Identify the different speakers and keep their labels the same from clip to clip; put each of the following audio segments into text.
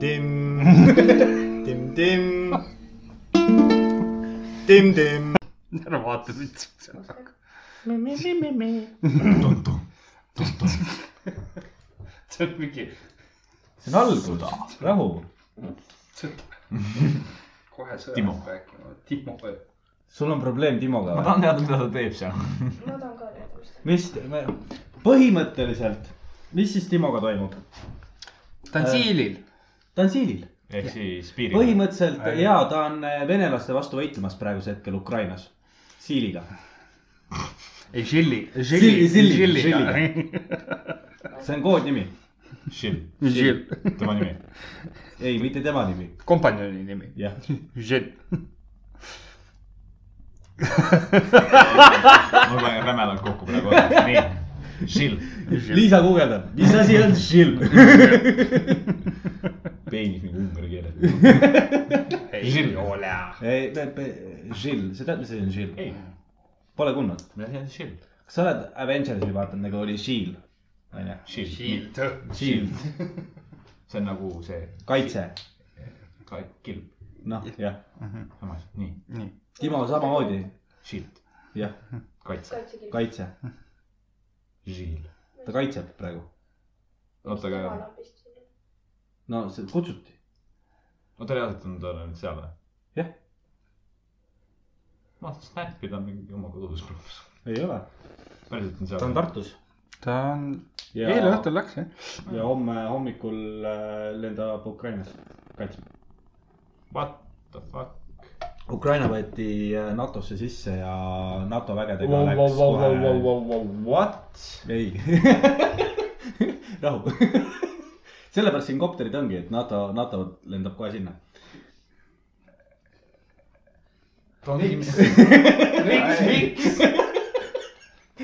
Speaker 1: timm-timm , timm-timm , timm-timm .
Speaker 2: ära vaata mind seal . see on mingi ,
Speaker 3: see on alltuda , rahu .
Speaker 2: see on kohe
Speaker 3: Timo.
Speaker 2: sõjast rääkima , Timo .
Speaker 3: sul on probleem Timoga
Speaker 4: ma
Speaker 3: või ?
Speaker 4: tahan teada , mida ta teeb seal .
Speaker 5: ma tahan ka teada , mis ta
Speaker 3: mis , põhimõtteliselt , mis siis Timoga toimub ?
Speaker 2: ta on siilil .
Speaker 3: ta on siilil ,
Speaker 4: ehk siis piiril .
Speaker 3: põhimõtteliselt ja ta on äh, venelaste vastu võitlemas praegusel hetkel Ukrainas , siiliga .
Speaker 2: ei , Žilli .
Speaker 3: Žilli, Žilli, see on koodnimi ,
Speaker 4: Shill ,
Speaker 2: Žil ,
Speaker 4: tema nimi .
Speaker 3: ei , mitte tema nimi ,
Speaker 2: kompanjoni nimi ,
Speaker 3: jah .
Speaker 2: Žil .
Speaker 4: ma panen rämelalt kokku praegu , nii . Shill ,
Speaker 3: Liisa guugeldab , mis asi on šilm ?
Speaker 4: peenis nagu ungari keeles .
Speaker 2: ei ole .
Speaker 3: ei , šilm , sa tead , mis asi on šilm ?
Speaker 4: ei ,
Speaker 3: Pole kuulnud ,
Speaker 4: mida see on shill ?
Speaker 3: kas sa oled Avengersi vaadanud , nagu oli Shield , onju ,
Speaker 4: Shill ,
Speaker 2: Žild .
Speaker 3: Shield ,
Speaker 4: see on nagu see
Speaker 3: kaitse ,
Speaker 4: ka- kilp ,
Speaker 3: noh , jah .
Speaker 4: samas , nii ,
Speaker 2: nii ,
Speaker 3: Timo samamoodi ,
Speaker 4: shield ,
Speaker 3: jah ,
Speaker 4: kaitse ,
Speaker 5: kaitsekiri .
Speaker 3: kaitse ,
Speaker 4: shield .
Speaker 3: ta kaitseb praegu ,
Speaker 4: oota , aga ,
Speaker 3: no see kutsuti ,
Speaker 4: oota reaalselt on ta nüüd seal või ?
Speaker 3: Jah. .
Speaker 4: ma Snapil on mingi oma kodus grupis ,
Speaker 3: ei ole ,
Speaker 4: päriselt on seal .
Speaker 3: ta on Tartus .
Speaker 2: ta on ,
Speaker 3: ja ,
Speaker 2: eile õhtul läks jah .
Speaker 3: ja homme hommikul äh, lendab Ukrainasse , kaitseb .
Speaker 4: What the fuck ?
Speaker 3: Ukraina võeti äh, NATO-sse sisse ja NATO vägedega wow, läks wow, kohe wow, wow, wow.
Speaker 2: What ?
Speaker 3: ei , rahu . sellepärast siin kopterid ongi , et NATO , NATO lendab kohe sinna .
Speaker 4: miks ?
Speaker 2: miks , miks ?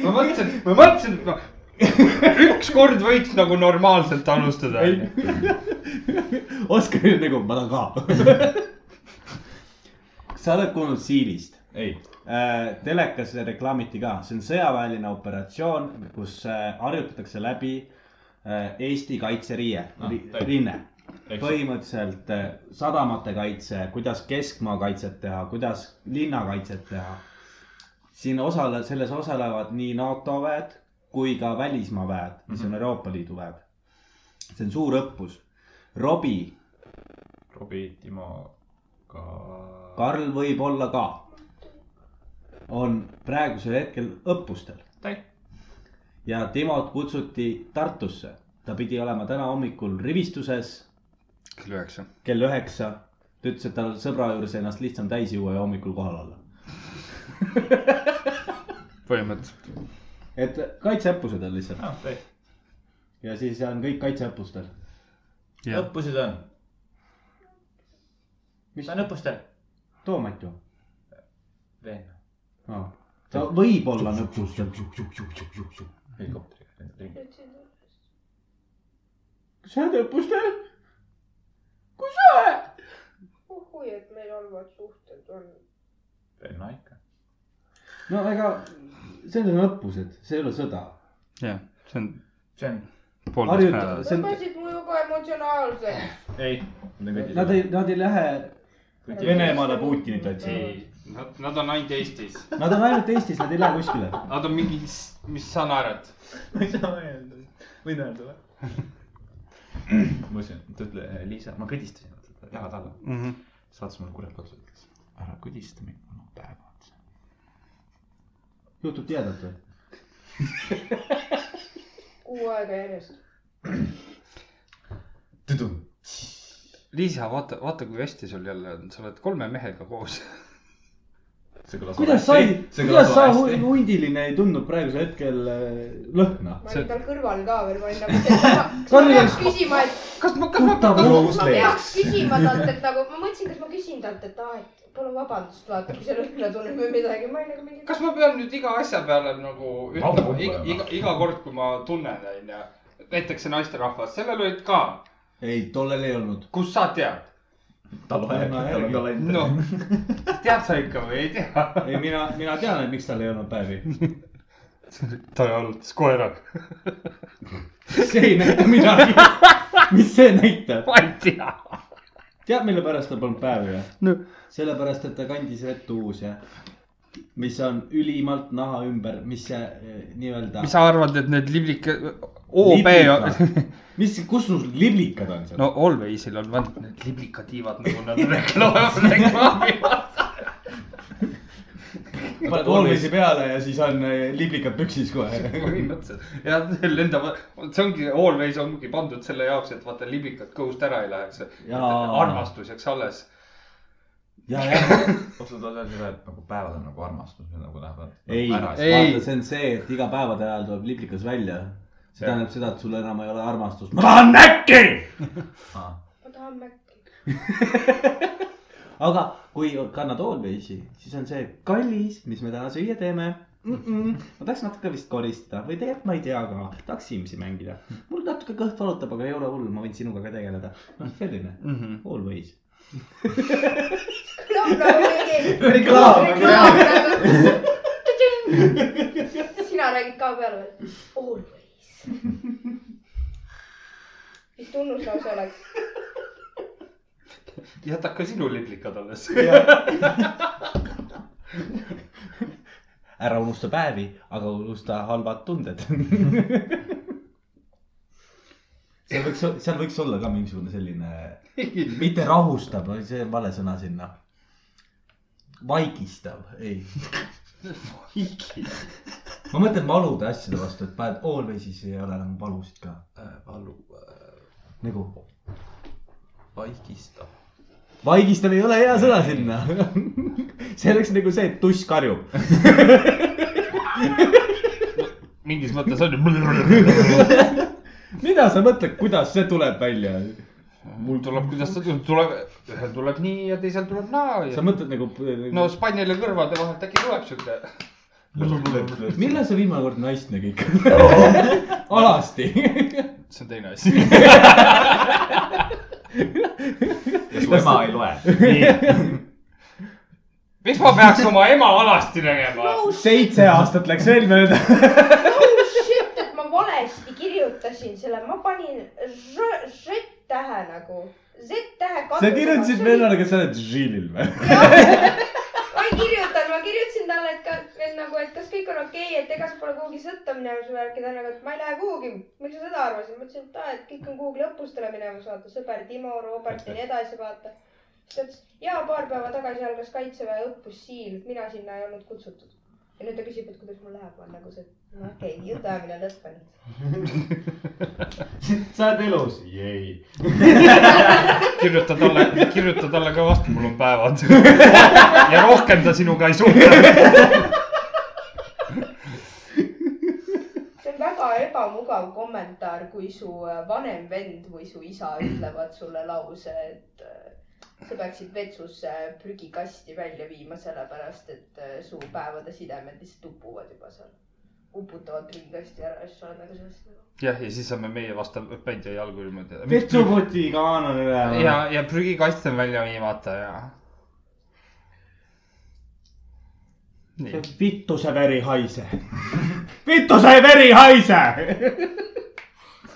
Speaker 2: ma mõtlesin , ma mõtlesin , et ma ükskord võiks nagu normaalselt alustada .
Speaker 3: Oskar oli nagu , ma tahan ka . sa oled kuulnud Siilist ?
Speaker 4: ei ,
Speaker 3: Äh, telekas reklaamiti ka , see on sõjaväeline operatsioon , kus äh, harjutatakse läbi äh, Eesti kaitseriie
Speaker 4: Ah,
Speaker 3: ah, ,
Speaker 4: täitsa.
Speaker 3: rinne .
Speaker 4: eks Või...
Speaker 3: põhimõtteliselt äh, sadamate kaitse , kuidas keskmaa kaitset teha , kuidas linnakaitset teha . siin osale , selles osalevad nii NATO väed kui ka välismaa väed , mis on Euroopa Liidu väed . see on suur õppus . Robi ,
Speaker 4: Robi , Timo , ka .
Speaker 3: Karl võib-olla ka , on praegusel hetkel õppustel
Speaker 4: täit- ,
Speaker 3: ja Timot kutsuti Tartusse . ta pidi olema täna hommikul rivistuses
Speaker 2: kell üheksa .
Speaker 3: kell üheksa . ta ütles , et tal sõbra juures ennast lihtsam täis juua ja hommikul kohal olla .
Speaker 2: põhimõtteliselt .
Speaker 3: et kaitseõppused on lihtsalt
Speaker 4: jah , täit- .
Speaker 3: ja siis on kõik kaitseõppustel .
Speaker 2: jah ,
Speaker 4: õppused on ,
Speaker 3: mis
Speaker 4: ta on õppustel .
Speaker 3: Toomet ju Ah.
Speaker 4: Veen .
Speaker 3: no. ? ta võib-olla on õppustel .
Speaker 4: helikopteriga lendad ringi .
Speaker 5: "Noh,
Speaker 3: kas sa oled õppustel ?
Speaker 5: uhhui , oh, et meil halvad suhted on .
Speaker 4: Veen on ikka .
Speaker 3: no ega , need on õppused , see ei ole sõda .
Speaker 2: jah , see on
Speaker 4: see on ,
Speaker 2: poolteist
Speaker 3: harjuta ,
Speaker 2: päeva .
Speaker 3: see on ,
Speaker 5: tõmbasid mu juba emotsionaalseks .
Speaker 4: ei .
Speaker 3: nad ei , nad ei lähe Venemaale Putinit otsima .
Speaker 6: ei , nad , nad on ainult Eestis ,
Speaker 3: Nad on ainult Eestis , nad ei lähe kuskile .
Speaker 6: nad on mingi , mis sa naerad ,
Speaker 4: ma ei saa öelda , võin öelda või ? ma mõtlesin , et ta ütle , Liisa , ma kõdistasin , jalad alla ,
Speaker 2: Mhm.
Speaker 4: saatis mulle kurat otsa , ütles ära kõdista mind , mul on päev otsa .
Speaker 3: juhtub tihedalt või ?
Speaker 5: kuu aega järjest .
Speaker 4: tüdum .
Speaker 2: Liisa , vaata , vaata , kui hästi sul jälle on , sa oled kolme mehega koos .
Speaker 4: see kõlas
Speaker 3: kuidas sa ei , kuidas sa hu- hundiline ei tundnud praegusel hetkel äh, lõhna ?
Speaker 5: ma
Speaker 2: See-
Speaker 5: olin tal kõrval ka veel , ma olin nagu , kas ma
Speaker 3: Karl
Speaker 5: peaks
Speaker 3: läks-
Speaker 5: küsima , et ,
Speaker 2: kas ma , kas ma ,
Speaker 3: tuttav
Speaker 5: kas
Speaker 3: loos
Speaker 5: ma peaks
Speaker 3: lees .
Speaker 5: küsima talt , et nagu , ma mõtlesin , kas ma küsin talt , et aa , et palun vabandust , vaata , kui sa lõhna tunned või midagi , ma olin nagu mingi .
Speaker 6: kas ma pean nüüd iga asja peale nagu ütlema
Speaker 4: Vabandama. ,
Speaker 6: iga , iga , iga kord , kui ma tunnen , onju , näiteks see naisterahvas , sellel olid ka ,
Speaker 3: ei , tollel ei olnud .
Speaker 6: kust sa tead ,
Speaker 4: tal on
Speaker 3: Lõhna
Speaker 4: aeg , tal on
Speaker 3: järgi.
Speaker 4: kalender .
Speaker 6: noh , tead sa ikka või ei tea ?
Speaker 3: ei , mina , mina tean , et miks tal ei olnud päevi .
Speaker 2: ta jalutas koeraga .
Speaker 3: see ei näita midagi . mis see näitab ?
Speaker 2: ma ei tea .
Speaker 3: tead , mille pärast ta polnud päevi või ?
Speaker 2: no
Speaker 3: sellepärast , et ta kandis retuuse , mis on ülimalt naha ümber , mis see eh, nii-öelda .
Speaker 2: mis sa arvad , et need liblike , OB ,
Speaker 3: mis , kus sul liblikad on seal
Speaker 2: no ? Alwaysil on vaata need liblikatiivad nagu nad reklaam- reklaamivad .
Speaker 3: paned olulisi peale ja siis on eh, liblikad püksis kohe .
Speaker 2: põhimõtteliselt ja lendavad , see ongi , Always ongi pandud selle jaoks , et vaata liblikad kõhust ära ei läheks .
Speaker 3: Jaa.
Speaker 2: armastuseks alles .
Speaker 3: ja , ja ,
Speaker 4: osa tahab seda , et nagu päevad on nagu armastus , nagu lähevad
Speaker 3: ei ,
Speaker 4: ära
Speaker 2: ei.
Speaker 3: vaata , see on see , et iga päevade ajal tuleb liblikas välja . see tähendab seda , et sul enam ei ole armastust . ma tahan näkki .
Speaker 4: ah. .
Speaker 5: ma tahan mäkki .
Speaker 3: aga kui kannad Allwaysi , siis on see kallis , mis me täna süüa teeme . Mm -mm. ma tahaks natuke vist koristada või tegelikult ma ei tea ka , tahaks Simsi mängida . mul natuke kõht valutab , aga ei ole hull , ma võin sinuga ka tegeleda . noh , selline mm , -hmm. always .
Speaker 5: kõlab nagu mingi
Speaker 3: reklaam .
Speaker 5: reklaam nagu . sina räägid ka peale veel . Always . mis tunnuslause oleks ?
Speaker 2: jäta ka sinu liblikad alles .
Speaker 3: ära unusta päevi , aga unusta halvad tunded . seal võiks , seal võiks olla ka mingisugune selline , mitte rahustav , see on vale sõna sinna . vaigistav , ei . ma mõtlen valude asjade vastu , et paned Allwaysi , siis ei ole enam valusid ka .
Speaker 4: valu
Speaker 3: nagu
Speaker 4: vaigistab .
Speaker 3: vaigistav ei ole hea sõna sinna . see oleks nagu see , et tuss karjub .
Speaker 2: mingis mõttes on ju .
Speaker 3: mida sa mõtled , kuidas see tuleb välja ?
Speaker 2: mul tuleb , kuidas ta tuleb , tuleb , ühel tuleb nii ja teisel tuleb naa
Speaker 3: sa
Speaker 2: ja .
Speaker 3: mõtled nagu .
Speaker 2: no Spaniel ja kõrvade vahelt äkki tuleb sihuke .
Speaker 3: millal sa viimane kord naist nägid ? alasti .
Speaker 2: see on teine asi .
Speaker 4: ja su ema ei loe .
Speaker 2: miks ma peaks oma ema alasti nägema ?
Speaker 5: no
Speaker 3: seitse aastat läks veel mööda .
Speaker 5: shit , et ma valesti kirjutasin selle , ma panin ž , ž tähe nagu . Z tähe .
Speaker 3: sa kirjutasid vennale , kes sa oled Žilil
Speaker 5: ma
Speaker 3: või ?
Speaker 5: ei kirjutanud , ma kirjutasin talle , et ka , et nagu , et kas kõik on okei okay, , et ega sa pole kuhugi sõtta minemas või äkki ta on nagu , et ma ei lähe kuhugi . miks sa seda arvasid ? ma ütlesin , et aa , et kõik on kuhugi lõpustele minemas , vaata sõber Timo , Robert ja nii edasi , vaata . siis ta ütles , jaa , paar päeva tagasi algas kaitseväe õppus siin , mina sinna ei olnud kutsutud . ja nüüd ta küsib , et kuidas mul läheb , ma olen nagu see , no okei okay, , jutuajamine on lõppenud .
Speaker 1: sa oled elus , jäi .
Speaker 2: kirjuta talle , kirjuta talle ka vastu , mul on päevad . ja rohkem ta sinuga ei suhtle .
Speaker 5: see on väga ebamugav kommentaar , kui su äh, vanem vend või su isa ütlevad sulle lause , et äh, sa peaksid vetsus äh, prügikasti välja viima , sellepärast et äh, su päevade sidemed lihtsalt upuvad juba seal . uputavad prügikasti ära ja siis sa oled nagu selles nagu .
Speaker 2: jah , ja siis saame meie vastu pändi jalgu niimoodi .
Speaker 3: vetsupotiga kaan on üleval .
Speaker 2: ja , ja prügikast on välja viimata ja . nii ,
Speaker 3: vituse veri haise . vituse veri haise .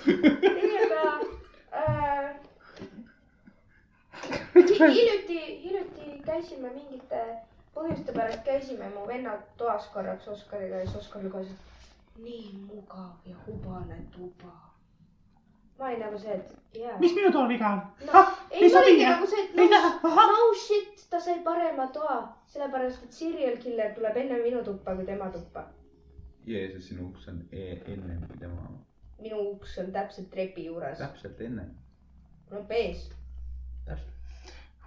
Speaker 5: teiega äh, . äh, hiljuti , hiljuti käisime mingite põhjuste pärast käisime mu venna toas korraks Oskariga ja siis Oskar luges , et nii mugav ja hubane tuba . ma olin nagu see , et jaa . mis minu toal viga on no, ? ei , ma olingi nagu see , et no, no shit , ta sai parema toa , sellepärast et serial killer tuleb enne minu tuppa kui tema tuppa .
Speaker 4: Jeesus , sinu uks on e enne kui tema ,
Speaker 5: minu uks on täpselt trepi juures ,
Speaker 4: täpselt enne .
Speaker 5: no pees ,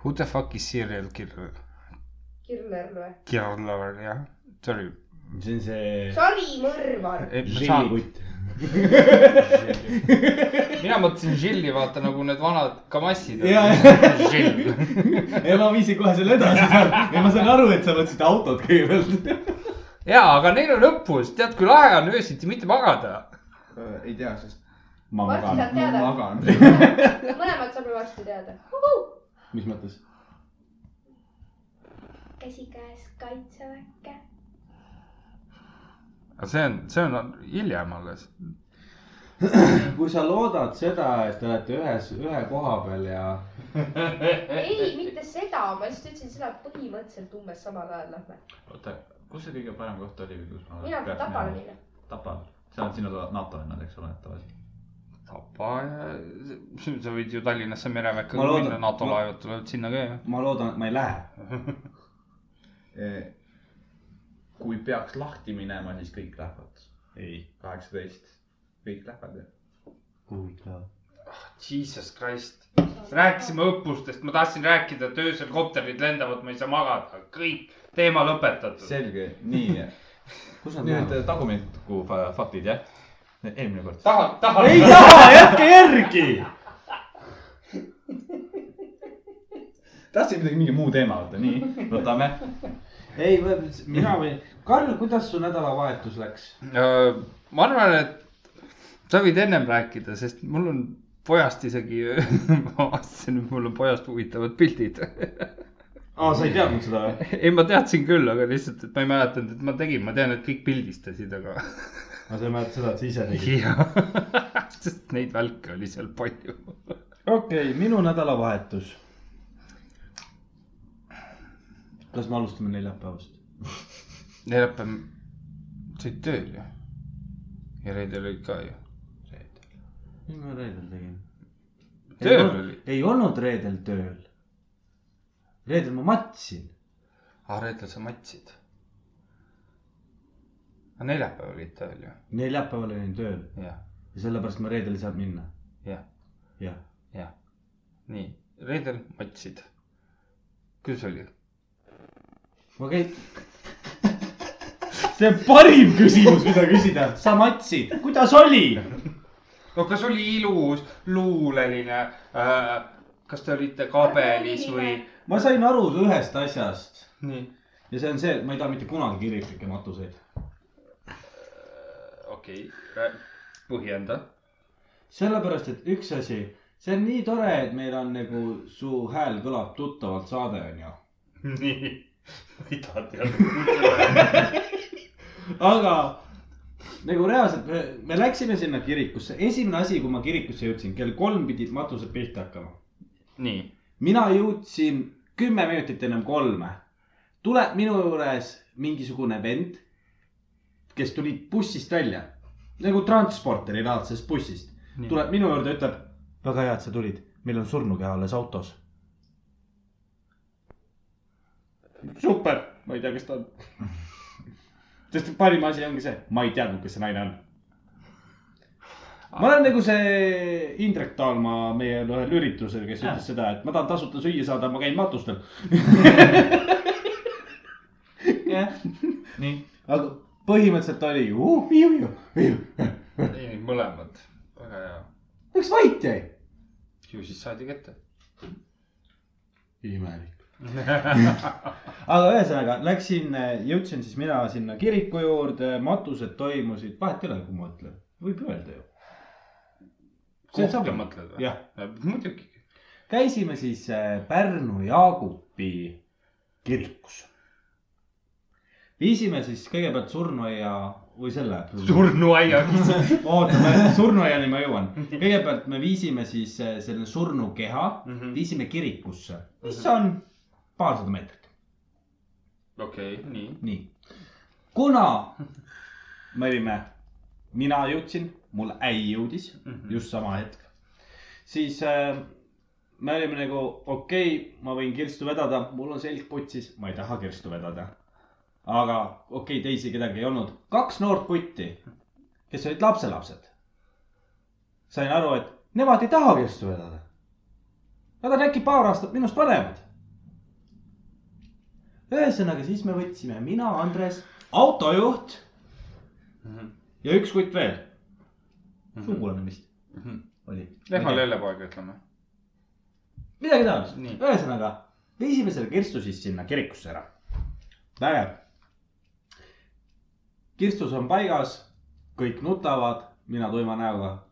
Speaker 2: who the fuck is serial killer ?
Speaker 5: killer või ?
Speaker 2: killer , jah , sorry .
Speaker 3: see on see
Speaker 5: sari mõrvar .
Speaker 3: Žili kutt .
Speaker 2: mina mõtlesin Žilli , vaata nagu need vanad kamassid .
Speaker 3: Jaa,
Speaker 2: Žill .
Speaker 3: ja ma viisin kohe selle edasi ja ma sain aru , et sa mõtlesid autot kõigepealt .
Speaker 2: ja , aga neil on õppus , tead , kui lahe on öösiti mitte magada .
Speaker 4: ei tea , sest
Speaker 3: ma
Speaker 5: varsti
Speaker 3: magan .
Speaker 5: saad teada ,
Speaker 4: magan .
Speaker 5: mõlemad saame varsti teada .
Speaker 3: mis mõttes ?
Speaker 5: käsikäes kaitseväkke .
Speaker 2: aga see on , see on hiljem alles .
Speaker 3: kui sa loodad seda , et te olete ühes , ühe koha peal ja
Speaker 5: ei , mitte seda , ma lihtsalt ütlesin seda , et põhimõtteliselt umbes samal ajal lähme .
Speaker 4: oota , kus see kõige parem koht oli , kus ma nagu-
Speaker 5: mina pean Tapale . minema .
Speaker 4: Tapal , seal , sina tuled NATO linnad , eks ole , tavaliselt .
Speaker 2: Tapa , sa võid ju Tallinnasse merevekka
Speaker 3: Ma
Speaker 2: ka
Speaker 3: loodan-
Speaker 2: minna , NATO
Speaker 3: ma-
Speaker 2: laevad tulevad sinna ka ju .
Speaker 3: ma loodan , et ma ei lähe .
Speaker 4: E, kui peaks lahti minema , siis kõik lähevad .
Speaker 3: ei .
Speaker 4: kaheksateist , kõik lähevad ju .
Speaker 3: huvitav .
Speaker 2: Jesus Christ , rääkisime õppustest , ma tahtsin rääkida , et öösel kopterid lendavad , ma ei saa magada , kõik , teema lõpetatud .
Speaker 4: selge , nii .
Speaker 3: kus nad
Speaker 4: nüüd
Speaker 3: lähevad ?
Speaker 4: tagumiku fa- faktid jah , eelmine kord .
Speaker 2: tahad , tahad ?
Speaker 3: ei taha , jätke järgi .
Speaker 4: tahtsin midagi , mingi muu teema võtta , nii , võtame .
Speaker 3: ei , mina või , Karl , kuidas su nädalavahetus läks ?
Speaker 2: Äh, ma arvan , et sa võid ennem rääkida , sest mul on pojast isegi , ma vaatasin , et mul on pojast huvitavad pildid .
Speaker 3: aa , sa ei teadnud seda või ?
Speaker 2: ei , ma teadsin küll , aga lihtsalt , et ma ei mäletanud , et ma tegin , ma tean , et kõik pildistasid , aga
Speaker 3: ma sain mäletada seda , et sa ise tegid .
Speaker 2: jah , sest neid välke oli seal palju .
Speaker 3: okei okay, , minu nädalavahetus . kas me alustame neljapäevast ?
Speaker 2: neljapäev , sa olid tööl ju ? ja reedel olid ka ju ?
Speaker 3: mis ma reedel tegin ?
Speaker 2: Tööl oli. ?
Speaker 3: ei olnud reedel tööl . reedel ma matsin .
Speaker 2: aa , Ah, reedel sa matsid . aga neljapäev olid tööl ju ?
Speaker 3: neljapäeval olin tööl
Speaker 2: jah ,
Speaker 3: ja sellepärast ma reedel ei saanud minna .
Speaker 2: jah ,
Speaker 3: jah ,
Speaker 2: jah . nii , reedel matsid . kuidas oli ?
Speaker 3: ma käin . see on parim küsimus , mida küsida . sa matsid , kuidas oli ?
Speaker 2: no kas oli ilus , luuleline äh, , kas te olite kabelis või ?
Speaker 3: ma sain aru ühest asjast
Speaker 2: nii ,
Speaker 3: ja see on see , et ma ei taha mitte kunagi kiriklikke matuseid .
Speaker 2: okei okay. , põhjenda .
Speaker 3: sellepärast , et üks asi , see on nii tore , et meil on nagu su hääl kõlab tuttavalt saade onju .
Speaker 2: nii , ma ei taha teada .
Speaker 3: aga nagu reaalselt me , me läksime sinna kirikusse , esimene asi , kui ma kirikusse jõudsin , kell kolm pidid matused pihta hakkama .
Speaker 2: nii ,
Speaker 3: mina jõudsin kümme minutit ennem kolme . tuleb minu juures mingisugune vend , kes tuli bussist välja nagu transporteri laadsest bussist ,
Speaker 2: Nii.
Speaker 3: tuleb minu juurde , ütleb väga hea , et sa tulid , meil on surnukeha alles autos . super , ma ei tea , kes ta on . sest parim asi ongi see , ma ei teadnud , kes see naine on . ma olen nagu see Indrek Taalmaa meie ühel üritusel , kes ütles seda , et ma tahan tasuta süüa saada , ma käin matustel . jah ,
Speaker 4: nii ,
Speaker 3: aga põhimõtteliselt oli ju uh, , viiu , viiu , viiu ,
Speaker 2: ei mõlemad , väga hea .
Speaker 3: miks vait jäi ?
Speaker 2: ju siis saadi kätte .
Speaker 3: imelik aga ühesõnaga läksin , jõudsin siis mina sinna kiriku juurde , matused toimusid , vahet ei ole , kui ma ütlen , võib ju öelda ju . See on sama.
Speaker 2: kohta mõtled või ?
Speaker 3: jah ,
Speaker 2: Äh, muidugi .
Speaker 3: käisime siis äh, Pärnu Jaagupi kirikus . viisime siis kõigepealt surnuaia või selle .
Speaker 2: surnuaiakis .
Speaker 3: oota , surnuaiani ma jõuan . kõigepealt me viisime siis äh, selle surnukeha , viisime kirikusse , mis on paarsada meetrit .
Speaker 2: okei , nii .
Speaker 3: nii , kuna me olime , mina jõudsin , mul äi jõudis mm -hmm. just sama hetk , siis äh, me olime nagu okei okay, , ma võin kirstu vedada , mul on selg putsis , ma ei taha kirstu vedada . aga okei okay, , teisi kedagi ei olnud , kaks noort putti , kes olid lapselapsed . sain aru , et nemad ei taha kirstu vedada . Nad on äkki paar aastat minust vanemad ühesõnaga , siis me võtsime mina , Andres , autojuht ja üks kutt veel . sugulane vist oli .
Speaker 2: Lehma lellepoeg , ütleme .
Speaker 3: midagi taolist
Speaker 2: Nii. .
Speaker 3: ühesõnaga , viisime selle kirstu siis sinna kirikusse ära . vägev . kirstus on paigas , kõik nutavad , mina tuima näoga .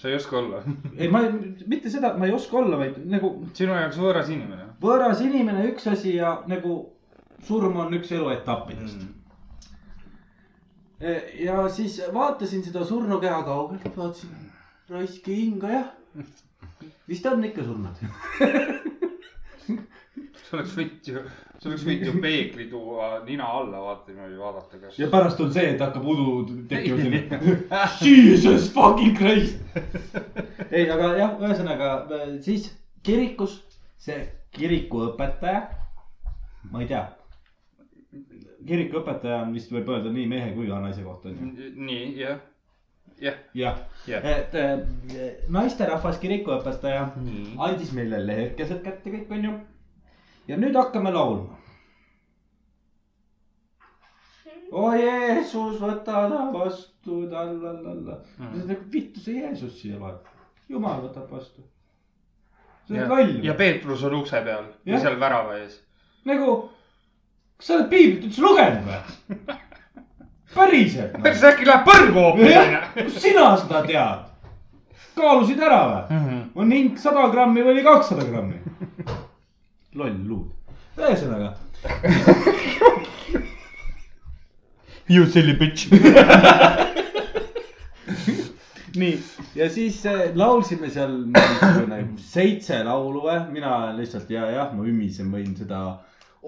Speaker 2: sa ei oska olla .
Speaker 3: ei , ma mitte seda , et ma ei oska olla , vaid nagu
Speaker 2: sinu jaoks võõras inimene .
Speaker 3: võõras inimene , üks asi ja nagu surm on üks elu etappidest mm. . ja siis vaatasin seda surnukeha kaugelt , vaatasin , raiski hinga jah . vist on ikka surnud .
Speaker 2: see oleks võinud ju , see oleks võinud ju peegli tuua nina alla , vaata niimoodi vaadata , kas .
Speaker 7: ja pärast on see , et hakkab udu tekkima selline . Jesus fucking Christ .
Speaker 3: ei , aga jah , ühesõnaga äh, siis kirikus see kirikuõpetaja , ma ei tea , kirikuõpetaja on vist võib öelda nii mehe kui ka naise kohta onju .
Speaker 2: nii , jah ,
Speaker 3: jah
Speaker 2: Jah.
Speaker 3: et äh, naisterahvas kirikuõpetaja
Speaker 2: Nii.
Speaker 3: andis meile lehekesed kätte kõik onju . ja nüüd hakkame laulma . oo Jeesus , võta ta vastu , tallallalla .
Speaker 2: Hmm.
Speaker 3: vittu see Jeesus siia loeb , jumal võtab vastu . see on loll
Speaker 2: ja . Peetrus on ukse peal või
Speaker 3: Jah.
Speaker 2: seal värava ees .
Speaker 3: nagu , kas sa oled piiblit üldse lugenud või ? päriselt noh. no. .
Speaker 2: päris äkki läheb põrgu
Speaker 3: jah
Speaker 2: hoopis ,.
Speaker 3: kus sina seda tead ? kaalusid ära või ? on hing sada grammi või oli kakssada grammi ? loll luud . ühesõnaga ,
Speaker 1: You silly bitch .
Speaker 3: nii ja siis eh, laulsime seal mingisugune seitse laulu või , mina lihtsalt ja jah , ma ümisen , võin seda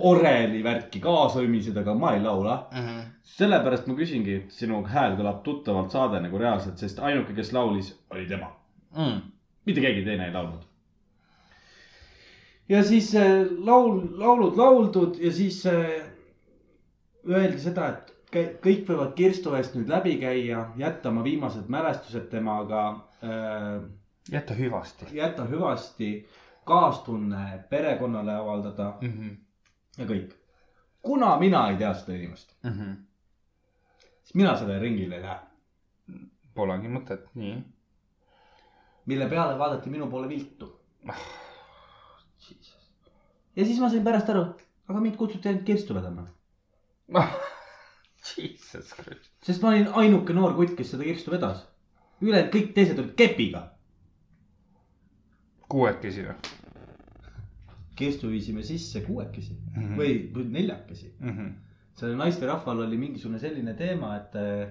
Speaker 3: oreli värki kaasa ümiseda , aga ma ei laula .
Speaker 2: Mhm.
Speaker 3: sellepärast ma küsingi , et sinu hääl kõlab tuttavalt saade nagu reaalselt , sest ainuke , kes laulis , oli tema
Speaker 2: Mm.
Speaker 3: mitte keegi teine ei laulnud . ja siis äh, laul , laulud lauldud ja siis äh, öeldi seda , et kä- kõik võivad kirstu eest nüüd läbi käia , jätta oma viimased mälestused temaga äh, ,
Speaker 2: jäta hüvasti
Speaker 3: jätta hüvasti , kaastunne perekonnale avaldada
Speaker 2: mm . -hmm.
Speaker 3: ja kõik . kuna mina ei tea seda inimest ,
Speaker 2: Mm -hmm.
Speaker 3: siis mina sellele ringile ei lähe ,
Speaker 2: Polegi mõtet , nii .
Speaker 3: mille peale vaadati minu poole viltu . ja siis ma sain pärast aru , aga mind kutsuti ainult kirstu vedama .
Speaker 2: Jesus Christ .
Speaker 3: sest ma olin ainuke noor kutt , kes seda kirstu vedas . ülejäänud kõik teised olid kepiga .
Speaker 2: kuuekesi või
Speaker 3: kirstu viisime sisse kuuekesi
Speaker 2: mm ? -hmm.
Speaker 3: või , või neljakesi .
Speaker 2: mm ? -hmm.
Speaker 3: sellel naisterahval oli mingisugune selline teema , et äh,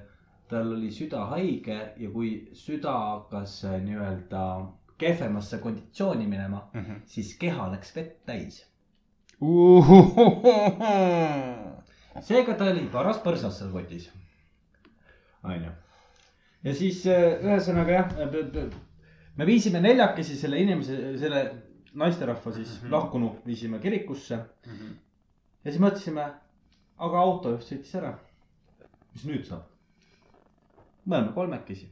Speaker 3: tal oli süda haige ja kui süda hakkas äh, nii-öelda kehvemasse konditsiooni minema ,
Speaker 2: Mm -hmm.
Speaker 3: siis keha läks vett täis . seega ta oli paras põrsas seal kotis . onju . ja siis äh, ühesõnaga jah , me viisime neljakesi selle inimese , selle naisterahva siis mm -hmm. lahkunu viisime kirikusse mm .
Speaker 2: Mhm.
Speaker 3: -hmm. ja siis mõtlesime , aga autojuht sõitis ära . mis nüüd saab ? me oleme kolmekesi .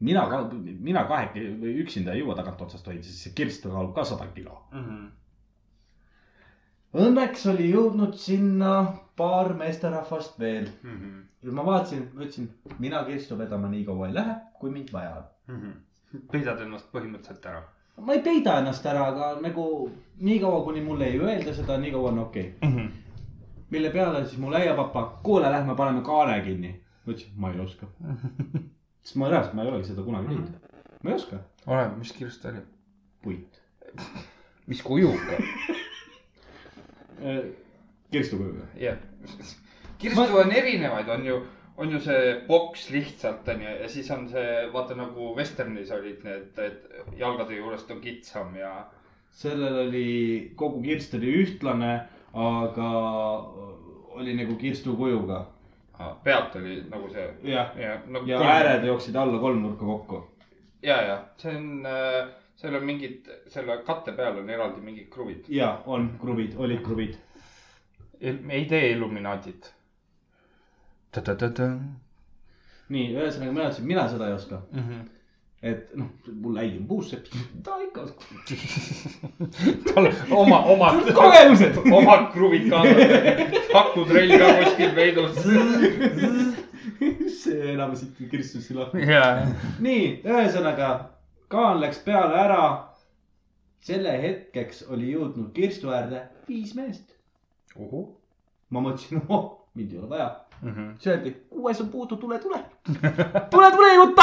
Speaker 3: mina ka , mina kaheke- või üksinda ei jõua tagantotsast hoida , sest see kirstu kaalub ka sada kilo
Speaker 2: mhm,
Speaker 3: õnneks oli jõudnud sinna paar meesterahvast veel
Speaker 2: mhm.
Speaker 3: ja ma vaatasin , ma ütlesin , mina kirstu vedama nii kaua ei lähe , kui mind vaja on .
Speaker 2: Mhm. peidad ennast põhimõtteliselt ära .
Speaker 3: ma ei peida ennast ära , aga nagu nii kaua , kuni mulle ei öelda seda , nii kaua on okei okay. . mille peale siis mul äiapapa , kuule , lähme paneme kaane kinni . ma ütlesin , ma ei oska . sest ma reaalselt , ma ei olegi seda kunagi teinud . ma ei oska .
Speaker 2: ole , mis kirst ta oli ?
Speaker 3: puit .
Speaker 2: mis kujuga ?
Speaker 3: Äh, kirstu kujuga .
Speaker 2: jah . kirstu on erinevaid , on ju , on ju see boks lihtsalt on ju ja siis on see , vaata nagu vesternis olid need , et jalgade juurest on kitsam ja
Speaker 3: sellel oli , kogu kirst oli ühtlane , aga oli nagu kirstu kujuga .
Speaker 2: ah, pealt oli nagu see
Speaker 3: jah ,
Speaker 2: ja nagu
Speaker 3: ja
Speaker 2: kolm-
Speaker 3: ääred jooksid alla kolmnurka kokku .
Speaker 2: ja , ja see on , seal on mingid , selle katte peal on eraldi mingid kruvid .
Speaker 3: ja on kruvid , olid kruvid .
Speaker 2: me ei tee Illuminaatit .
Speaker 3: nii , ühesõnaga mina ütlesin , mina seda ei oska ,
Speaker 2: Mhm.
Speaker 3: et noh , mul äi on puussepp , ta ikka oskab .
Speaker 2: tal oma , oma ,
Speaker 3: kogemused .
Speaker 2: oma kruvid kaasas , hakutrell ka kuskil peidus .
Speaker 3: see enam siit kirstust ei lahku .
Speaker 2: ja ,
Speaker 3: nii , ühesõnaga kaan läks peale ära . selle hetkeks oli jõudnud kirstu äärde viis meest . ma mõtlesin , oh , mind ei ole vaja . siis öeldi , kuues on puudu , tule , tule . tule , tule , jutta .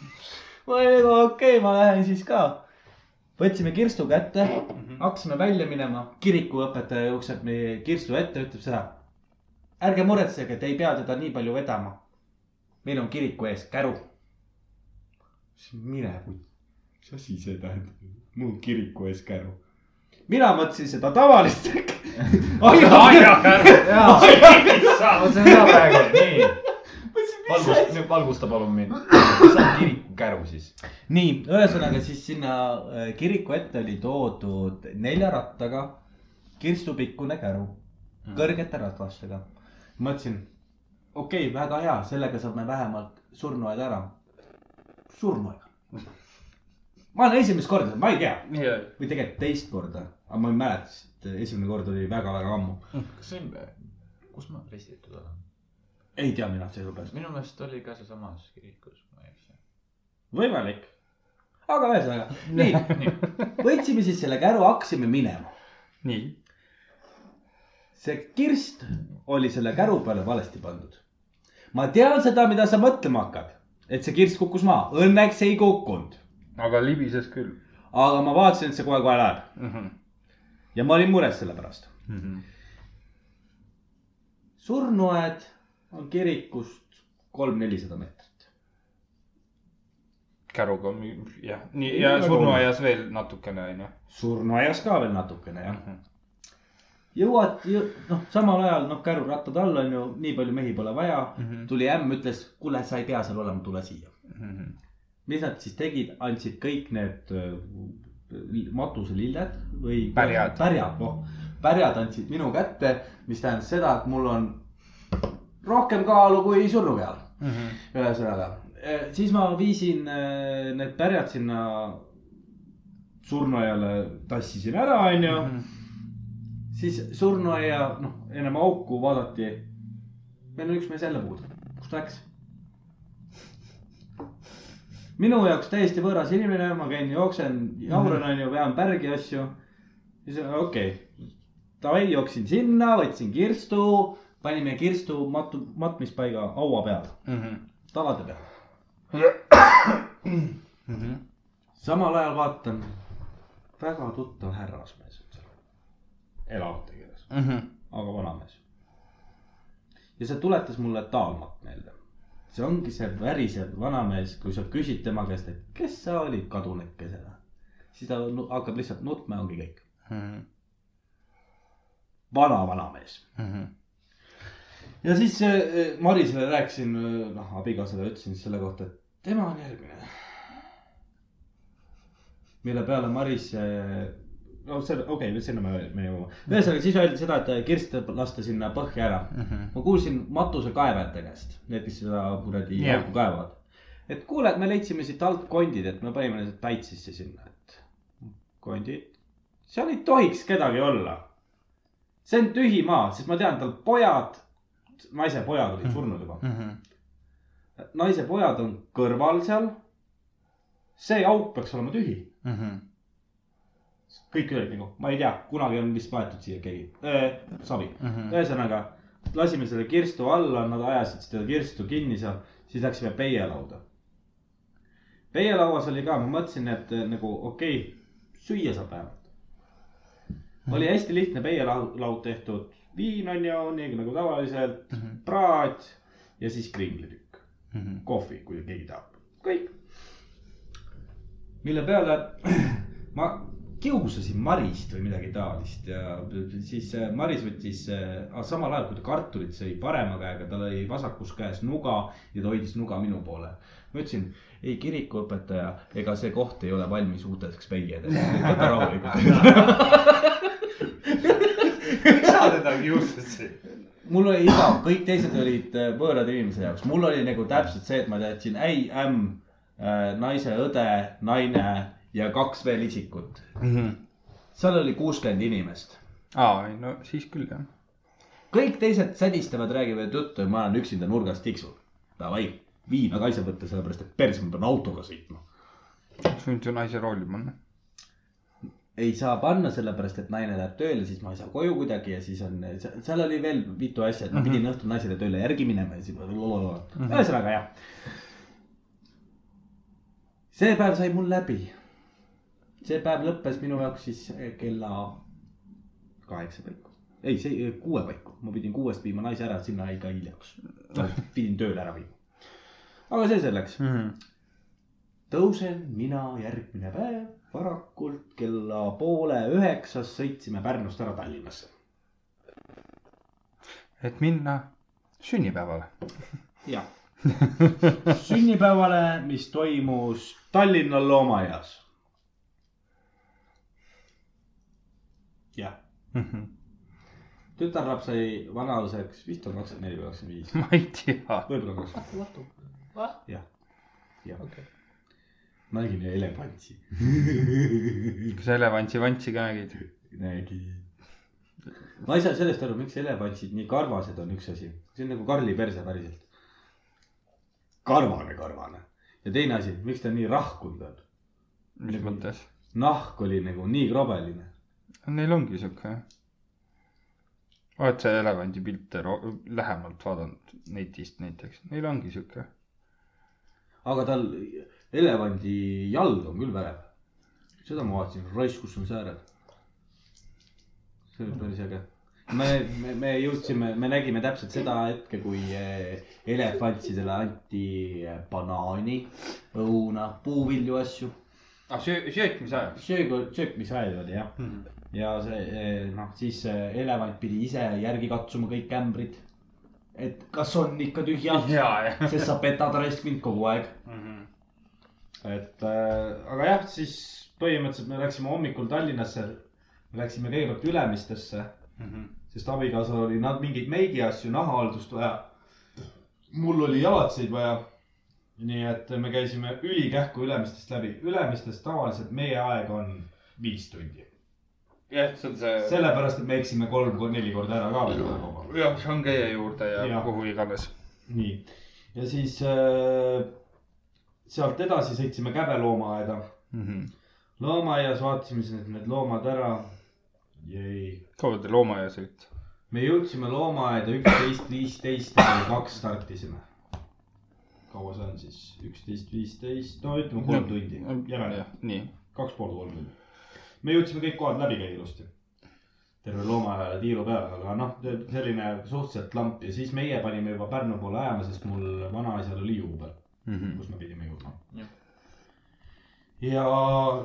Speaker 3: ma olin nagu okei okay, , ma lähen siis ka . võtsime kirstu kätte , hakkasime välja minema , kirikuõpetaja jookseb meie kirstu ette , ütleb seda . ärge muretsege , te ei pea teda nii palju vedama . meil on kiriku ees käru . mine kui .
Speaker 8: mis asi see tähendab ? mul kiriku ees käru .
Speaker 3: mina mõtlesin seda tavalist . aiakäru .
Speaker 4: vot see on hea praegu , nii . valgust , valgusta palun mind . see on kirikukäru siis .
Speaker 3: nii , ühesõnaga siis sinna äh, kiriku ette oli toodud nelja rattaga kirstupikkune käru , kõrgete ratastega . mõtlesin , okei okay, , väga hea , sellega saame vähemalt surnuaed ära . surnuaed . ma olen esimest korda , ma ei tea
Speaker 6: nii ,
Speaker 3: või tegelikult teist korda , aga ma ei mäleta , sest esimene kord oli väga-väga ammu .
Speaker 4: kas see on , kus ma ristitud olen ?
Speaker 3: ei tea mina sellepärast .
Speaker 4: minu meelest oli ka sealsamas kirikus , ma ei eksi .
Speaker 3: võimalik . aga ühesõnaga , nii , võtsime siis selle käru , hakkasime minema .
Speaker 2: nii .
Speaker 3: see kirst oli selle käru peale valesti pandud . ma tean seda , mida sa mõtlema hakkad , et see kirst kukkus maha , õnneks ei kukkunud ,
Speaker 6: aga libises küll
Speaker 3: aga ma vaatasin , et see kohe-kohe läheb
Speaker 6: mm .
Speaker 2: Mhm.
Speaker 6: -hmm.
Speaker 3: ja ma olin mures selle pärast mm .
Speaker 6: Mhm.
Speaker 3: -hmm. surnuaed on kirikust kolm-nelisada meetrit .
Speaker 6: käruga on , jah , nii ja
Speaker 2: nagu
Speaker 6: surnuaias veel natukene onju .
Speaker 3: surnuaias ka veel natukene jah .
Speaker 2: Mhm.
Speaker 3: jõuad , noh , samal ajal noh , kärurattad all on ju , nii palju mehi pole vaja mm . -hmm. tuli ämm , ütles , kuule , sa ei pea seal olema , tule siia mm .
Speaker 6: Mhm.
Speaker 3: mis nad siis tegid , andsid kõik need öö, matuselilled või .
Speaker 6: Pärjad.
Speaker 3: pärjad , noh , pärjad andsid minu kätte , mis tähendas seda , et mul on rohkem kaalu kui surnu peal mm .
Speaker 2: Mhm.
Speaker 3: -hmm. ühesõnaga , Eh, siis ma viisin eh, need pärjad sinna surnuaiale , tassisin ära , onju siis surnuaia , noh , ennem auku vaadati . meil on üks mees jälle puudu , kus ta läks ? minu jaoks täiesti võõras inimene , ma käin , jooksen , jauran onju , vean pärgi asju . siis okei okay. , davai , jooksin sinna , võtsin kirstu , panime kirstu matu , matmispaiga haua peale , talade peale . samal ajal vaatan , väga tuttav härrasmees on seal , elavate keeles , aga vanamees . ja see tuletas mulle Taalmat meelde . see ongi see värisev vanamees , kui sa küsid tema käest , et kes sa olid kadunukesena , siis ta nu- hakkab lihtsalt nutma ja ongi kõik . vana vanamees . ja siis äh, Marisele rääkisin , noh abikaasale ütlesin selle kohta , et tema on järgmine . mille peale Maris , no see , okei okay, , sinna me , me jõuame . ühesõnaga , siis öeldi seda , et eh, kirst lasta sinna põhja ära . ma kuulsin matusekaevajate käest , need , kes seda kuradi
Speaker 6: Jah.
Speaker 3: auku kaevavad . et kuule , me leidsime siit alt kondid , et me panime need päid sisse sinna , et kondid , seal ei tohiks kedagi olla see on tühi maa , sest ma tean , tal pojad , naise pojad olid surnud juba . naise pojad on kõrval seal . see auk peaks olema tühi .
Speaker 1: Mm-hmm.
Speaker 3: kõik olid nagu , ma ei tea , kunagi on vist maetud siia keegi äh, , savi .
Speaker 1: Mhm.
Speaker 3: ühesõnaga , lasime selle kirstu alla , nad ajasid seda kirstu kinni seal , siis läksime peielauda . peielauas oli ka , ma mõtlesin , et äh, nagu okei okay, , süüa saab vähemalt . oli hästi lihtne peielaud tehtud , viin on ju , nii nagu tavaliselt , praad ja siis kringlitükk ,
Speaker 1: Mm.
Speaker 3: kohvi , kui keegi tahab , kõik . mille peale ma kiusasin Marist või midagi taolist ja siis äh, Maris võttis , samal ajal kui ta kartulit sõi parema käega , tal oli vasakus käes nuga ja ta hoidis nuga minu poole . ma ütlesin , ei kirikuõpetaja , ega see koht ei ole valmis uuteks peiedeks , võta rahulikult .
Speaker 6: sa teda kiusasid .
Speaker 3: mul oli igav , kõik teised olid äh, võõrad inimese jaoks , mul oli nagu täpselt see , et ma teadsin ei , ämm , äh, naise õde , naine ja kaks veel isikut . seal oli kuuskümmend inimest .
Speaker 6: aa , ei no siis küll jah .
Speaker 3: kõik teised sädistavad , räägivad juttu ja ma olen üksinda nurgas tiksun . Davai , viina ka ei saa võtta , sellepärast et päris ma pean autoga sõitma .
Speaker 6: sund ju naise rooli panna .
Speaker 3: ei saa panna , sellepärast et naine läheb tööle , siis ma ei saa koju kuidagi ja siis on , seal oli veel mitu asja , et ma pidin õhtul naisele tööle järgi minema ja siis nagu ühesõnaga jah . see päev sai mul läbi . see päev lõppes minu jaoks siis kella eh, kaheksa paiku . ei , see eh, kuue paiku , ma pidin kuuest viima naise ära , sinna jäi ka hiljaks . pidin tööle ära viima . aga see selleks .
Speaker 6: Mhm.
Speaker 3: tõusen mina järgmine päev varakult kella poole üheksast sõitsime Pärnust ära Tallinnasse .
Speaker 2: et minna sünnipäevale .
Speaker 3: jah . sünnipäevale , mis toimus Tallinna loomaaias . jah ,
Speaker 6: Mhm.
Speaker 3: tütarlaps sai vanaseks , vist on kakskümmend neli või kakskümmend viis ,
Speaker 2: ma ei tea .
Speaker 3: võib-olla kakskümmend . jah , jah . nägin elevanti .
Speaker 2: kas elevantsi vantsi ka nägid ?
Speaker 3: nägin . ma ei saa sellest aru , miks elevantsid nii karvased on , üks asi , see on nagu Karli perse päriselt . karvane , karvane ja teine asi , miks ta nii rahkunud on ,
Speaker 6: Mhm.
Speaker 2: mis mõttes ?
Speaker 3: nahk oli nagu nii krobeline .
Speaker 2: Neil ongi sihuke jah . oled sa elevandi pilte ro- lähemalt vaadanud netist näiteks ? Neil ongi sihuke .
Speaker 3: aga tal elevandi jalg on küll värev . seda ma vaatasin , raisk , kus on sääred . see oli päris äge . me, me , me jõudsime , me nägime täpselt seda hetke , kui eh, elefantsidele anti eh, banaani , õuna , puuvilju , asju .
Speaker 6: aga Ah, söö , söötmise ajaks .
Speaker 3: söögu , söökmisaed oli jah . ja see eh, noh , siis eh, elevant pidi ise järgi katsuma kõik ämbrid . et kas on ikka tühjad ,
Speaker 6: ja , ja .
Speaker 3: sest sa petad raisk mind kogu aeg .
Speaker 8: Mhm. et äh, aga jah , siis põhimõtteliselt me läksime hommikul Tallinnasse , läksime kõigepealt Ülemistesse mm , -hmm. sest abikaasal oli nad mingeid meigiasju , nahahaldust vaja . mul oli jalatseid vaja . nii et me käisime ülikähku Ülemistest läbi , Ülemistest tavaliselt meie aeg on viis tundi ,
Speaker 6: jah , see on see ,
Speaker 8: sellepärast et me eksime kolm kuni neli korda ära ka veel kogu aeg .
Speaker 6: jah , see on käia juurde ja, ja.
Speaker 8: Jah.
Speaker 6: kuhu iganes .
Speaker 8: nii , ja siis äh, sealt edasi sõitsime Käbeloomaaeda
Speaker 6: Mhm.
Speaker 8: loomaaias vaatasime siis need- need loomad ära . jäi .
Speaker 2: kaua te loomaaias olite ?
Speaker 8: me jõudsime loomaaeda üksteist viisteist ja kell kaks startisime . kaua see on siis ? üksteist viisteist , no ütleme kolm tundi , jämedalt ,
Speaker 2: nii .
Speaker 8: kaks pool kolm tundi . me jõudsime kõik kohad läbi käia ilusti . terve loomaaiale tiiru peale , aga noh , selline suhteliselt lamp ja siis meie panime juba Pärnu poole ajama , sest mul vanaisal oli juubel , kus me pidime jõudma
Speaker 4: Jah. .
Speaker 8: ja ,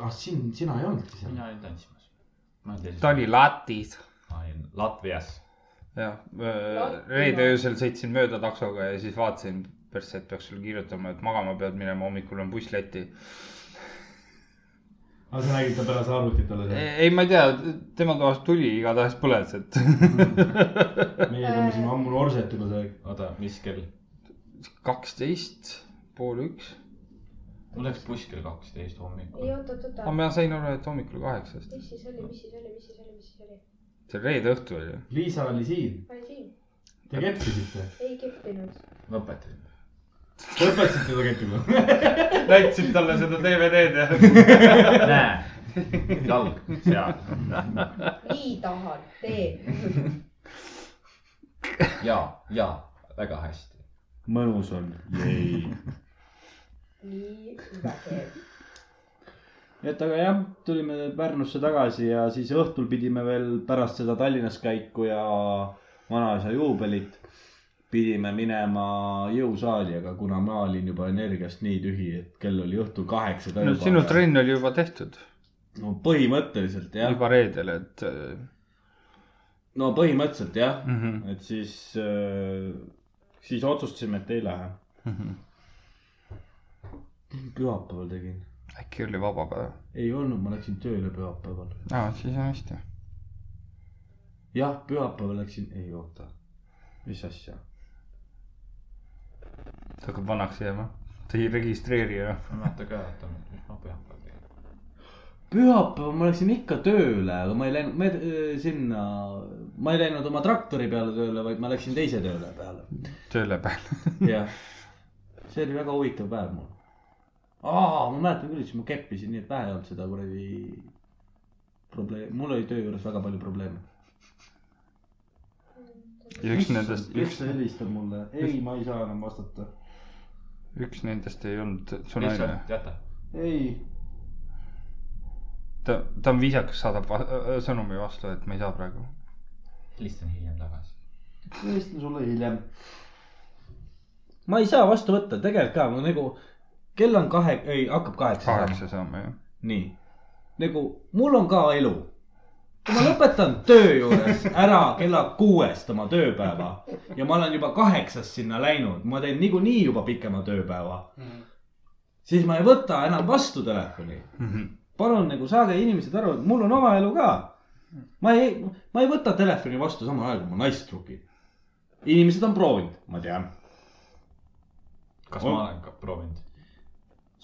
Speaker 8: ah siin , sina ei olnudki seal .
Speaker 4: mina olin tantsimas . ma olin
Speaker 2: ta oli latis .
Speaker 4: ma olin Latvias .
Speaker 2: jah , reede öösel sõitsin mööda taksoga ja siis vaatasin , persse , et peaks sulle kirjutama , et magama pead minema , hommikul on buss Lätti .
Speaker 8: aga sa nägid ta pärast arvutit alles
Speaker 6: Mhm.
Speaker 8: jah ?
Speaker 2: ei , ma ei tea , tema toast tuli , igatahes põles , et
Speaker 8: meie tõmbasime ammu Norset juba see .
Speaker 4: oota , mis kell ?
Speaker 2: kaksteist , pool üks .
Speaker 4: mul läks buss kell kaksteist hommikul
Speaker 5: ei , oot-oot-oot ,
Speaker 2: aga ma sain aru , et hommikul kaheksast .
Speaker 5: mis siis oli , mis siis oli , mis siis oli , mis siis oli ?
Speaker 2: see oli reede õhtu oli ju .
Speaker 8: Liisa oli siin ,
Speaker 5: ma olin siin ,
Speaker 8: te keppisite .
Speaker 5: ei keppinud .
Speaker 4: lõpetasin .
Speaker 8: lõpetasite ta keppima ?
Speaker 2: näitasid talle seda DVD-d ja .
Speaker 4: näe , jalg seal
Speaker 5: nii tahad , tee .
Speaker 4: ja , ja väga hästi .
Speaker 3: mõnus on .
Speaker 5: nii hüva tee .
Speaker 3: et aga jah , tulime Pärnusse tagasi ja siis õhtul pidime veel pärast seda Tallinnas käiku ja vanaisa juubelit pidime minema jõusaali , aga kuna ma olin juba energiast nii tühi , et kell oli õhtul kaheksa .
Speaker 2: no sinu trenn oli juba tehtud ,
Speaker 3: no põhimõtteliselt jah ,
Speaker 2: juba reedel , et äh,
Speaker 3: no põhimõtteliselt jah ,
Speaker 2: mhm,
Speaker 3: et siis , siis otsustasime , et ei lähe .
Speaker 2: mhm.
Speaker 3: pühapäeval tegin ,
Speaker 2: äkki oli vaba päev ?
Speaker 3: ei olnud , ma läksin tööle pühapäeval .
Speaker 2: aa , siis on hästi .
Speaker 3: jah , pühapäeval läksin , ei oota , mis asja
Speaker 2: ta hakkab vanaks jääma , ta ei registreeri enam .
Speaker 4: ma ei mäleta ka , oota , mis ma pühapäeval tegin .
Speaker 3: pühapäeval ma läksin ikka tööle , aga ma ei läinud , me öö, sinna , ma ei läinud oma traktori peale tööle , vaid ma läksin teise tööle peale .
Speaker 2: tööle peal .
Speaker 3: jah , see oli väga huvitav päev mul . aa , ma mäletan küll , siis ma keppisin , nii et vähe ei olnud seda kuradi probleemi , mul oli töö juures väga palju probleeme .
Speaker 2: ja üks nendest , üks ,
Speaker 3: helistab mulle , ei , ma ei saa enam vastata .
Speaker 2: üks nendest ei olnud su naine .
Speaker 4: jäta .
Speaker 3: ei ,
Speaker 2: ta , ta on viisakas , saadab va- äh, sõnumi vastu , et ma ei saa praegu .
Speaker 4: helistan hiljem tagasi .
Speaker 3: helistan sulle hiljem . ma ei saa vastu võtta , tegelikult ka , ma nagu , kell on kahe , ei , hakkab kaheksa saama .
Speaker 2: kaheksa saame jah .
Speaker 3: nii , nagu mul on ka elu . kui ma lõpetan töö juures ära kella kuuest oma tööpäeva ja ma olen juba kaheksast sinna läinud , ma teen niikuinii juba pikema tööpäeva ,
Speaker 1: Mm-hmm.
Speaker 3: siis ma ei võta enam vastu telefoni .
Speaker 2: Mhm.
Speaker 3: palun nagu saage inimesed aru , et mul on oma elu ka . ma ei , ma ei võta telefoni vastu samal ajal , kui ma naist trugin . inimesed on proovinud , ma tean .
Speaker 4: kas
Speaker 3: On.
Speaker 4: ma olen ka proovinud ?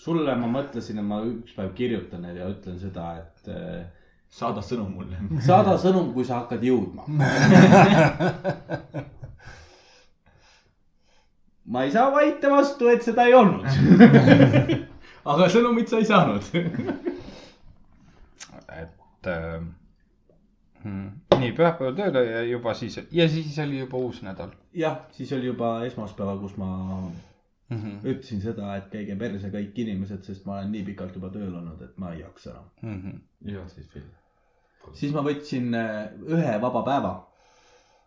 Speaker 3: sulle ma mõtlesin , et ma üks päev kirjutan neile ja ütlen seda , et eh,
Speaker 4: saada sõnum mulle .
Speaker 3: saada sõnum , kui sa hakkad jõudma . ma ei saa vaita vastu , et seda ei olnud . aga sõnumit sa ei saanud .
Speaker 2: et äh, mm, nii pühapäeval tööle ja juba siis ja siis oli juba uus nädal
Speaker 3: jah , siis oli juba esmaspäeval , kus ma
Speaker 2: mm . -hmm.
Speaker 3: ütlesin seda , et käige perse kõik inimesed , sest ma olen nii pikalt juba tööl olnud , et ma ei jaksa enam .
Speaker 2: Mm -hmm.
Speaker 4: ja siis veel .
Speaker 3: siis ma võtsin äh, ühe vaba päeva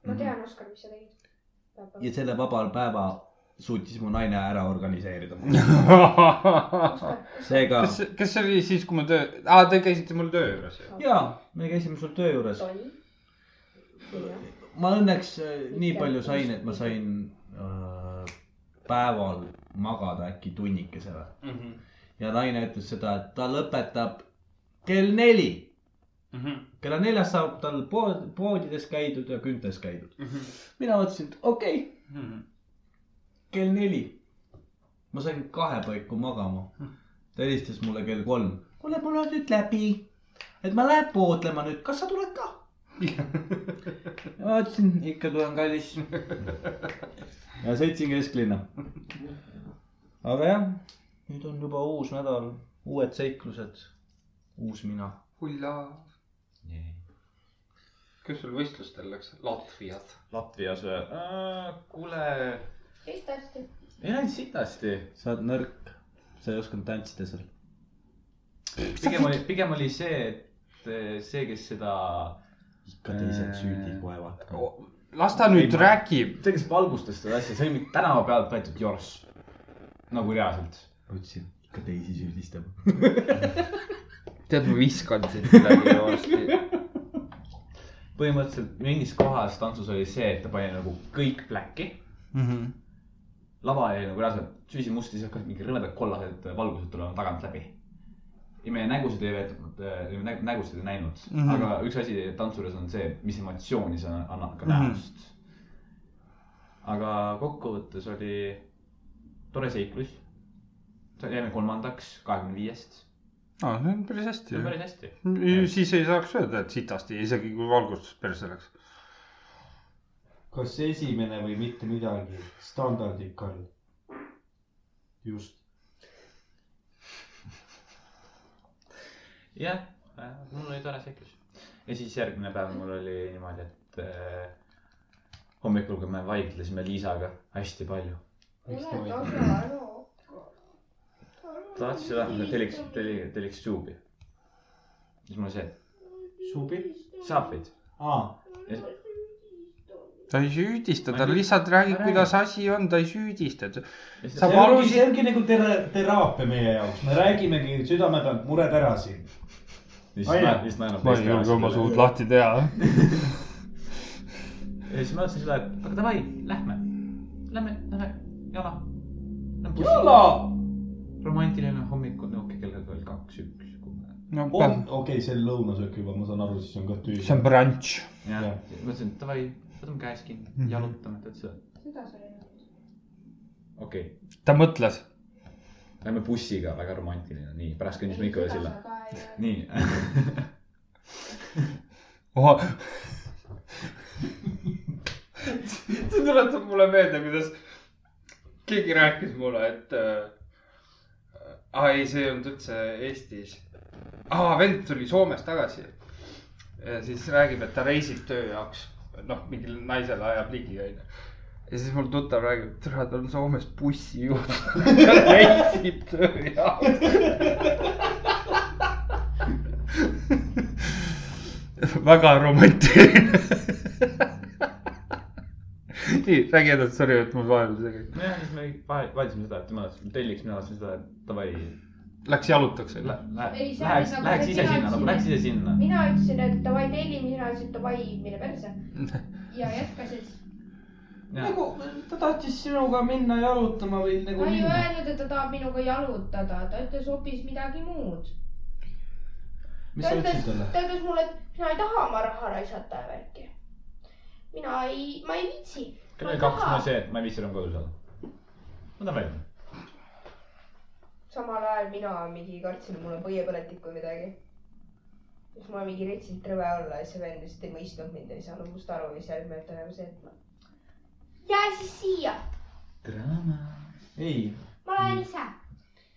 Speaker 5: ma tean , Oskar , mis sa tegid
Speaker 3: ja . selle vaba päeva suutis mu naine ära organiseerida . seega ,
Speaker 2: kas , kas see oli siis , kui ma töö , aa , te käisite mul töö juures ju ?
Speaker 3: ja me käisime sul töö juures .
Speaker 5: toll .
Speaker 3: ma õnneks äh, nii palju sain , et ma sain äh, päeval magada äkki tunnikese või . ja naine ütles seda , et ta lõpetab kell neli .
Speaker 1: Mm-hmm.
Speaker 3: kella neljast saab tal pood , poodides käidud ja küntes käidud . mina mõtlesin , et okei okay, , kell neli . ma sain kahe paiku magama . ta helistas mulle kell kolm . kuule , mul on nüüd läbi , et ma lähen poodlema nüüd , kas sa tuled ka ? ma ütlesin , ikka tulen , kallis . ja sõitsin kesklinna . aga jah , nüüd on juba uus nädal , uued seiklused , uus mina .
Speaker 2: hullaa , kes sul võistlustel läks , Latvias ?
Speaker 4: Latvias või äh, ? kuule ,
Speaker 5: teist hästi .
Speaker 4: ei läinud sitasti .
Speaker 3: sa oled nõrk , sa ei osanud tantsida seal .
Speaker 4: pigem oli , pigem oli see , et eh, see , kes seda ,
Speaker 3: ikka teised
Speaker 4: Äh.
Speaker 3: süüdi koevad .
Speaker 2: las ta nüüd
Speaker 4: Ei, ma-
Speaker 2: räägib .
Speaker 4: see , kes valgustas seda asja , see oli mingi tänava pealt võetud jorss . nagu reaalselt .
Speaker 3: ma ütlesin , ikka teisi süüdistab .
Speaker 2: tead , ma viskan siit midagi varsti .
Speaker 4: põhimõtteliselt mingis kohas tantsus oli see , et ta pani nagu kõik black'i .
Speaker 2: Mhm.
Speaker 4: lava jäi nagu reaalselt süsimusti , siis hakkasid mingi rõvedad kollased valgused tulema tagant läbi . ja meie nägusid ei äh, veetnud , nägusid ei näinud mm , -hmm. aga üks asi tantsuris on see , mis emotsiooni sa annad ka näost mm . -hmm. aga kokkuvõttes oli tore seiklus . jäime kolmandaks kahekümne viiest ,
Speaker 2: aa , see on päris hästi
Speaker 4: see . on päris hästi .
Speaker 2: siis ei saaks öelda , et sitasti , isegi kui valgustus perse läks .
Speaker 1: kas esimene või mitte midagi , standardid , Karl . just .
Speaker 4: jah , mul oli tore seiklus . ja siis järgmine päev mul oli niimoodi , et äh, hommikul , kui me vaidlesime Liisaga hästi palju ,
Speaker 1: Miks
Speaker 5: ole
Speaker 1: te
Speaker 5: tasa , Anu .
Speaker 4: ta tahtis seda , et me telliks , telli- , telliks suubi . siis mul oli see ,
Speaker 1: subi ?
Speaker 4: saapid .
Speaker 1: aa ,
Speaker 2: ta ei süüdista , ta lihtsalt räägib , kuidas asi on , ta ei süüdista .
Speaker 1: see
Speaker 2: Sa
Speaker 1: ongi ,
Speaker 2: valusid-
Speaker 1: see ongi nagu tera- , teraapia meie jaoks , me räägimegi südame pealt mured ära siin . Ai, jah.
Speaker 4: siis naerab
Speaker 2: ma ei julge oma suud . lahti teha .
Speaker 4: ja siis ma ütlesin seda , et aga davai , lähme , lähme , lähme , jala .
Speaker 1: jala !
Speaker 4: romantiline hommikul , no okei , kell oli kaks , üks , kolm .
Speaker 2: no
Speaker 1: okei , okay, see on lõunasöök juba , ma saan aru , siis on ka tühi .
Speaker 2: Oh, see on brunch .
Speaker 4: ja
Speaker 1: Jah.
Speaker 4: mõtlesin , et davai , võtame käes kinni , jalutame , ta ütles , et
Speaker 5: süda sai läinud .
Speaker 4: okei okay.
Speaker 2: ta mõtles .
Speaker 4: Lähme bussiga , väga romantiline , nii , pärast kõnnisime ikka üle silla . nii ,
Speaker 2: oha . see tuletab mulle meelde , kuidas keegi rääkis mulle , et äh, . aa ei , see ei olnud üldse Eestis . aa , vend tuli Soomest tagasi . ja siis räägib , et ta reisib töö jaoks , noh , mingile naisele ajab ligi onju ja siis mul tuttav räägib , et tere , ta on Soomest bussijuht . ta reisib töö jaoks . väga romantiline . nii , räägi edasi , sorry , et mul vahel see
Speaker 4: nojah , siis me vahe- vahetasime seda , et tema telliks , mina ütlesin seda , et davai ,
Speaker 2: läks jalutaks jälle .
Speaker 5: Ei,
Speaker 4: läheks ,
Speaker 5: see
Speaker 4: läheks
Speaker 5: oli nagu- mina
Speaker 4: läheks ise sinna , nagu
Speaker 5: ütlesin,
Speaker 4: läheks ise sinna .
Speaker 5: mina ütlesin , et davai telli , mina ütlesin et davai , mine perse . ja jätkasid .
Speaker 8: nagu ta tahtis sinuga minna jalutama või nagu
Speaker 5: ma ei
Speaker 8: minna .
Speaker 5: öelnud , et ta tahab minuga jalutada , ta ütles hoopis midagi muud .
Speaker 8: mis
Speaker 5: ta
Speaker 8: sa
Speaker 5: ütles
Speaker 8: ütlesid , talle ?
Speaker 5: ta ütles mulle , et mina ei taha oma raha raisata ja värki . mina ei , ma ei viitsi .
Speaker 4: kell oli kaks , mul oli see , et ma ei viitsi enam kodus olla . ma tahan välja .
Speaker 5: samal ajal mina mingi kartsin , mul on põiepõletik või midagi . siis ma mingi retsilt rõve alla ja see vend lihtsalt ei mõistnud mind , ei saanud must aru ja siis järgmine hetk ta nagu see , et ma . jää siis siia ,
Speaker 4: draama .
Speaker 8: ei ,
Speaker 5: ma lähen ise .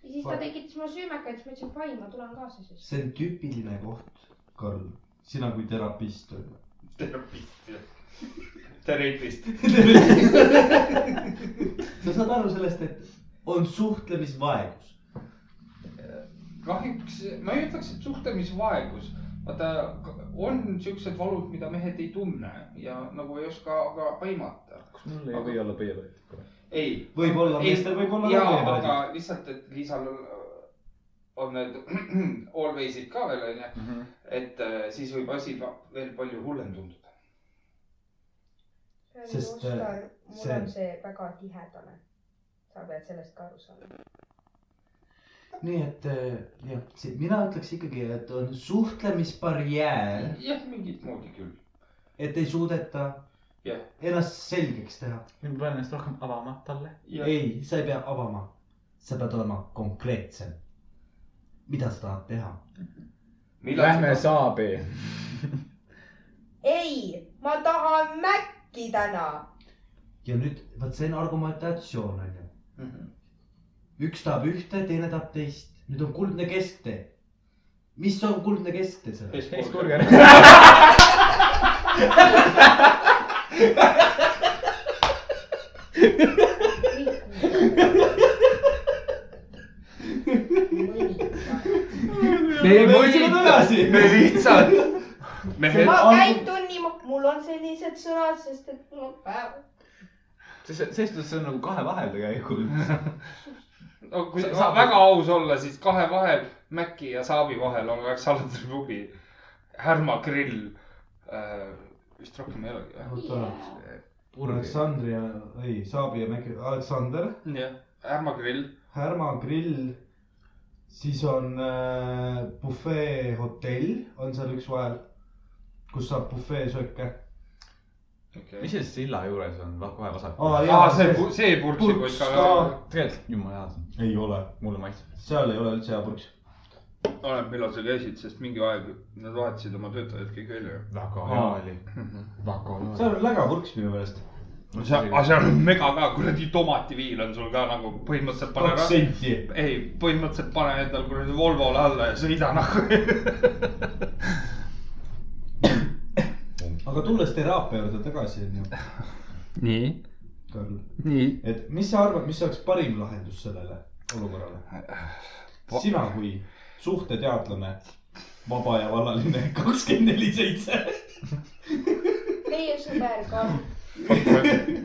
Speaker 5: ja siis ta tekitas mulle süümekaid , siis ma ütlesin , et fine , ma tulen kaasa siis .
Speaker 8: see on tüüpiline koht , Karl , sina kui terapist on ju .
Speaker 6: terapist , terapist .
Speaker 8: sa saad aru sellest , et on suhtlemisvaegus .
Speaker 6: kahjuks ma ei ütleks , et suhtlemisvaegus , vaata on siuksed valud , mida mehed ei tunne ja nagu ei oska ka aimata .
Speaker 4: kas mul ei või olla põiepäev ?
Speaker 6: ei .
Speaker 8: Võib-olla meestel võib olla
Speaker 6: jaa
Speaker 8: ka ,
Speaker 6: aga
Speaker 8: võimalik.
Speaker 6: lihtsalt , et Liisal on, on need always'id ka veel onju ,
Speaker 8: Mhm.
Speaker 6: et äh, siis võib asi va- veel palju hullem tunduda .
Speaker 5: Sest,
Speaker 8: Sest, äh,
Speaker 5: Oskar , mul
Speaker 8: see-
Speaker 5: see... on see väga tihedane . sa pead sellest ka aru saama .
Speaker 8: nii et äh, jah , mina ütleks ikkagi , et on suhtlemisbarjäär ,
Speaker 6: jah , mingit moodi küll .
Speaker 8: et ei suudeta
Speaker 6: Jah.
Speaker 8: ennast selgeks teha .
Speaker 4: nüüd ma pean ennast rohkem avama talle .
Speaker 8: ei , sa ei pea avama , sa pead olema konkreetsem . mida sa tahad teha ?
Speaker 4: Lähme saabi .
Speaker 5: ei , ma tahan Maci täna .
Speaker 8: ja nüüd vot see on argumentatsioon onju . üks tahab ühte , teine tahab teist , nüüd on kuldne kesktee . mis on kuldne kesktee seal ?
Speaker 4: Hesburger .
Speaker 2: me ei
Speaker 8: võitsime tagasi.
Speaker 2: me lihtsalt , mehed
Speaker 5: ma
Speaker 8: on-
Speaker 5: käitun nii , mul on sellised sõnad , sest et mul on päev .
Speaker 4: selles suhtes see on nagu kahe vahel tegelikult .
Speaker 6: no kui
Speaker 4: Sa-
Speaker 6: sa,
Speaker 4: saab-
Speaker 6: väga aus olla , siis kahe vahel , Mäki ja Saabi vahel on kaks salatusklubi , Härma grill äh, , vist rohkem ei olegi või ?
Speaker 4: purgi .
Speaker 8: Aleksandri ja , ei , Saabi ja Mäki , Aleksander ,
Speaker 6: jah , Härma grill ,
Speaker 8: Härma grill , siis on äh, bufee hotell , on seal üks vahel , kus saab bufeesööke .
Speaker 6: okei
Speaker 4: mis see silla juures on , noh kohe vasak
Speaker 8: Aa, jah.
Speaker 6: aa , see , see
Speaker 8: Purks
Speaker 6: purksikott
Speaker 8: ka.
Speaker 6: ka .
Speaker 4: tegelikult jumala hea see on ,
Speaker 8: ei ole ,
Speaker 4: mulle maitseb .
Speaker 8: seal ei ole üldse hea purks .
Speaker 6: oleneb , millal sa käisid , sest mingi aeg nad vahetasid oma töötajad kõik välja .
Speaker 4: väga
Speaker 8: hea
Speaker 4: oli , väga
Speaker 8: seal on läga purks minu meelest .
Speaker 6: aga seal on mega ka , kuradi tomativiil on sul ka nagu põhimõtteliselt pane
Speaker 8: kaks
Speaker 6: ära .
Speaker 8: senti .
Speaker 6: ei , põhimõtteliselt pane endal kuradi Volvole alla ja sõida nagu .
Speaker 8: aga tulles teraapia juurde tagasi , onju ,
Speaker 2: nii ,
Speaker 8: Karl ,
Speaker 2: nii ,
Speaker 8: et mis sa arvad , mis oleks parim lahendus sellele olukorrale ? sina kui suhteteadlane , vaba ja vallaline , kakskümmend neli seitse .
Speaker 5: meie sõber ka .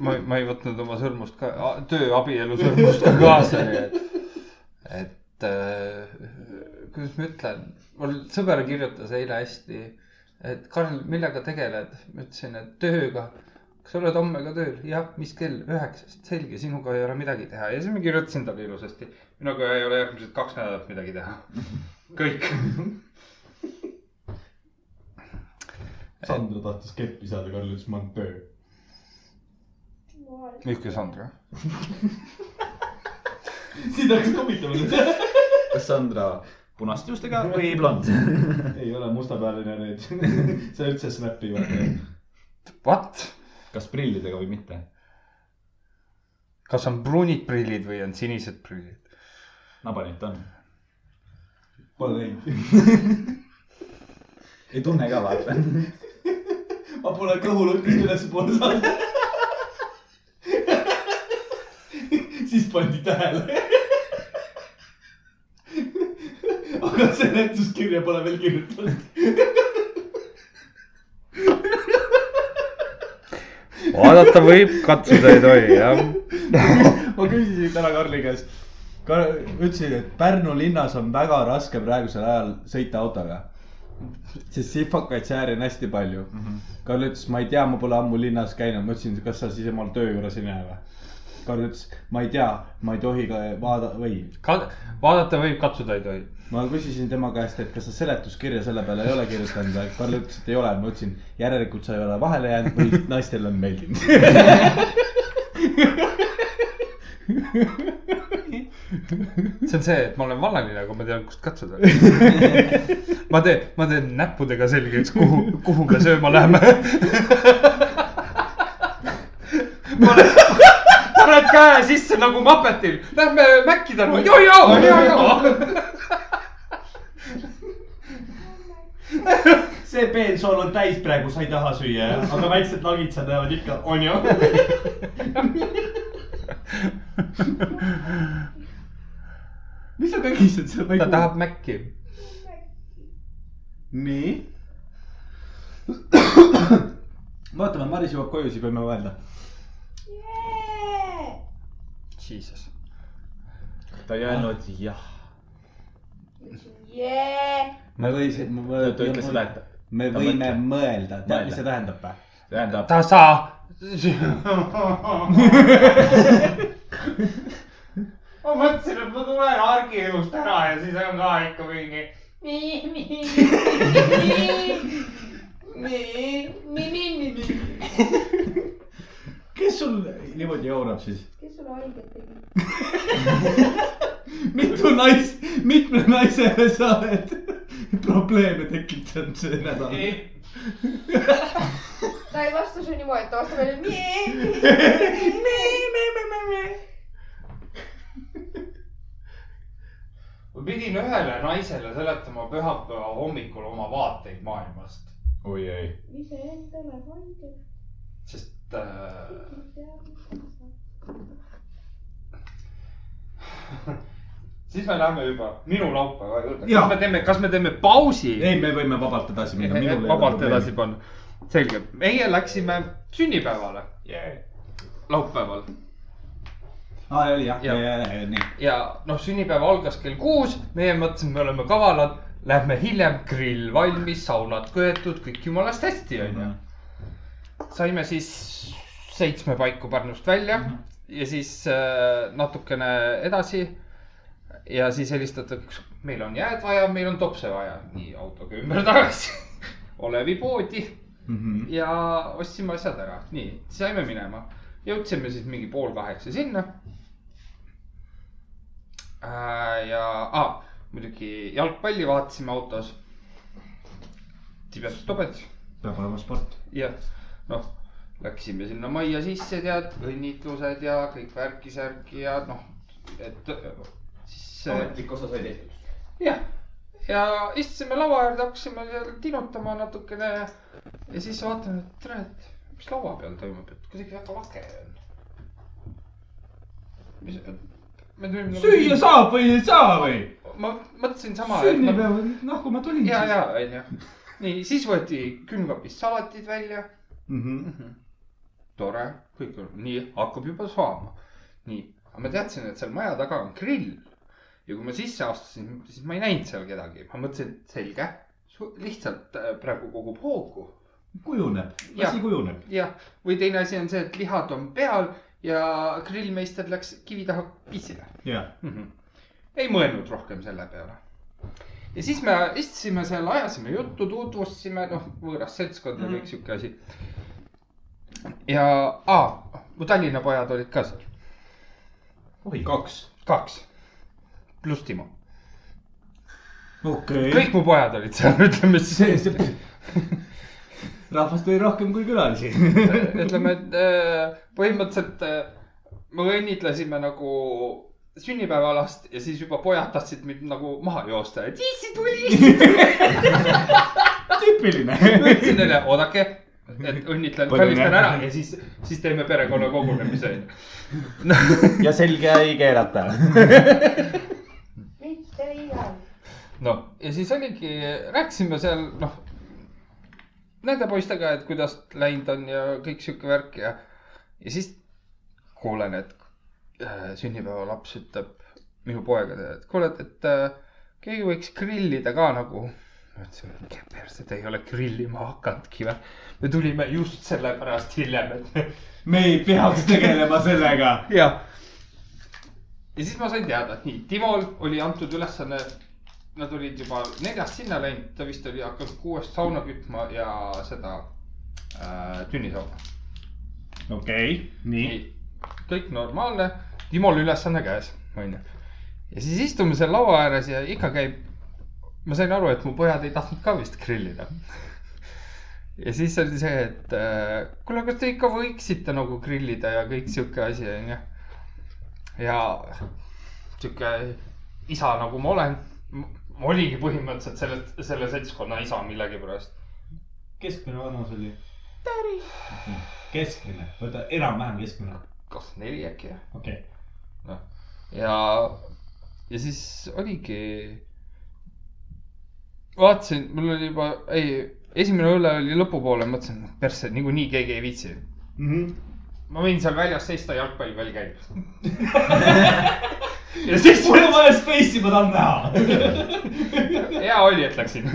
Speaker 2: ma , ma ei võtnud oma sõrmust ka , tööabielu sõrmust ka kaasa , nii et , et äh, kuidas ma ütlen , mul sõber kirjutas eile hästi , et Karl , millega tegeled ? ma ütlesin , et tööga . kas sa oled homme ka tööl ? jah , mis kell ? üheksast , selge , sinuga ei ole midagi teha ja siis ma kirjutasin talle ilusasti .
Speaker 6: minuga ei ole järgmised kaks nädalat midagi teha . kõik .
Speaker 8: Sandra tahtis keppi saada , Karl ütles , ma olen töö .
Speaker 2: Mihkel Sandra .
Speaker 8: siis hakkas kummitama nüüd .
Speaker 4: kas Sandra punaste juustega või blond ?
Speaker 8: ei ole mustapealine nüüd , sa üldse snappi ei vaata .
Speaker 2: What ?
Speaker 4: kas prillidega või mitte ?
Speaker 2: kas on pruunid prillid või on sinised prillid ?
Speaker 4: nabanit on .
Speaker 8: Pole näinud .
Speaker 4: ei tunne ka vaata .
Speaker 8: ma pole kõhulukist ülespoole saanud . siis pandi tähele . aga seletuskirja pole veel kirjutanud .
Speaker 9: vaadata võib , katsuda ei tohi , jah .
Speaker 3: ma küsisin täna Karli käest Kar , ütlesin , et Pärnu linnas on väga raske praegusel ajal sõita autoga . sest sihvakaid sääri on hästi palju mm .
Speaker 1: Mhm.
Speaker 3: -hmm. Karl ütles , ma ei tea , ma pole ammu linnas käinud , ma ütlesin , kas sa siis omal töö juures ei näe või ? Karl ütles , ma ei tea , ma ei tohi ka vaada- või
Speaker 2: vaadata võib , katsuda ei tohi .
Speaker 3: ma küsisin tema käest , et kas sa seletuskirja selle peale ei ole kirjutanud ja Karl ütles , et ei ole , ma ütlesin , järelikult sa ei ole vahele jäänud või naistele on meeldinud .
Speaker 2: see on see , et ma olen vanaline , aga ma tean , kust katsuda . ma teen , ma teen näppudega selgeks , kuhu , kuhu me sööma läheme .
Speaker 6: paned käe sisse nagu Muppetil , lähme Maci täna , joo-joo , joo-joo .
Speaker 8: see peensool on täis praegu , sa ei taha süüa , aga väiksed nagitsad jäävad ikka , onju .
Speaker 3: mis sa kõgised seal
Speaker 2: ta ? tahab Maci .
Speaker 3: nii . vaatame , Maris jõuab koju , siis võime mõelda .
Speaker 2: Jesus .
Speaker 4: ta ei öelnud jah ,
Speaker 5: jee ,
Speaker 3: me võisime .
Speaker 4: ta ta ütles seda , et
Speaker 3: me
Speaker 4: Ta
Speaker 3: võime
Speaker 4: mõtleb.
Speaker 3: mõelda , tead , mis
Speaker 4: Mõelda.
Speaker 3: see tähendab või ?
Speaker 4: tähendab ,
Speaker 2: ta saa .
Speaker 6: ma mõtlesin , et ma tulen argielust ära ja siis on ka ikka mingi .
Speaker 3: kes sul niimoodi jaurab siis ?
Speaker 5: kes sulle haiget tegi ?
Speaker 3: mitu naist , mitme naisele sa oled probleeme tekitanud see nädal ?
Speaker 5: ta ei vasta sulle niimoodi , et ta vastab jälle nii .
Speaker 6: ma pidin ühele naisele seletama pühapäeva hommikul oma vaateid maailmast ,
Speaker 4: oi ei ,
Speaker 5: iseenda oled haige ,
Speaker 6: sest äh,
Speaker 5: tead .
Speaker 6: siis me läheme juba minu laupäeva juurde .
Speaker 3: Jaa.
Speaker 6: kas me teeme , kas me teeme pausi ?
Speaker 3: ei , me võime vabalt edasi minna , minul ei ole
Speaker 6: vabalt
Speaker 3: probleemi.
Speaker 6: edasi panna . selge , meie läksime sünnipäevale laupäeval
Speaker 3: aa , oli jah ,
Speaker 6: Jah.
Speaker 3: nii .
Speaker 2: ja noh , sünnipäev algas kell kuus , meie mõtlesime , me oleme kavalad , lähme hiljem , grill valmis , saunad köetud , kõik jumalast hästi , onju . saime siis seitsme paiku Pärnust välja ja siis äh, natukene edasi . ja siis helistatakse , meil on jääd vaja , meil on topse vaja , nii autoga ümber tagasi , Olevi poodi
Speaker 3: Mhm.
Speaker 2: ja ostsime asjad ära , nii saime minema . jõudsime siis mingi pool kaheksa sinna Äh, ja ah, muidugi jalgpalli vaatasime autos . tibedus tobed ,
Speaker 3: peab olema sport .
Speaker 2: jah , noh , läksime sinna majja sisse , tead , õnnitlused ja kõik värki-särki ja noh , et siis äh,
Speaker 4: ametlik osa sai tehtud .
Speaker 2: jah , ja istusime laua äärde , hakkasime seal tinutama natukene ja siis vaatame , et tere , et mis laua peal toimub , et kuidagi väga lage on . mis , me tulime .
Speaker 3: süüa saab või ei saa või ?
Speaker 2: ma mõtlesin sama .
Speaker 3: sünnipäev , noh , kui ma tulin
Speaker 2: ja ,
Speaker 3: siis .
Speaker 2: ja onju . nii , siis võeti külmkapist salatid välja .
Speaker 3: Mhm.
Speaker 2: tore , kõik on nii , hakkab juba saama . nii , aga ma teadsin , et seal maja taga on grill ja kui ma sisse astusin , siis ma ei näinud seal kedagi , ma mõtlesin , et selge , lihtsalt äh, praegu kogub hoogu .
Speaker 3: kujuneb ,
Speaker 2: Jah.
Speaker 3: asi kujuneb .
Speaker 2: jah , või teine asi on see , et lihad on peal ja grillmeister läks kivi taha pissile
Speaker 3: jah .
Speaker 2: mm . -hmm. ei mõelnud rohkem selle peale . ja siis me istusime seal , ajasime juttu , tutvustasime , noh , võõras seltskond ja kõik sihuke asi . ja ah, , mu Tallinna pojad olid ka seal ,
Speaker 3: oi , kaks .
Speaker 2: kaks , pluss Timo ,
Speaker 3: okei okay. .
Speaker 2: kõik mu pojad olid seal , ütleme siis ,
Speaker 3: rahvast oli rohkem kui külalisi .
Speaker 2: ütleme , et äh, põhimõtteliselt äh, me õnnitlesime nagu sünnipäevalast ja siis juba pojad tahtsid mind nagu maha joosta , et issi tuli ,
Speaker 3: tüüpiline .
Speaker 2: ütlesin neile , oodake , et õnnitlen ,
Speaker 3: Palju
Speaker 2: kallistan
Speaker 3: õnne.
Speaker 2: ära ja siis , siis teeme perekonnakogunemise .
Speaker 3: ja selge ei keerata .
Speaker 5: mitte igal .
Speaker 2: noh , ja siis oligi , rääkisime seal , noh , nende poistega , et kuidas läinud on ja kõik sihuke värk ja , ja siis kuulen , et äh, sünnipäevalaps ütleb minu poegadele , et kuule , et , et äh, keegi võiks grillida ka nagu . ma ütlesin , et perset ei ole grillima hakanudki või . me tulime just sellepärast hiljem , et me
Speaker 3: me ei peaks tegelema sellega .
Speaker 2: ja , ja siis ma sain teada , et nii , Timol oli antud ülesanne . Nad olid juba neljast sinna läinud , ta vist oli hakanud kuuest sauna kütma ja seda äh, tünnisauna .
Speaker 3: okei , nii .
Speaker 2: nii , kõik normaalne , Timol ülesanne käes , onju . ja siis istume seal laua ääres ja ikka käib . ma sain aru , et mu pojad ei tahtnud ka vist grillida . ja siis oli see , et äh, kuule , kas te ikka võiksite nagu grillida ja kõik sihuke asi onju . ja sihuke isa nagu ma olen , ma oligi põhimõtteliselt selle , selle seltskonna isa millegipärast .
Speaker 8: keskmine vanus oli ? keskmine , oota enam-vähem keskmine ,
Speaker 2: kakskümmend neli äkki jah ?
Speaker 8: okei
Speaker 2: ja , ja siis oligi . vaatasin , mul oli juba , ei , esimene õlle oli lõpupoole , mõtlesin , persse , niikuinii keegi ei viitsi .
Speaker 8: mm -hmm. .
Speaker 2: ma võin seal väljas seista , jalgpall veel käib . ja siis
Speaker 8: mul on vaja space'i , ma tahan näha .
Speaker 2: hea oli , et läksin ,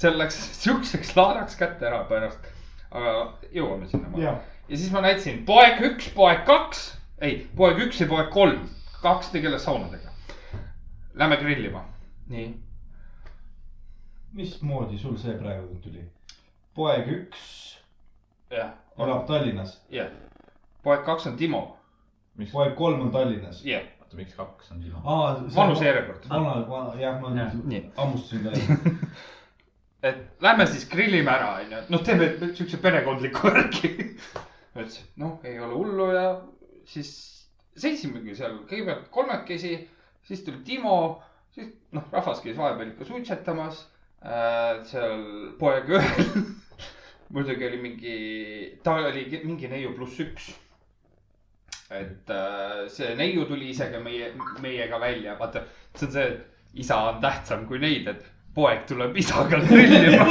Speaker 2: seal läks siukseks laadaks kätte ära pärast , aga jõuame sinna .
Speaker 8: jah ,
Speaker 2: ja siis ma näitasin poeg üks , poeg kaks , ei , poeg üks ja poeg kolm , kaks tegeles saunadega . Lähme grillima . nii
Speaker 8: mismoodi sul see praegu tuli ? poeg üks
Speaker 2: jah ,
Speaker 8: elab Tallinnas ,
Speaker 2: jah . poeg kaks on Timo ,
Speaker 8: poeg kolm on Tallinnas .
Speaker 2: jah ,
Speaker 4: oota , miks kaks on sinu ?
Speaker 2: vanusejärjekord .
Speaker 8: vana , vana , jah , ma
Speaker 4: Jah,
Speaker 2: nii.
Speaker 8: nüüd hammustasin ka .
Speaker 2: et lähme siis grillime ära , onju , noh , teeme siukse perekondliku värki . ma ütlesin , noh , ei ole hullu ja siis seisimegi seal kõigepealt kolmekesi , siis tuli Timo , siis noh , rahvas käis vahepeal ikka suitsetamas äh, , seal poeg ühel muidugi oli mingi , ta oli ki- mingi neiu pluss üks . et äh, see neiu tuli isegi meie , meiega välja , vaata , see on see , et isa on tähtsam kui neid , et poeg tuleb isaga grillima .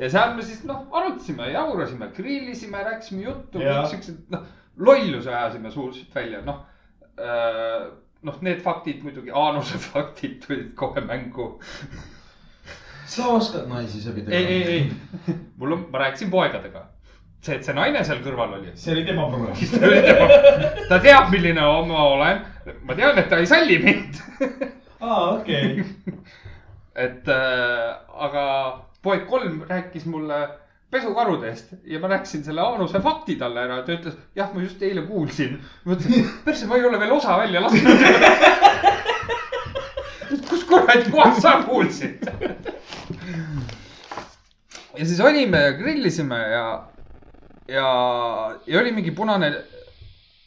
Speaker 2: ja seal me siis noh , arutasime , jaurasime , grillisime , rääkisime juttu ,
Speaker 8: Jaa.
Speaker 2: kõik siuksed , noh , lolluse ajasime suhteliselt välja , noh äh, . noh , need faktid muidugi , Aanuse faktid tulid kohe mängu
Speaker 8: sa oskad naisi sebi
Speaker 2: ei , ei , ei , mul on , ma rääkisin poegadega . see , et see naine seal kõrval oli ,
Speaker 8: see oli tema probleem .
Speaker 2: siis ta ütleb , ta teab , milline ma olen . ma tean , et ta ei salli mind .
Speaker 8: aa , okei .
Speaker 2: et äh, aga poeg kolm rääkis mulle pesukarudest ja ma rääkisin selle Aanuse fakti talle ära , ta ütles , jah , ma just eile kuulsin . ma ütlesin , persse , ma ei ole veel osa välja lasknud . kus kuradi kohast sa kuulsid ? ja siis olime ja grillisime ja , ja , ja oli mingi punane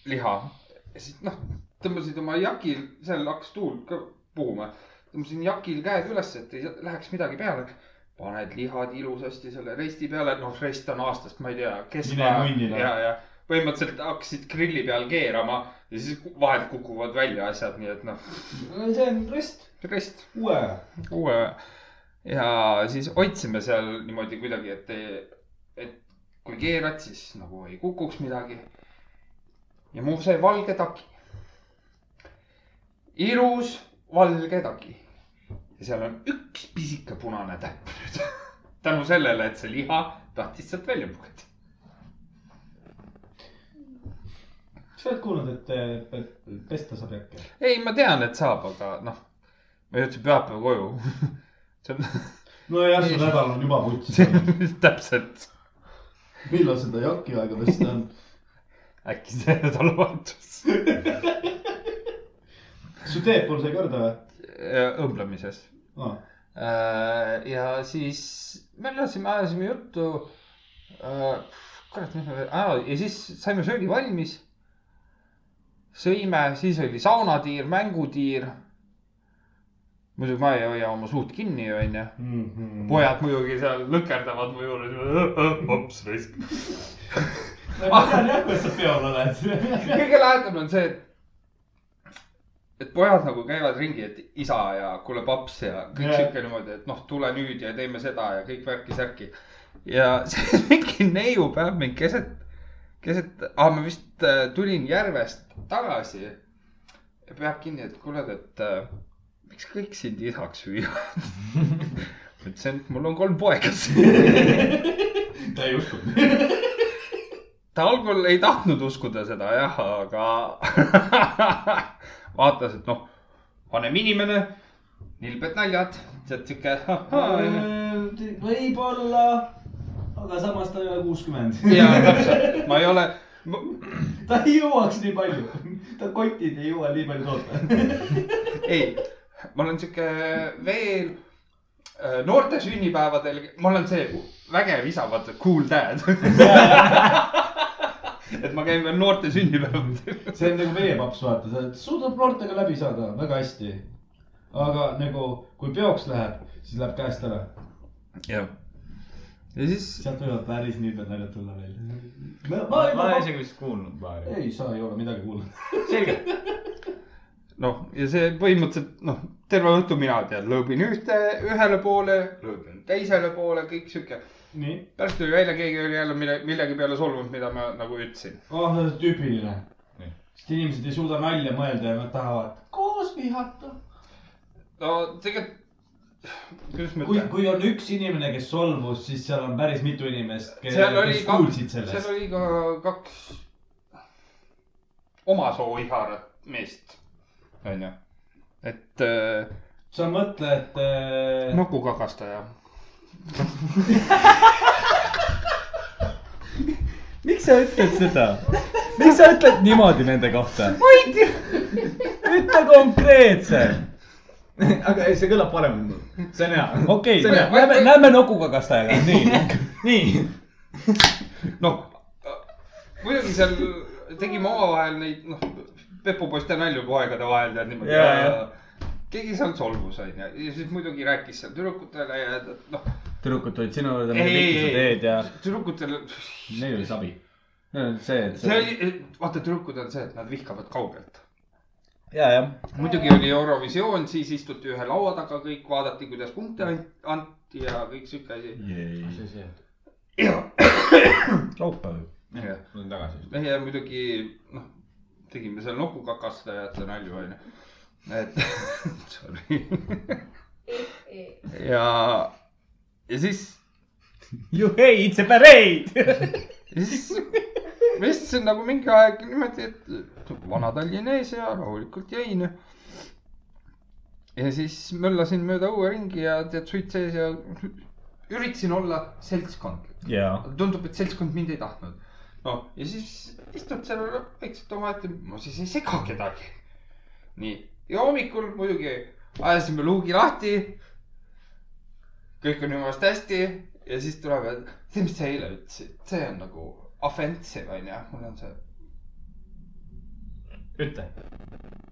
Speaker 2: liha . ja siis noh , tõmbasid oma jakil , seal hakkas tuul ka puhuma , tõmbasin jakil käed üles , et ei läheks midagi peale . paned lihad ilusasti selle resti peale , noh , rest on aastast , ma ei tea ,
Speaker 8: Mine
Speaker 2: keskmaa
Speaker 8: munni, noh.
Speaker 2: ja , ja põhimõtteliselt hakkasid grilli peal keerama ja siis vahelt kukuvad välja asjad , nii et noh ,
Speaker 8: see on rest ,
Speaker 2: rest
Speaker 8: uue .
Speaker 2: uue ja siis hoidsime seal niimoodi kuidagi , et , et kui keerad , siis nagu ei kukuks midagi . ja mul sai valge taki . ilus valge taki . ja seal on üks pisike punane täpp nüüd tänu sellele , et see liha tahtis sealt välja pugeda .
Speaker 8: sa oled kuulnud , et eh, pe- pesta saab jäkke ?
Speaker 2: ei , ma tean , et saab , aga noh , ma jõudsin pühapäeva koju . see
Speaker 8: nojah , su nädal on juba putsis olnud .
Speaker 2: on täpselt ,
Speaker 8: millal seda jakki aega pesta on ?
Speaker 2: äkki see nädalavahetus
Speaker 8: su teepool sai korda või ?
Speaker 2: Ja Äh, õmblemises .
Speaker 8: aa ,
Speaker 2: ja siis me lasime , ajasime juttu . kurat , mis me veel , aa ja siis saime söögi valmis . sõime , siis oli saunatiir , mängutiir . muidugi ma ei hoia oma suud kinni , onju .
Speaker 8: Mhm.
Speaker 2: pojad muidugi seal lõkerdavad mu juures , hops raisk .
Speaker 8: ma tean jah , kus sa peol oled .
Speaker 2: kõige lähedam on see , et et pojad nagu käivad ringi , et isa ja kuule paps ja kõik
Speaker 10: Jah.
Speaker 2: yeah. sihuke niimoodi , et noh , tule nüüd ja teeme seda ja kõik värki-särki . ja see mingi neiu peab mind keset , keset , aa ma vist äh, tulin järvest tagasi . ja peab kinni , et kuule , et äh, miks kõik sind isaks hüüavad . ma ütlesin , et mul on kolm poega
Speaker 10: ta ei uskunud .
Speaker 2: ta algul ei tahtnud uskuda seda jah , aga vaatas , et noh , vanem inimene , nilbed naljad , tead sihuke .
Speaker 11: Äh, võib-olla , aga samas ta ei ole kuuskümmend .
Speaker 2: ja täpselt , ma ei ole ,
Speaker 11: ta ei jõuaks nii palju , ta kotid ei jõua nii palju toota .
Speaker 2: ei , ma olen sihuke veel äh, noorte sünnipäevadel , ma olen see vägev isa , vaata , cool dad . et ma käin veel noorte sünnipäevadel .
Speaker 8: see on nagu meie paps , vaata , ta suudab noortega läbi saada väga hästi . aga nagu , kui peoks läheb , siis läheb käest ära .
Speaker 2: jah , ja siis
Speaker 8: sealt võivad päris nilbed naljad tulla veel .
Speaker 4: ma ma olen isegi vist kuulnud paari .
Speaker 8: ei , sa ei ole midagi kuulnud .
Speaker 4: selge .
Speaker 2: noh , ja see põhimõtteliselt noh , terve õhtu mina tead , lõõbin ühte , ühele poole , lõõbin teisele poole , kõik sihuke .
Speaker 8: nii ,
Speaker 2: pärast tuli välja , keegi oli jälle mille , millegi peale solvunud , mida ma nagu ütlesin .
Speaker 8: ah , tüüpiline
Speaker 4: Nii. .
Speaker 8: sest inimesed ei suuda nalja mõelda ja nad tahavad koos vihata .
Speaker 2: no tegelikult , kuidas ma
Speaker 8: kui ,
Speaker 2: ütlen ,
Speaker 8: kui on üks inimene , kes solvus , siis seal on päris mitu inimest , kes
Speaker 2: seal oli
Speaker 8: kes
Speaker 2: ka ,
Speaker 8: kuulsid
Speaker 2: seal
Speaker 8: sellest .
Speaker 2: oli ka kaks oma soo iharat meest , onju . et äh,
Speaker 8: sa mõtled äh...
Speaker 2: nokukagastaja .
Speaker 3: miks sa ütled seda ? miks sa ütled niimoodi nende kohta ? ütle konkreetselt .
Speaker 4: aga ei , see kõlab paremini . see on hea .
Speaker 3: okei
Speaker 4: See on hea.
Speaker 3: okay, , lähme , lähme nokuga kastajaga , nii .
Speaker 4: nii .
Speaker 2: noh , muidugi seal tegime omavahel neid , noh , pepupoiste nalju poegade vahel tead niimoodi
Speaker 3: Jaa, jah. .
Speaker 2: keegi seal solvus onju ja siis muidugi rääkis seal tüdrukutele ja et noh ,
Speaker 11: tüdrukud tulid sinu juurde ,
Speaker 2: Ei,
Speaker 11: mida
Speaker 2: ei,
Speaker 11: pikki sa
Speaker 2: ei.
Speaker 11: teed ja
Speaker 2: tüdrukutele ,
Speaker 11: neil oli sabi . Neil oli see , et
Speaker 2: see oli , vaata tüdrukud on see , et nad vihkavad kaugelt .
Speaker 11: ja , jah .
Speaker 2: muidugi oli Eurovisioon , siis istuti ühe laua taga , kõik vaadati , kuidas punkte an- anti ja kõik siuke asi .
Speaker 11: laupäev .
Speaker 2: Jah.
Speaker 4: ma tulen tagasi .
Speaker 2: meie muidugi noh , tegime seal nokukakastajate nalju onju , et sorry ja , ja siis ,
Speaker 3: You hate the parade .
Speaker 2: ja siis ma istusin nagu mingi aeg niimoodi , et vanad olin ees ja rahulikult jäin . ja siis möllasin mööda õue ringi ja tead suits ees ja üritasin olla seltskondlik .
Speaker 3: jaa .
Speaker 2: tundub , et seltskond mind ei tahtnud . noh , ja siis istud seal vaikselt omaette , ma siis ei sega kedagi . nii , ja hommikul muidugi ajasime luugi lahti . kõik on jumast hästi ja siis tuleb , et see , mis sa eile ütlesid , see on nagu offensive onju , mul on see .
Speaker 4: ütle .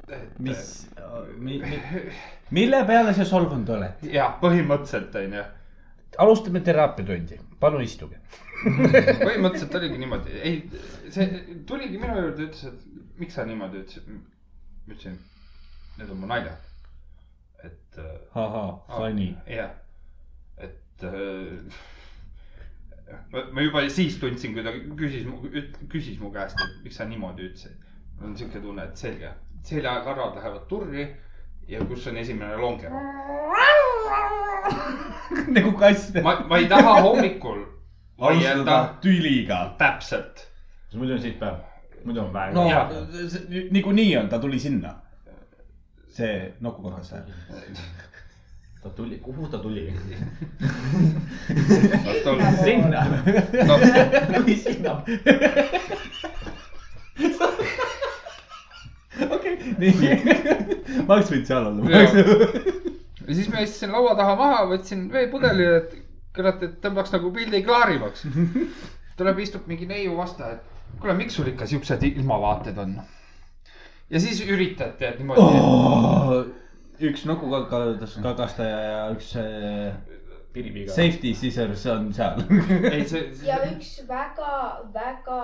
Speaker 2: et-
Speaker 11: mis
Speaker 3: Äh,
Speaker 11: mi, , mi, mille peale sa solvunud oled ?
Speaker 2: jah , põhimõtteliselt onju ,
Speaker 3: alustame teraapiatundi , palun istuge .
Speaker 2: põhimõtteliselt oligi niimoodi , ei , see tuligi minu juurde , ütles , et miks sa niimoodi ütlesid . ma ütlesin , need on mu naljad . et äh,
Speaker 3: ahah , funny .
Speaker 2: jah , et äh, ma, ma juba siis tundsin , kui ta küsis mu , küsis mu käest , et miks sa niimoodi ütlesid . mul on siuke tunne , et selge , seljakarvad lähevad turri ja kus on esimene longero .
Speaker 3: nagu kass .
Speaker 2: ma , ma ei taha hommikul vaielda
Speaker 3: tüliga .
Speaker 2: täpselt .
Speaker 4: muidu on siit päev . muidu on päev .
Speaker 3: no see- niikuinii on , ta tuli sinna . see nokukastaja .
Speaker 4: ta tuli , kuhu ta tuli ?
Speaker 5: sinna .
Speaker 4: sinna .
Speaker 2: No,
Speaker 4: tuli sinna .
Speaker 3: okei , nii . ma oleks võinud seal
Speaker 2: Jaa.
Speaker 3: olla .
Speaker 2: ja siis ma istusin laua taha maha , võtsin veepudeli , et kurat , et tõmbaks nagu pildi klaarimaks . tuleb , istub mingi neiu vasta , et kuule , miks sul ikka siuksed ilmavaated on ? ja siis üritad tead
Speaker 3: Oh.
Speaker 2: niimoodi
Speaker 11: üks nokukakastaja kakastaja ja üks äh,
Speaker 4: piripiga .
Speaker 11: safety scissors on seal .
Speaker 2: oh. , ei see ,
Speaker 5: ja üks väga-väga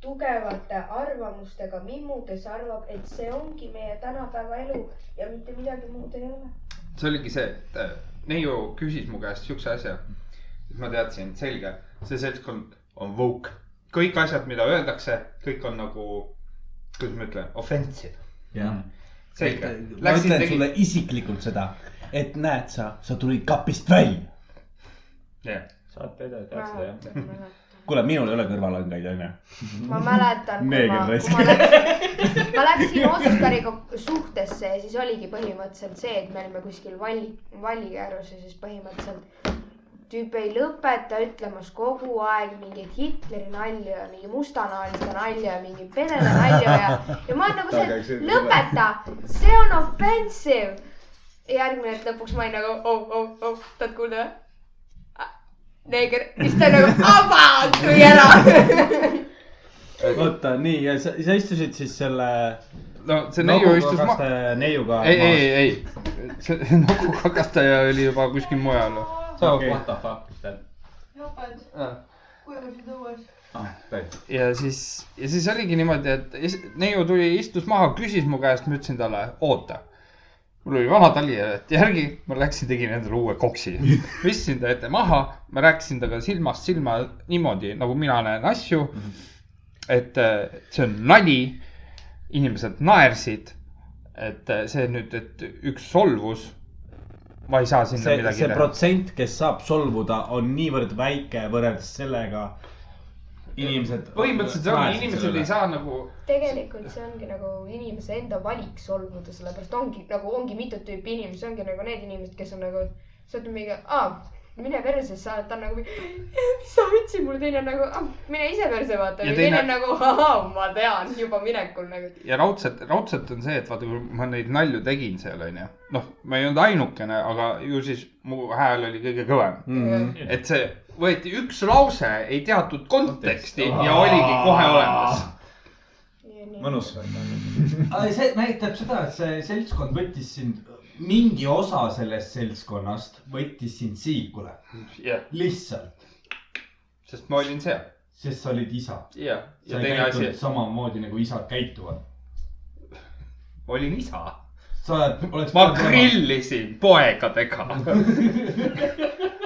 Speaker 5: tugevate arvamustega mimmu , kes arvab , et see ongi meie tänapäeva elu ja mitte midagi muud ei ole .
Speaker 6: see oligi see , et äh, neiu küsis mu käest siukse asja . siis ma teadsin , selge , see seltskond on woke . kõik asjad , mida öeldakse , kõik on nagu , kuidas ma ütlen , offensive .
Speaker 3: jah .
Speaker 6: selge .
Speaker 3: ma
Speaker 6: Läksid ,
Speaker 3: ütlen
Speaker 6: tegid
Speaker 3: sulle . isiklikult seda , et näed sa , sa tulid kapist välja .
Speaker 4: saate edasi , tead seda jah ?
Speaker 3: kuule , minul ei ole kõrvalangaid , onju .
Speaker 5: ma mäletan , kui
Speaker 3: Neegel
Speaker 5: ma ,
Speaker 3: raisk-
Speaker 5: kui ma läksin , ma läksin Oskariga suhtesse ja siis oligi põhimõtteliselt see , et me olime kuskil valli , vallikäärus ja siis põhimõtteliselt tüüp ei lõpeta ütlemas kogu aeg mingeid Hitleri nalju ja mingi mustanahaliste nalju ja mingi pedele nalju ja , ja ma olen nagu see , et lõpeta , see on offensive . järgmine hetk lõpuks ma olin nagu , oh , oh , oh , tahad kuulda või ? neeger , siis ta nagu , vabalt tuli ära .
Speaker 3: oota , nii ja sa , sa istusid siis selle .
Speaker 2: no see neiu istus ma- ,
Speaker 3: neiuga .
Speaker 2: ei , ei , ei , see nokukakastaja oli juba kuskil mujal .
Speaker 3: Okei.
Speaker 4: What the fuck , mis ta on ?
Speaker 5: nokad
Speaker 2: Aa.
Speaker 5: kuivasid õues .
Speaker 4: ah , täitsa .
Speaker 2: ja siis , ja siis oligi niimoodi , et is- neiu tuli , istus maha , küsis mu käest , ma ütlesin talle , oota . mul oli vana talijärjed järgi , ma läksin , tegin endale uue koksi , istusin ta ette maha , ma rääkisin temaga silmast silma niimoodi , nagu mina näen asju . et äh, see on nali , inimesed naersid , et äh, see nüüd , et üks solvus , ma ei saa sinna
Speaker 3: see ,
Speaker 2: midagi
Speaker 3: see . protsent , kes saab solvuda , on niivõrd väike võrreldes sellega . inimesed .
Speaker 6: põhimõtteliselt see ongi , inimesed ei . saa nagu ,
Speaker 5: tegelikult see ongi nagu inimese enda valik solvuda , sellepärast ongi nagu ongi mitut tüüpi inimesi , ongi nagu need inimesed , kes on nagu , sa oled mingi , aa , mine perse , sa oled , ta on nagu , mis sa võtsid mulle , teine on nagu , mine ise perse vaata
Speaker 2: Ja
Speaker 5: ja teine
Speaker 2: teine-
Speaker 5: on nagu , ahaa , ma tean juba minekul nagu .
Speaker 2: ja raudselt , raudselt on see , et vaata , kui ma neid nalju tegin seal , onju . noh , ma ei olnud ainukene , aga ju siis mu hääl oli kõige kõvem . et see võeti üks lause , ei teatud konteksti ja oligi kohe olemas .
Speaker 4: mõnus .
Speaker 8: see näitab seda , et see seltskond võttis sind , mingi osa sellest seltskonnast võttis sind siikule .
Speaker 2: jah ,
Speaker 8: lihtsalt ,
Speaker 2: sest ma olin seal .
Speaker 8: sest sa olid isa .
Speaker 2: ja ,
Speaker 8: sa
Speaker 2: ja
Speaker 8: ei
Speaker 2: teine asi
Speaker 8: käitunud , samamoodi nagu isad käituvad .
Speaker 2: olin isa .
Speaker 8: sa oled , oleks .
Speaker 2: ma . grillisin poegadega .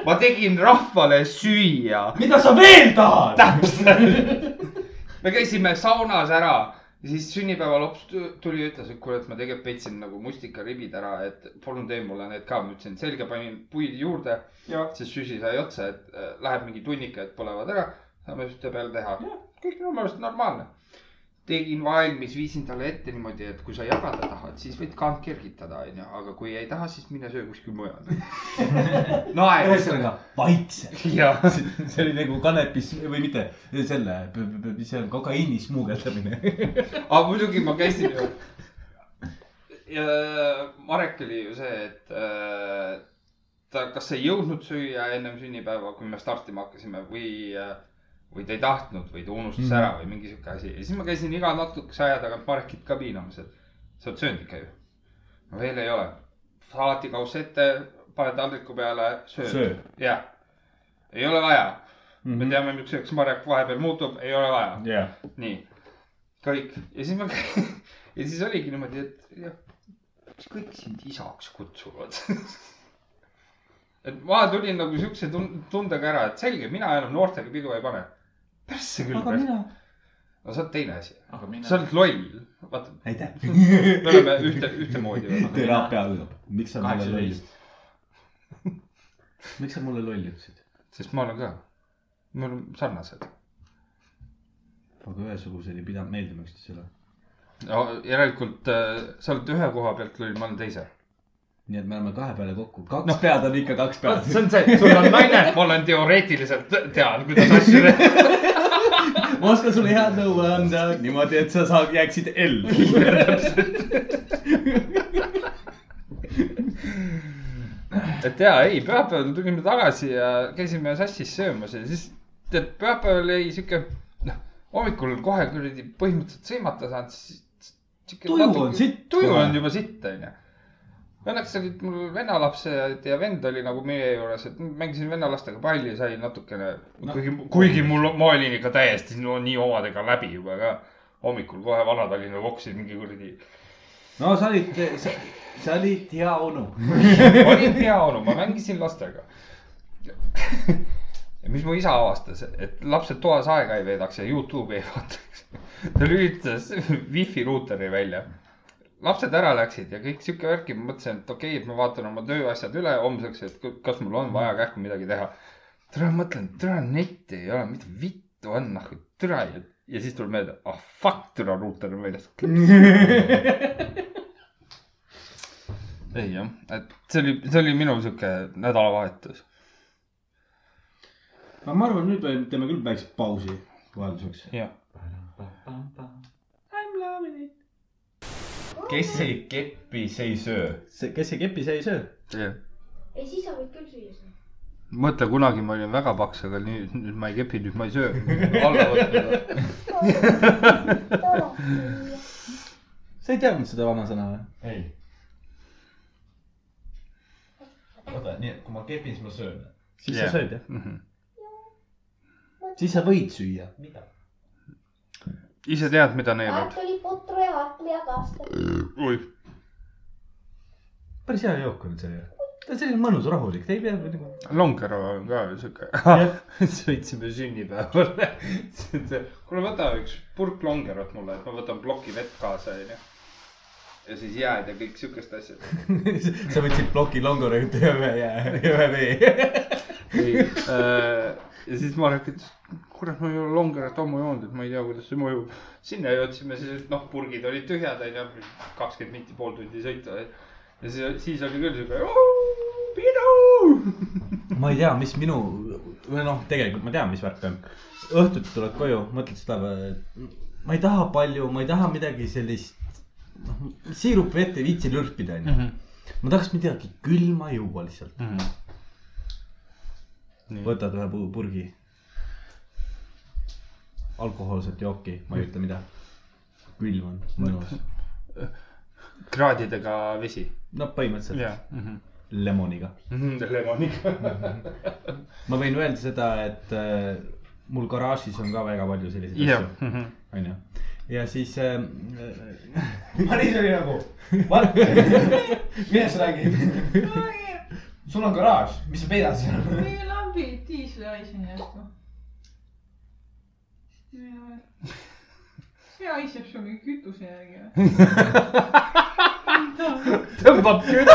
Speaker 2: ma tegin rahvale süüa .
Speaker 8: mida sa veel tahad ?
Speaker 2: täpselt . me käisime saunas ära ja siis sünnipäeva lops tu- tuli ja ütles , et kuule , et ma tegelikult peitsin nagu musikaribid ära , et palun tee mulle need ka . ma ütlesin , selge , panin puid juurde . siis süsi sai otsa , et äh, läheb mingi tunnik , et põlevad ära . saame ühte peale teha . kõik minu meelest normaalne . tegin valmis , viisin talle ette niimoodi , et kui sa jagada tahad , siis võid kant kergitada , onju , aga kui ei taha , siis mine söö kuskil mujal . naer .
Speaker 3: ühesõnaga vaikselt ,
Speaker 2: jah .
Speaker 3: see oli nagu kanepis või mitte selle , mis see on , kokaiini smugeldamine .
Speaker 2: aga muidugi ma käisin ju . ja Marek oli ju see , et äh, ta , kas ei jõudnud süüa ennem sünnipäeva , kui me startima hakkasime või , või ta ei tahtnud või ta unustas mm. ära või mingi sihuke asi ja siis ma käisin iga natukese aja tagant Marekit ka piinamas , et sa oled söönud ikka ju . no veel ei ole . salatikauss ette , paned taldriku peale ,
Speaker 3: Söö.
Speaker 2: sööd . jah , ei ole vaja mm . -hmm. me teame , miks Marek vahepeal muutub , ei ole vaja
Speaker 3: jah ,
Speaker 2: nii , kõik ja siis ma ja siis oligi niimoodi , et jah , miks kõik sind isaks kutsuvad ? et ma tulin nagu siukse tun- tundega ära , et selge , mina enam noortega pidu ei pane . persse küll . aga mina . no see on teine asi ,
Speaker 4: aga mina
Speaker 2: sa . oled loll , vaata ,
Speaker 3: aitäh .
Speaker 2: me oleme ühte , ühtemoodi või ?
Speaker 3: teraapia algab . miks sa mulle lolli
Speaker 4: kaheksateist
Speaker 3: ütlesid ?. miks sa mulle lolli ütlesid ?
Speaker 2: sest ma olen ka , me oleme sarnased
Speaker 3: aga ühesugused ei pidanud meeldima üksteisele .
Speaker 2: no, . järelikult äh, sa oled ühe koha pealt loll , ma olen teise .
Speaker 3: nii et me oleme kahe peale kokku , kaks no. pead on ikka kaks pead .
Speaker 2: see on see , sul on naine , ma olen teoreetiliselt tean , kuidas asju teha .
Speaker 3: ma oskan sulle head nõu anda niimoodi , et sa saad , jääksid ellu .
Speaker 2: et ja ei , pühapäeval tulime tagasi ja käisime sassis söömas ja siis tead , pühapäeval jäi sihuke , noh , hommikul kohe kuradi põhimõtteliselt sõimata saanud , siis .
Speaker 3: Tuju on sitt
Speaker 2: tuju
Speaker 3: kohe.
Speaker 2: on juba sitt , onju . Õnneks olid mul venna lapsed ja vend oli nagu meie juures , et mängisin venna lastega palli , sai natukene no. , kuigi , kuigi mul , ma olin ikka täiesti no, nii omadega läbi juba ka . hommikul kohe Vana-Tallinna voksis mingi kuradi .
Speaker 3: no sa olid , sa, sa olid hea onu .
Speaker 2: ma olin hea onu , ma mängisin lastega . ja mis mu isa avastas , et lapsed toas aega ei veedaks ja Youtube'i ei vaataks . ta lülitas wifi ruuteri välja . lapsed ära läksid ja kõik sihuke värki , ma mõtlesin , et okei okay, , et ma vaatan oma tööasjad üle homseks , et ku- kas mul on vaja kähku midagi teha . täna mõtlen , täna netti ei ole , mida vittu on , noh , türa ja , ja siis tuleb meelde , ah oh, fuck , türa ruuter on väljas . ei jah , et see oli , see oli minu sihuke nädalavahetus .
Speaker 3: aga ma arvan , nüüd me teeme küll väikse pausi vahelduseks .
Speaker 12: kes ei keppi , see ei söö .
Speaker 3: see , kes ei kepi , see ei söö .
Speaker 2: jah ,
Speaker 13: ei , siis sa võid küll süüa seda .
Speaker 2: mõtle , kunagi ma olin väga paks , aga nüüd , nüüd ma ei kepi , nüüd ma ei söö . alla võtnud .
Speaker 3: sa ei teadnud seda vanasõna või ?
Speaker 12: ei . oota , nii et kui ma kepin , siis ma söön . Mhm.
Speaker 3: siis
Speaker 2: Jah.
Speaker 3: sa sööd jah ? siis sa võid süüa .
Speaker 2: ise tead , mida neelad ?
Speaker 14: tuli putru ja kartuli ja kaste .
Speaker 2: oi ,
Speaker 3: päris hea jook on see ju . ta on selline mõnus , rahulik , ta ei pea nagu .
Speaker 2: Longero on ka ju sihuke . sõitsime sünnipäevale . kuule , võta üks purk Longerot mulle , et ma võtan ploki vett kaasa , onju . ja siis jääd ja kõik siukest asja .
Speaker 3: sa võtsid ploki longoreid ja ühe jää , ühe vee .
Speaker 2: ja äh, siis Marek ütles , kurat , ma ei ole Longerot ammu joonud , et ma ei tea , kuidas see mõjub . sinna jõudsime siis , noh , purgid olid tühjad , onju , kakskümmend minti , pool tundi sõitu . ja siis , siis oli küll siuke , pidu .
Speaker 3: ma ei tea , mis minu , või noh , tegelikult ma tean , mis värk on . õhtuti tuled koju , mõtled seda , ma ei taha palju , ma ei taha midagi sellist , noh , siirupi vett ei viitsi lürpida ,
Speaker 2: Mhm.
Speaker 3: onju . ma tahaks midagi külma juua lihtsalt mm . -hmm. võtad ühe pu- purgi . alkohoolset jooki , ma ei ütle mida . külm on mõnus .
Speaker 2: kraadidega vesi .
Speaker 3: no põhimõtteliselt
Speaker 2: jah . mhm.
Speaker 3: lemoniga .
Speaker 2: lemoniga .
Speaker 3: ma võin öelda seda , et äh, mul garaažis on ka väga palju selliseid
Speaker 2: jah mhm.
Speaker 3: asju ,, onju . ja siis äh,
Speaker 15: Maris oli nagu , Mart , millest sa räägid ? sul on garaaž , mis sa peidad seal ?
Speaker 16: meie lambid diislihaiseni jätku . see haiseb sul mingi kütuse järgi või ?
Speaker 2: tõmbab küll .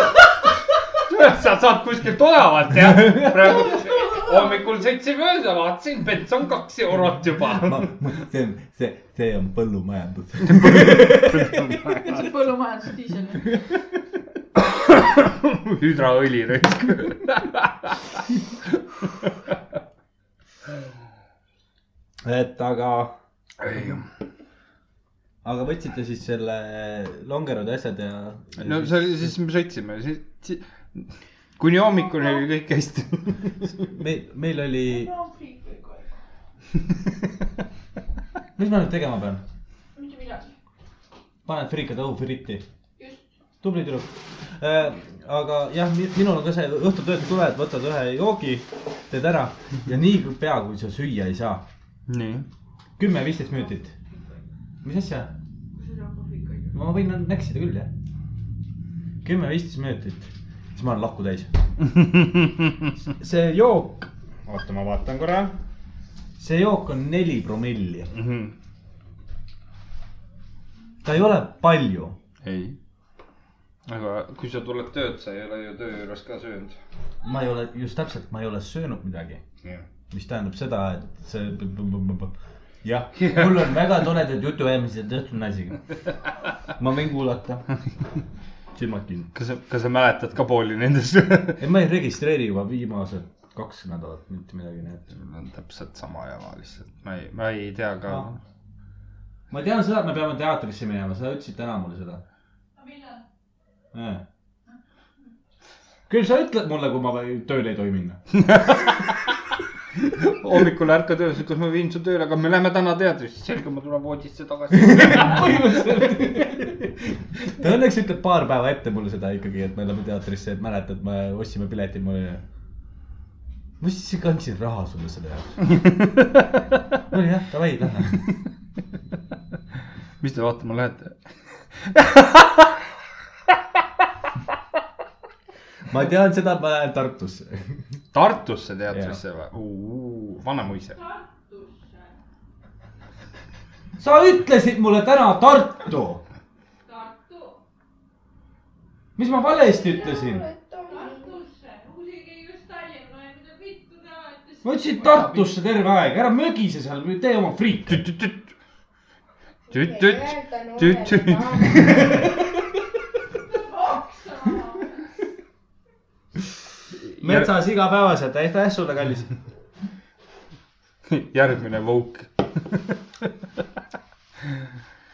Speaker 2: sa saad kuskilt odavalt jah , praegu hommikul sõitsin mööda , vaatasin , bens on kaks eurot juba .
Speaker 3: ma , see on , see , see on põllumajandus .
Speaker 16: see põllumajandusdiisel .
Speaker 2: hüdraõli raisk .
Speaker 3: et aga , aga võtsite siis selle longerud ja asjad ja, ja
Speaker 2: no see oli , siis me sõitsime , siis , kuni hommikuni oli kõik hästi .
Speaker 3: siis meil , meil oli , mis ma nüüd tegema pean ?
Speaker 16: mitte midagi .
Speaker 3: paned friikad õhufritti .
Speaker 16: Just.
Speaker 3: tubli tüdruk äh, . aga jah , minul on ka see õhtul töölt tuled , võtad ühe joogi , teed ära ja niipea , kui sa süüa ei saa ,
Speaker 2: nii .
Speaker 3: kümme-viisteist minutit . mis asja ?
Speaker 16: nagu
Speaker 3: no ma võin näksida küll jah . kümme-viisteist minutit , siis ma olen lahku täis . see jook , oota , ma vaatan korra . see jook on neli promilli ,
Speaker 2: Mhm.
Speaker 3: ta ei ole palju
Speaker 2: ei . aga kui sa tuled tööd , sa ei ole ju töö juures ka söönud .
Speaker 3: ma ei ole , just täpselt , ma ei ole söönud midagi . mis tähendab seda , et see . jah , mul on väga toredad jutuajamised õhtul naisega . ma võin kuulata . silmad kinni .
Speaker 2: kas sa , kas sa mäletad ka pooli nendest ?
Speaker 3: ei , ma ei registreeri juba viimased kaks nädalat mitte midagi , nii et .
Speaker 2: mul on täpselt sama jama lihtsalt , ma ei , ma ei tea ka
Speaker 3: Ah. ma tean seda , et me peame teatrisse minema , sa ütlesid täna mulle seda . noh. küll sa ütled mulle , kui ma või- tööle ei tohi minna .
Speaker 2: hommikul ärkad üles , kas ma viin su tööle , aga me läheme täna teatrisse , selge , ma tulen voodisse tagasi .
Speaker 9: ta õnneks ütleb paar päeva ette mulle seda ikkagi , et me läheme teatrisse , et mäletad , me ostsime pileti , ma olin . ma siis kandsin raha sulle selle jaoks . ma olin jah , davai , lähme .
Speaker 2: mis te vaatama lähete ?
Speaker 9: ma tean seda , et ma lähen Tartusse .
Speaker 2: Tartusse teatrisse või ? Vanemuise .
Speaker 3: sa ütlesid mulle täna Tartu .
Speaker 17: Tartu .
Speaker 3: mis ma valesti ütlesin ?
Speaker 17: Tartusse , muidugi just Tallinna ja mida vittu te ajate .
Speaker 3: ma ütlesin . Tartusse terve aeg , ära mögise seal , tee oma friiki .
Speaker 2: tüt-tüt , tüt-tüt , tüt-tüt .
Speaker 3: metsas igapäevaselt , aitäh sulle , kallis .
Speaker 2: järgmine Vouk .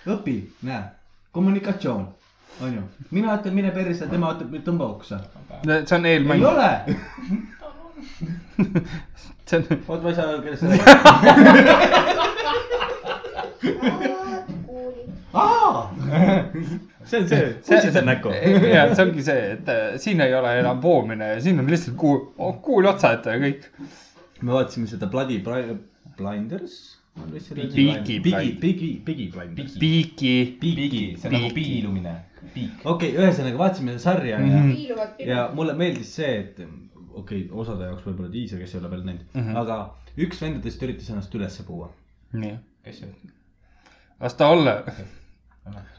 Speaker 3: õpi , näe , kommunikatsioon , onju . mina ütlen , mine perisse , tema ütleb , tõmba oksa .
Speaker 2: see on
Speaker 3: ei
Speaker 2: eelmäng ,
Speaker 3: ole ,
Speaker 2: see on ,
Speaker 3: oot , ma ei saa , kellest sa räägid . aa ,
Speaker 9: see on see , pussitad näkku .
Speaker 2: ja see ongi see , et äh, siin ei ole enam voomine , siin on lihtsalt kuu , kuul otsa ette ja kõik .
Speaker 9: me vaatasime seda Bloody Bri- Blinders .
Speaker 2: Peaky
Speaker 9: Pigi ,
Speaker 2: Blinders.
Speaker 9: Pigi , Pigi Blinders .
Speaker 2: Peaky ,
Speaker 9: Pigi ,
Speaker 4: see on nagu
Speaker 2: Piiki.
Speaker 4: piilumine , piik .
Speaker 9: okei , ühesõnaga vaatasime seda sarja mm . -hmm
Speaker 5: piiluvad
Speaker 9: ja
Speaker 5: pilved .
Speaker 9: mulle meeldis see , et okei okay, , osade jaoks võib-olla diisel , kes ei ole veel näinud mm ,
Speaker 2: Mhm.
Speaker 9: -hmm. aga üks vendadest üritas ennast ülesse puua .
Speaker 2: nii ,
Speaker 4: kes see on ?
Speaker 2: las ta olla ,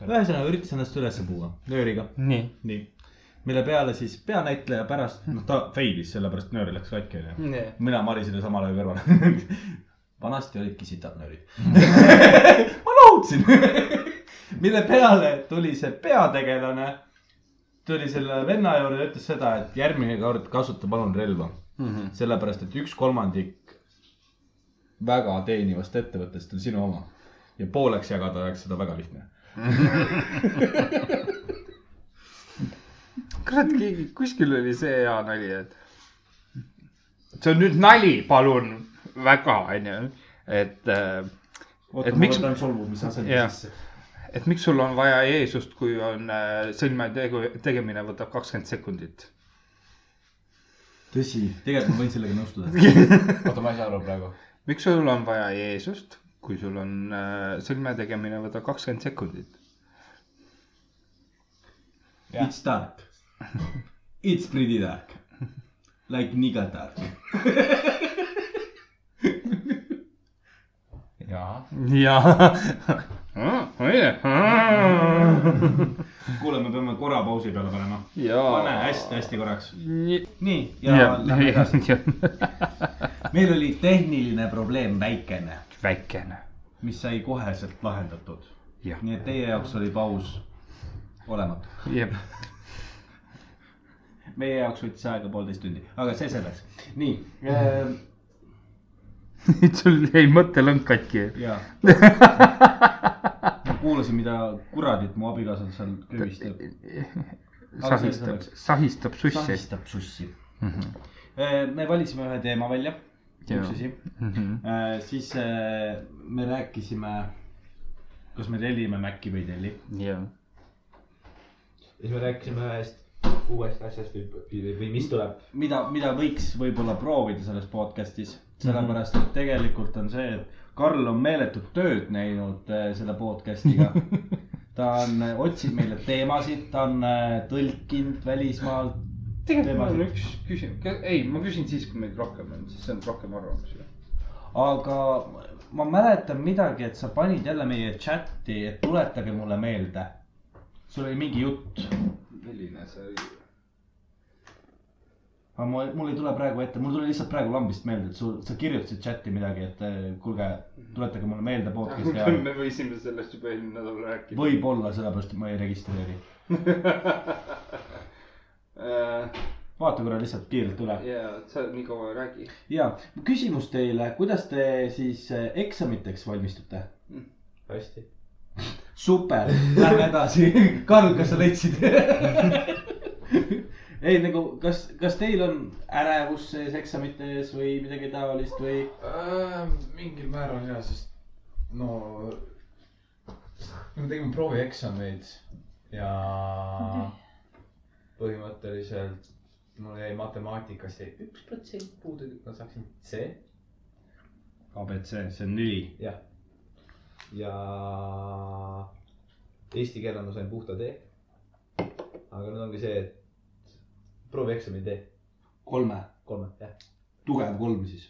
Speaker 9: ühesõnaga üritas ennast ülesse puua nööriga ,
Speaker 2: nii .
Speaker 9: nii . mille peale siis peanäitleja pärast , noh ta fail'is sellepärast nöör läks katki onju . mina marisime samal ajal kõrval . vanasti olidki sitad nöörid . ma lohutasin . mille peale tuli see peategelane , tuli selle venna juurde ja ütles seda , et järgmine kord kasuta palun relva
Speaker 2: Mhm.
Speaker 9: sellepärast , et üks kolmandik väga teenivast ettevõttest on sinu oma ja pooleks jagada oleks seda väga lihtne .
Speaker 2: kurat , keegi kuskil oli see hea nali , et see on nüüd nali , palun väga , onju , et ,
Speaker 8: oota ,
Speaker 2: Et
Speaker 8: ma
Speaker 2: miks-
Speaker 8: võtan solvumise asemel
Speaker 2: Jah.
Speaker 8: sisse .
Speaker 2: et miks sul on vaja Jeesust , kui on äh, sõlme tegu , tegemine võtab kakskümmend sekundit .
Speaker 9: tõsi , tegelikult ma võin sellega nõustuda .
Speaker 4: oota , ma ei saa aru praegu .
Speaker 2: miks sul on vaja Jeesust , kui sul on äh, sõlme tegemine võtab kakskümmend sekundit ?
Speaker 9: It's dark . It's pretty dark . Like nigga dark .
Speaker 4: jaa .
Speaker 2: jaa .
Speaker 3: kuule , me peame korra pausi peale panema . pane
Speaker 2: jaa .
Speaker 3: hästi-hästi korraks .
Speaker 2: Oh. nii ,
Speaker 3: nii , ja lähme edasi .
Speaker 2: jah ,
Speaker 3: meil oli tehniline probleem väikene ,
Speaker 2: väikene ,
Speaker 3: mis sai koheselt lahendatud .
Speaker 2: jah ,
Speaker 3: nii et teie jaoks oli paus olematu .
Speaker 2: jah ,
Speaker 3: meie jaoks võttis aega poolteist tundi , aga see selleks . nii , ehm,
Speaker 2: sul jäi mõttelõng katki
Speaker 3: ja . ma kuulasin , mida kuradit mu abikaasa seal köögistab , Aga see
Speaker 2: sahistab
Speaker 3: selleks. ,
Speaker 2: sahistab susse .
Speaker 3: sahistab sussi . me valisime ühe teema välja , üks asi ,
Speaker 2: Mhm.
Speaker 3: siis eh, me rääkisime , kas me tellime Maci või ei telli .
Speaker 2: jah ,
Speaker 8: siis me rääkisime ühest uuest asjast või , või mis tuleb .
Speaker 3: mida , mida võiks võib-olla proovida selles podcast'is , sellepärast et tegelikult on see , et Karl on meeletut tööd näinud eh, selle podcast'iga . ta on , otsib meile teemasid , ta on eh, tõlkinud välismaalt .
Speaker 2: tegelikult mul on
Speaker 3: Teemasid.
Speaker 2: üks küsimus , ei , ma küsin siis , kui meid rohkem on , siis on rohkem arvamusi .
Speaker 3: aga ma mäletan midagi , et sa panid jälle meie chati , et tuletage mulle meelde . sul oli mingi jutt ,
Speaker 2: milline see oli ?
Speaker 3: aga mul , mul ei tule praegu ette , mul tuli lihtsalt praegu lambist meelde , et sul , sa kirjutasid chati midagi , et eh, kuulge , tuletage mulle meelde podcast'i ajal .
Speaker 2: me võisime sellest juba eelmine nädal rääkida .
Speaker 3: võib-olla sellepärast , et ma ei registreeri . vaata korra lihtsalt kiirelt üle .
Speaker 2: ja Äh, sa nii kaua räägi .
Speaker 3: ja küsimus teile , kuidas te siis
Speaker 18: äh,
Speaker 3: eh, eksamiteks valmistute ?
Speaker 4: Mm.
Speaker 8: hästi .
Speaker 3: super , lähme edasi . Karl , kas sa leidsid ?
Speaker 18: ei nagu , kas , kas teil on ärevus sees eksamite ees või midagi taolist või ?
Speaker 4: Äh, mingil määral ja , sest no me tegime proovieeksameid ja põhimõtteliselt mul jäi matemaatikast jäi üks protsent puudu , et ma saaksin C
Speaker 18: abc , see on neli .
Speaker 4: ja eesti keele ma sain puhta D . aga nüüd ongi see , et proovieksamid D ,
Speaker 18: kolme ,
Speaker 4: kolme jah ,
Speaker 18: tugev kolm siis .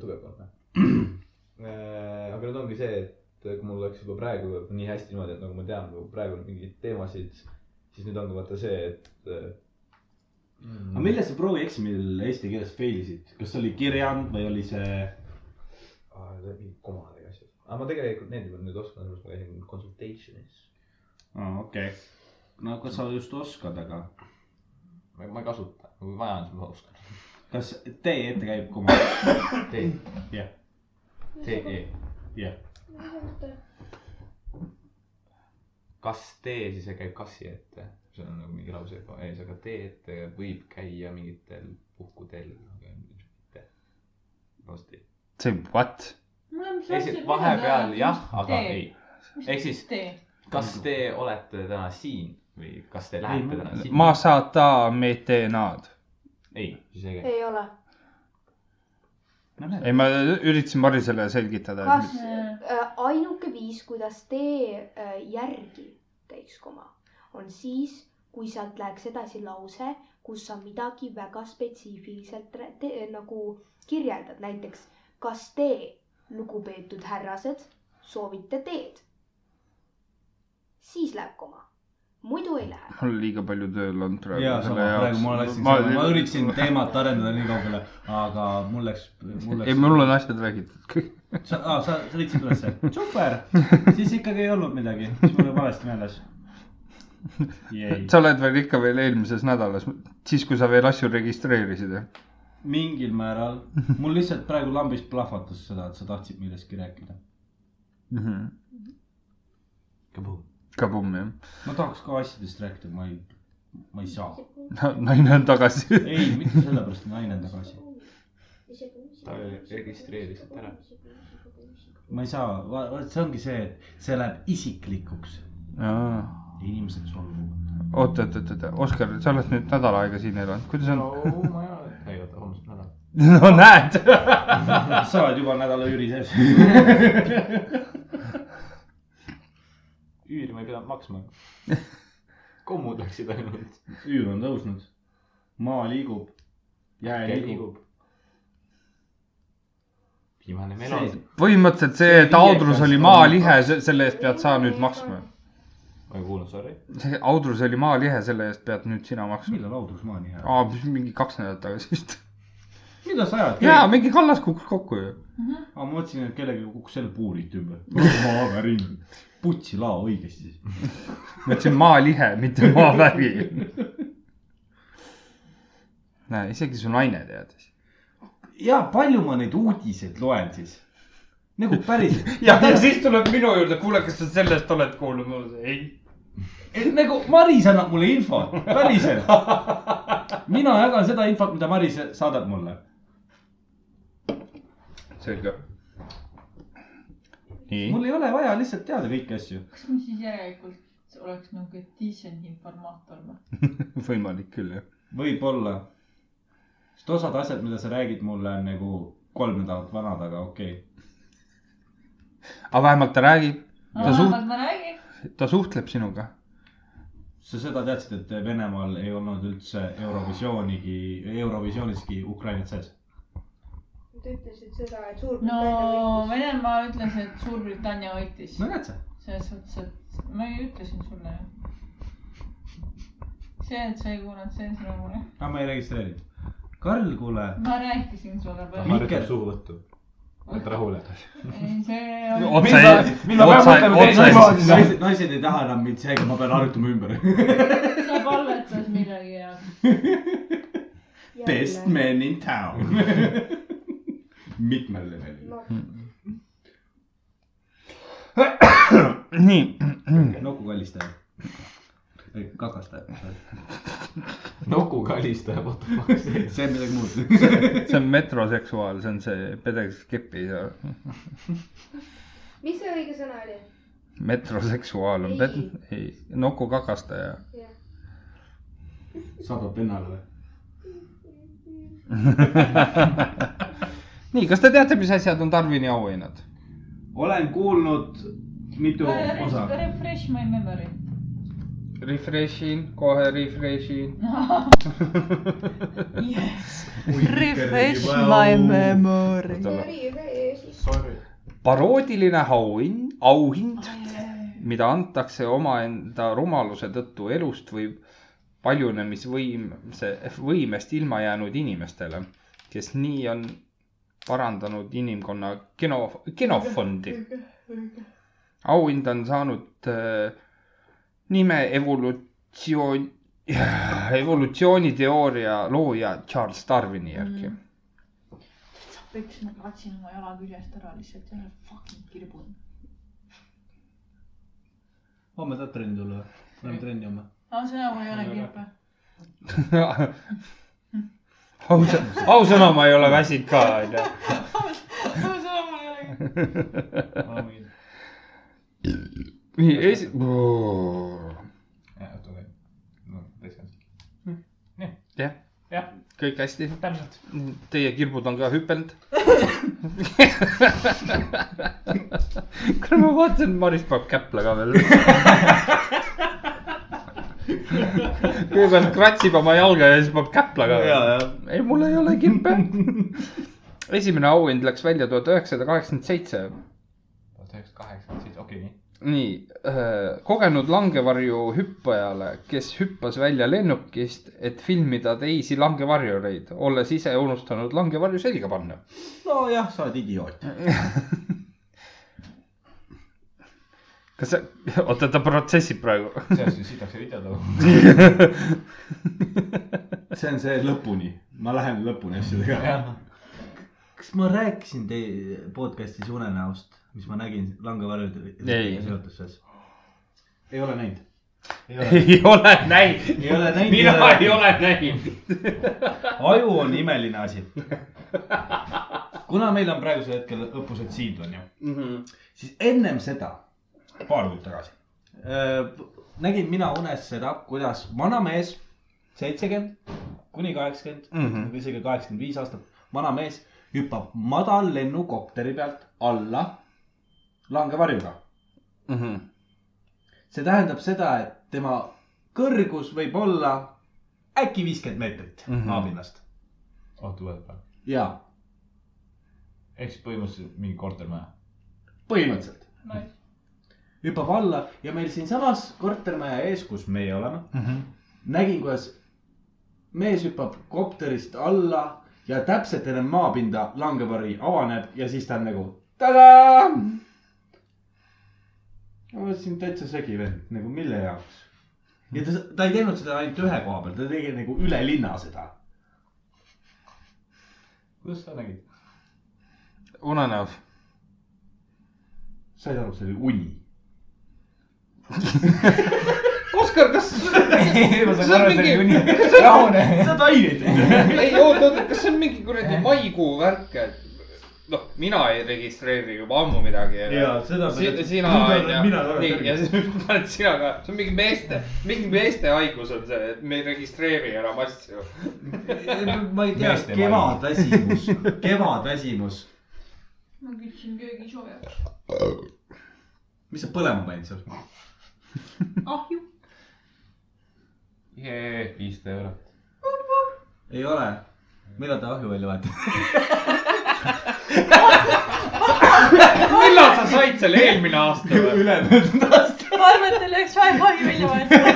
Speaker 4: tugev kolm jah . aga nüüd ongi see , et kui mul läks juba praegu juba nii hästi niimoodi , et nagu ma tean nagu praegu mingeid teemasid , siis nüüd ongi vaata see , et äh,
Speaker 18: aga
Speaker 4: mm, .
Speaker 18: milles sa proovieksamil eesti keeles failisid , kas see oli kirjand või oli see ?
Speaker 4: läbi komadega asjad , aga ma tegelikult need juba nüüd oskan , sellepärast ma käisin consultation'is .
Speaker 18: okei , no kas sa just oskad , aga
Speaker 4: ma ma ei kasuta , kui vaja on , siis ma oskan .
Speaker 18: kas tee ette käib koma ?
Speaker 4: D ,
Speaker 18: jah ,
Speaker 4: D , E .
Speaker 18: jah .
Speaker 4: kas tee siis ei käi kassi ette , see on nagu mingi lause juba ees , aga tee ette võib käia mingitel puhkudel , aga mitte . varsti .
Speaker 2: see what ?
Speaker 4: ehk siis vahepeal jah , aga ei . ehk siis ,
Speaker 16: tee .
Speaker 4: kas te olete täna siin või kas te lähete täna siin ?
Speaker 2: ma saata metenad .
Speaker 4: ei , siis ei käi .
Speaker 5: ei ole .
Speaker 2: ei , ma üritasin Marisele selgitada .
Speaker 5: kas äh, ainuke viis , kuidas tee äh, järgi käiks koma , on siis , kui sealt läheks edasi lause , kus sa midagi väga spetsiifiliselt rä- te, nagu kirjeldad , näiteks kas te , lugupeetud härrased , soovite teed ? siis läheb koma , muidu ei lähe .
Speaker 2: mul liiga palju tööl on praegu .
Speaker 3: ja sama , praegu ma läksin , ma, ma üritasin teemat arendada nii kaugele , aga mul läks ,
Speaker 2: ei ,
Speaker 3: mul läks .
Speaker 2: mul on asjad räägitud kõik .
Speaker 3: sa , aa , sa sa leidsid ülesse , super , siis ikkagi ei olnud midagi , mis mul oli valesti meeles .
Speaker 2: sa oled veel ikka veel eelmises nädalas , siis kui sa veel asju registreerisid , jah ?
Speaker 3: mingil määral , mul lihtsalt praegu lambist plahvatas seda , et sa tahtsid millestki rääkida .
Speaker 4: Mhm.
Speaker 2: Kabum , jah .
Speaker 3: ma tahaks ka asjadest rääkida , ma ei , ma ei saa .
Speaker 2: naine on tagasi .
Speaker 3: ei , mitte sellepärast , et nagu naine on tagasi .
Speaker 4: Ta registreeris ära. .
Speaker 3: ma ei saa , vaat see ongi see , et see läheb isiklikuks . inimesed solvuvad .
Speaker 2: oot , oot , oot , oot , Oskar , sa oled nüüd nädal aega siin elanud , kuidas on ?
Speaker 4: ma ei ole , Oh ei oota , homsest nädalat .
Speaker 2: no näed .
Speaker 3: sa oled juba nädala üüri sees .
Speaker 4: üüri ma ei pidanud maksma . kommud läksid ainult .
Speaker 3: üür on tõusnud , maa liigub , jää liigub .
Speaker 4: viimane melon .
Speaker 2: põhimõtteliselt see , et Audrus oli maalihe , selle eest pead sa nüüd maksma .
Speaker 4: ma ei kuulnud , sorry .
Speaker 2: see Audrus oli maalihe , selle eest pead nüüd sina maksma .
Speaker 3: millal Audrus maani jääb ?
Speaker 2: aa , mingi kaks nädalat tagasi vist .
Speaker 3: mida sa ajad ?
Speaker 2: jaa , mingi kallas kukkus kokku ju .
Speaker 3: aga ma mõtlesin , et kellelgi kukkus jälle puurit ümber . maaga ringi . putsi lao õigesti siis .
Speaker 2: ma ütlesin maalihe , mitte maaväri . näe , isegi su naine teadis .
Speaker 3: ja palju ma neid uudiseid loen siis ? nagu päriselt .
Speaker 19: ja , ja siis tuleb minu juurde , kuule , kas sa sellest oled kuulnud , ma ütlen ei .
Speaker 3: nagu Maris annab mulle infot , päriselt . mina jagan seda infot , mida Maris saadab mulle .
Speaker 2: selge . nii ,
Speaker 3: mul ei ole vaja lihtsalt teada kõiki asju .
Speaker 16: kas ma siis järelikult oleks nagu decent informaator või ?
Speaker 2: võimalik küll jah .
Speaker 3: võib-olla . sest osad asjad , mida sa räägid mulle on nagu kolm nädalat vanad , aga okei okay. .
Speaker 2: aga vähemalt ta räägib , Ta
Speaker 16: no
Speaker 2: suht-
Speaker 16: vähemalt ma räägin .
Speaker 2: ta suhtleb sinuga .
Speaker 3: sa seda teadsid , et Venemaal ei olnud üldse Eurovisioonigi , Eurovisioonisgi Ukrainat sees ?
Speaker 5: Te ütlesite seda , et
Speaker 16: no
Speaker 5: Suurbritannia
Speaker 16: Venemaa ütles , et Suurbritannia võitis .
Speaker 3: no näed sa .
Speaker 16: selles suhtes , et ma ju ütlesin sulle ju . see , et sa ei kuulanud , see on sinu mure .
Speaker 3: aga ma ei registreeri . Karl , kuule .
Speaker 16: ma rääkisin sulle
Speaker 3: Ma
Speaker 16: palju .
Speaker 3: harjutan
Speaker 4: suu võttu . et rahule .
Speaker 16: ei , see oli
Speaker 2: otsa ei , otsa ei , otsa ei .
Speaker 3: naised , naised ei taha enam mind , seega ma pean harjutama ümber .
Speaker 16: sa palvetas millegi jaoks .
Speaker 3: Best man in town . mitmel levelil .
Speaker 2: nii ,
Speaker 3: nukukallistaja . kakastaja .
Speaker 4: nokuga helistaja , what the fuck .
Speaker 3: see on midagi muud .
Speaker 2: see on metroseksuaal , see on see pedeg , kes keppi ei saa .
Speaker 5: mis see õige sõna oli ?
Speaker 2: metroseksuaal on ped- , ei , nokukakastaja .
Speaker 5: jah .
Speaker 3: saadab vennale või ?
Speaker 2: nii , kas te teate , mis asjad on Darwini auhinnad ?
Speaker 3: olen kuulnud mitu osa .
Speaker 16: Refresh my memory .
Speaker 6: Refresh in , kohe refresh in .
Speaker 16: Refresh my memory .
Speaker 4: Sorry .
Speaker 2: paroodiline auhind , auhind , mida antakse omaenda rumaluse tõttu elust või paljunemisvõimse , võimest ilma jäänud inimestele , kes nii on parandanud inimkonna geno , genofondi . auhind on saanud äh, nime evolutsioon , evolutsiooniteooria looja Charles Darwini järgi mm. .
Speaker 16: peks , ma klatsin oma jala küljest ära lihtsalt , jälle fucking kirbun .
Speaker 3: homme tahad trenni tulla või ? Lähme trenni homme .
Speaker 16: aa , seda mul ei ole kirpe .
Speaker 2: ausa , ausõna , ma ei ole väsinud ka , onju .
Speaker 16: aa , seda mul ei ole kirpe .
Speaker 2: nii , esi- .
Speaker 4: no , täitsa .
Speaker 2: jah ,
Speaker 4: jah ,
Speaker 2: kõik hästi .
Speaker 4: täpselt .
Speaker 2: Teie kirbud on ka hüpelnud . kuule , ma vaatasin , Maris paneb käpla ka veel . kõigepealt kratsib oma jalga ja siis paneb käpla ka veel . ei , mul ei ole kirpe . esimene auhind läks välja tuhat üheksasada kaheksakümmend seitse
Speaker 4: tuhat üheksasada kaheksakümmend seitse , okei , nii .
Speaker 2: nii , kogenud langevarju hüppajale , kes hüppas välja lennukist , et filmida teisi langevarjureid , olles ise unustanud langevarju selga panna .
Speaker 3: nojah , sa oled idioot .
Speaker 2: kas sa , oota , ta protsessib praegu .
Speaker 4: sellest nüüd sitaks ei video too .
Speaker 3: see on see lõpuni , ma lähen lõpuni asjadega . kas ma rääkisin teie podcast'is unenäost , mis ma nägin langevarjude
Speaker 2: Ei.
Speaker 3: seotuses ? ei ole näinud .
Speaker 2: ei ole näinud .
Speaker 3: ei ole näinud .
Speaker 2: mina ei . ole näinud .
Speaker 3: aju on imeline asi . kuna meil on praegusel hetkel õppused siin on ju mm , -hmm. siis ennem seda , paar kuud tagasi , nägin mina unes seda , kuidas vanamees , seitsekümmend kuni kaheksakümmend
Speaker 2: Mhm.
Speaker 3: -hmm. isegi kaheksakümmend viis aastat , vanamees hüppab madallennukopteri pealt alla langevarjuga
Speaker 2: Mhm.
Speaker 3: see tähendab seda , et tema kõrgus võib olla äkki viiskümmend meetrit mm
Speaker 2: Mhm.
Speaker 3: -hmm. maapinnast
Speaker 4: oota , võta .
Speaker 3: ja
Speaker 4: ehk siis põhimõtteliselt mingi kortermaja .
Speaker 3: põhimõtteliselt hüppab alla ja meil siinsamas kortermaja ees , kus meie oleme mm ,
Speaker 4: Mhm.
Speaker 3: -hmm. nägin , kuidas mees hüppab kopterist alla ja täpselt enne maapinda langevari avaneb ja siis ta on nagu tadaa . ma mõtlesin täitsa segi vend , nagu mille jaoks . ja ta , ta ei teinud seda ainult ühe koha peal , ta tegi nagu üle linna seda .
Speaker 4: kuidas sa nägid ?
Speaker 2: unenäos .
Speaker 3: said aru , see oli uni .
Speaker 2: Oskar , kas ,
Speaker 4: ma
Speaker 2: see on mingi ,
Speaker 4: rahune .
Speaker 3: seda ei teinud .
Speaker 6: ei oota , oota , kas see on mingi kuradi maikuu värk , et noh , mina ei registreeri juba ammu midagi .
Speaker 3: Jaa, seda
Speaker 6: si
Speaker 3: pead-
Speaker 6: sina
Speaker 3: nüüd olen
Speaker 6: onju
Speaker 3: mina tagasi .
Speaker 6: ja siis paned sina ka , see on mingi meeste , mingi meeste haigus on see , et me ei registreeri enam asju .
Speaker 3: ma ei tea ,
Speaker 4: Meeste
Speaker 3: kevadväsimus , kevadväsimus .
Speaker 16: ma kütsin köögisoojaks .
Speaker 3: mis sa põlema panid seal ?
Speaker 16: ahju .
Speaker 4: jee , viissada eurot .
Speaker 3: ei ole . millal ta ahju välja vahetati ?
Speaker 6: millal sa said selle eelmine aasta või ?
Speaker 3: ülemöödunud aasta .
Speaker 16: ma arvan , et teil läks väga ahju välja vahetada .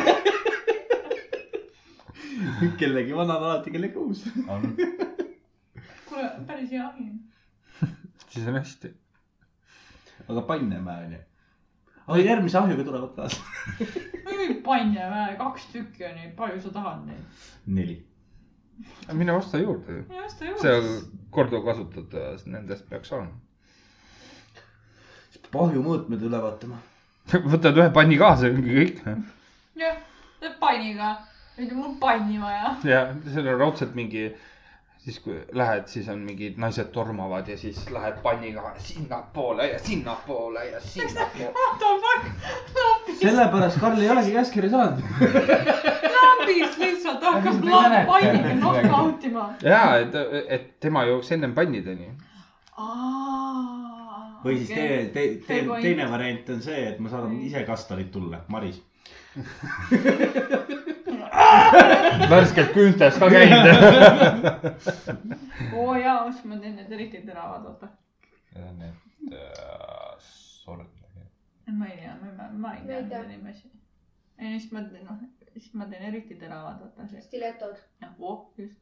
Speaker 3: kellegi vana on alati kellegi uus .
Speaker 4: on .
Speaker 16: kuule , päris hea ahi .
Speaker 2: siis on hästi .
Speaker 3: aga Pannemäe on ju . aga järgmise ahjuga tulevad taas .
Speaker 16: mingi pannja vähe , kaks tükki on neid , palju sa tahad neid ?
Speaker 3: neli .
Speaker 2: mine osta juurde ju .
Speaker 16: ei osta juurde
Speaker 2: seal . korduvkasutada , nendest peaks olema .
Speaker 3: ahju mõõtmed üle vaatama .
Speaker 2: võtad ühe panni kaasa , ongi kõik .
Speaker 16: jah , panniga , ütleme mul on panni vaja .
Speaker 2: ja seal on raudselt mingi , siis kui lähed , siis on mingid naised tormavad ja siis lähed panniga sinnapoole ja sinnapoole ja sinnapoole .
Speaker 16: What the fuck , lambist ,
Speaker 3: sellepärast Karl ei olegi käskkirja saanud .
Speaker 16: lambist lihtsalt hakkas laev panniga nokka out ima .
Speaker 2: ja , et , et tema jooks ennem pannideni .
Speaker 3: või siis teie , te, te,
Speaker 16: Fair point.
Speaker 3: teine variant on see , et ma saadan ise kastarid tulla , Maris .
Speaker 2: värskelt küüntes ka käinud .
Speaker 16: oo jaa , oh siis ma teen need eriti teravad , oota .
Speaker 9: Need on need äh, sordid .
Speaker 16: ma ei tea , ma , ma ei
Speaker 5: Ma
Speaker 16: tea
Speaker 5: ei tea.
Speaker 16: nende nimesi . ei , siis ma teen , noh , siis ma teen eriti teravad , vaata .
Speaker 5: stiletod .
Speaker 16: voh , just .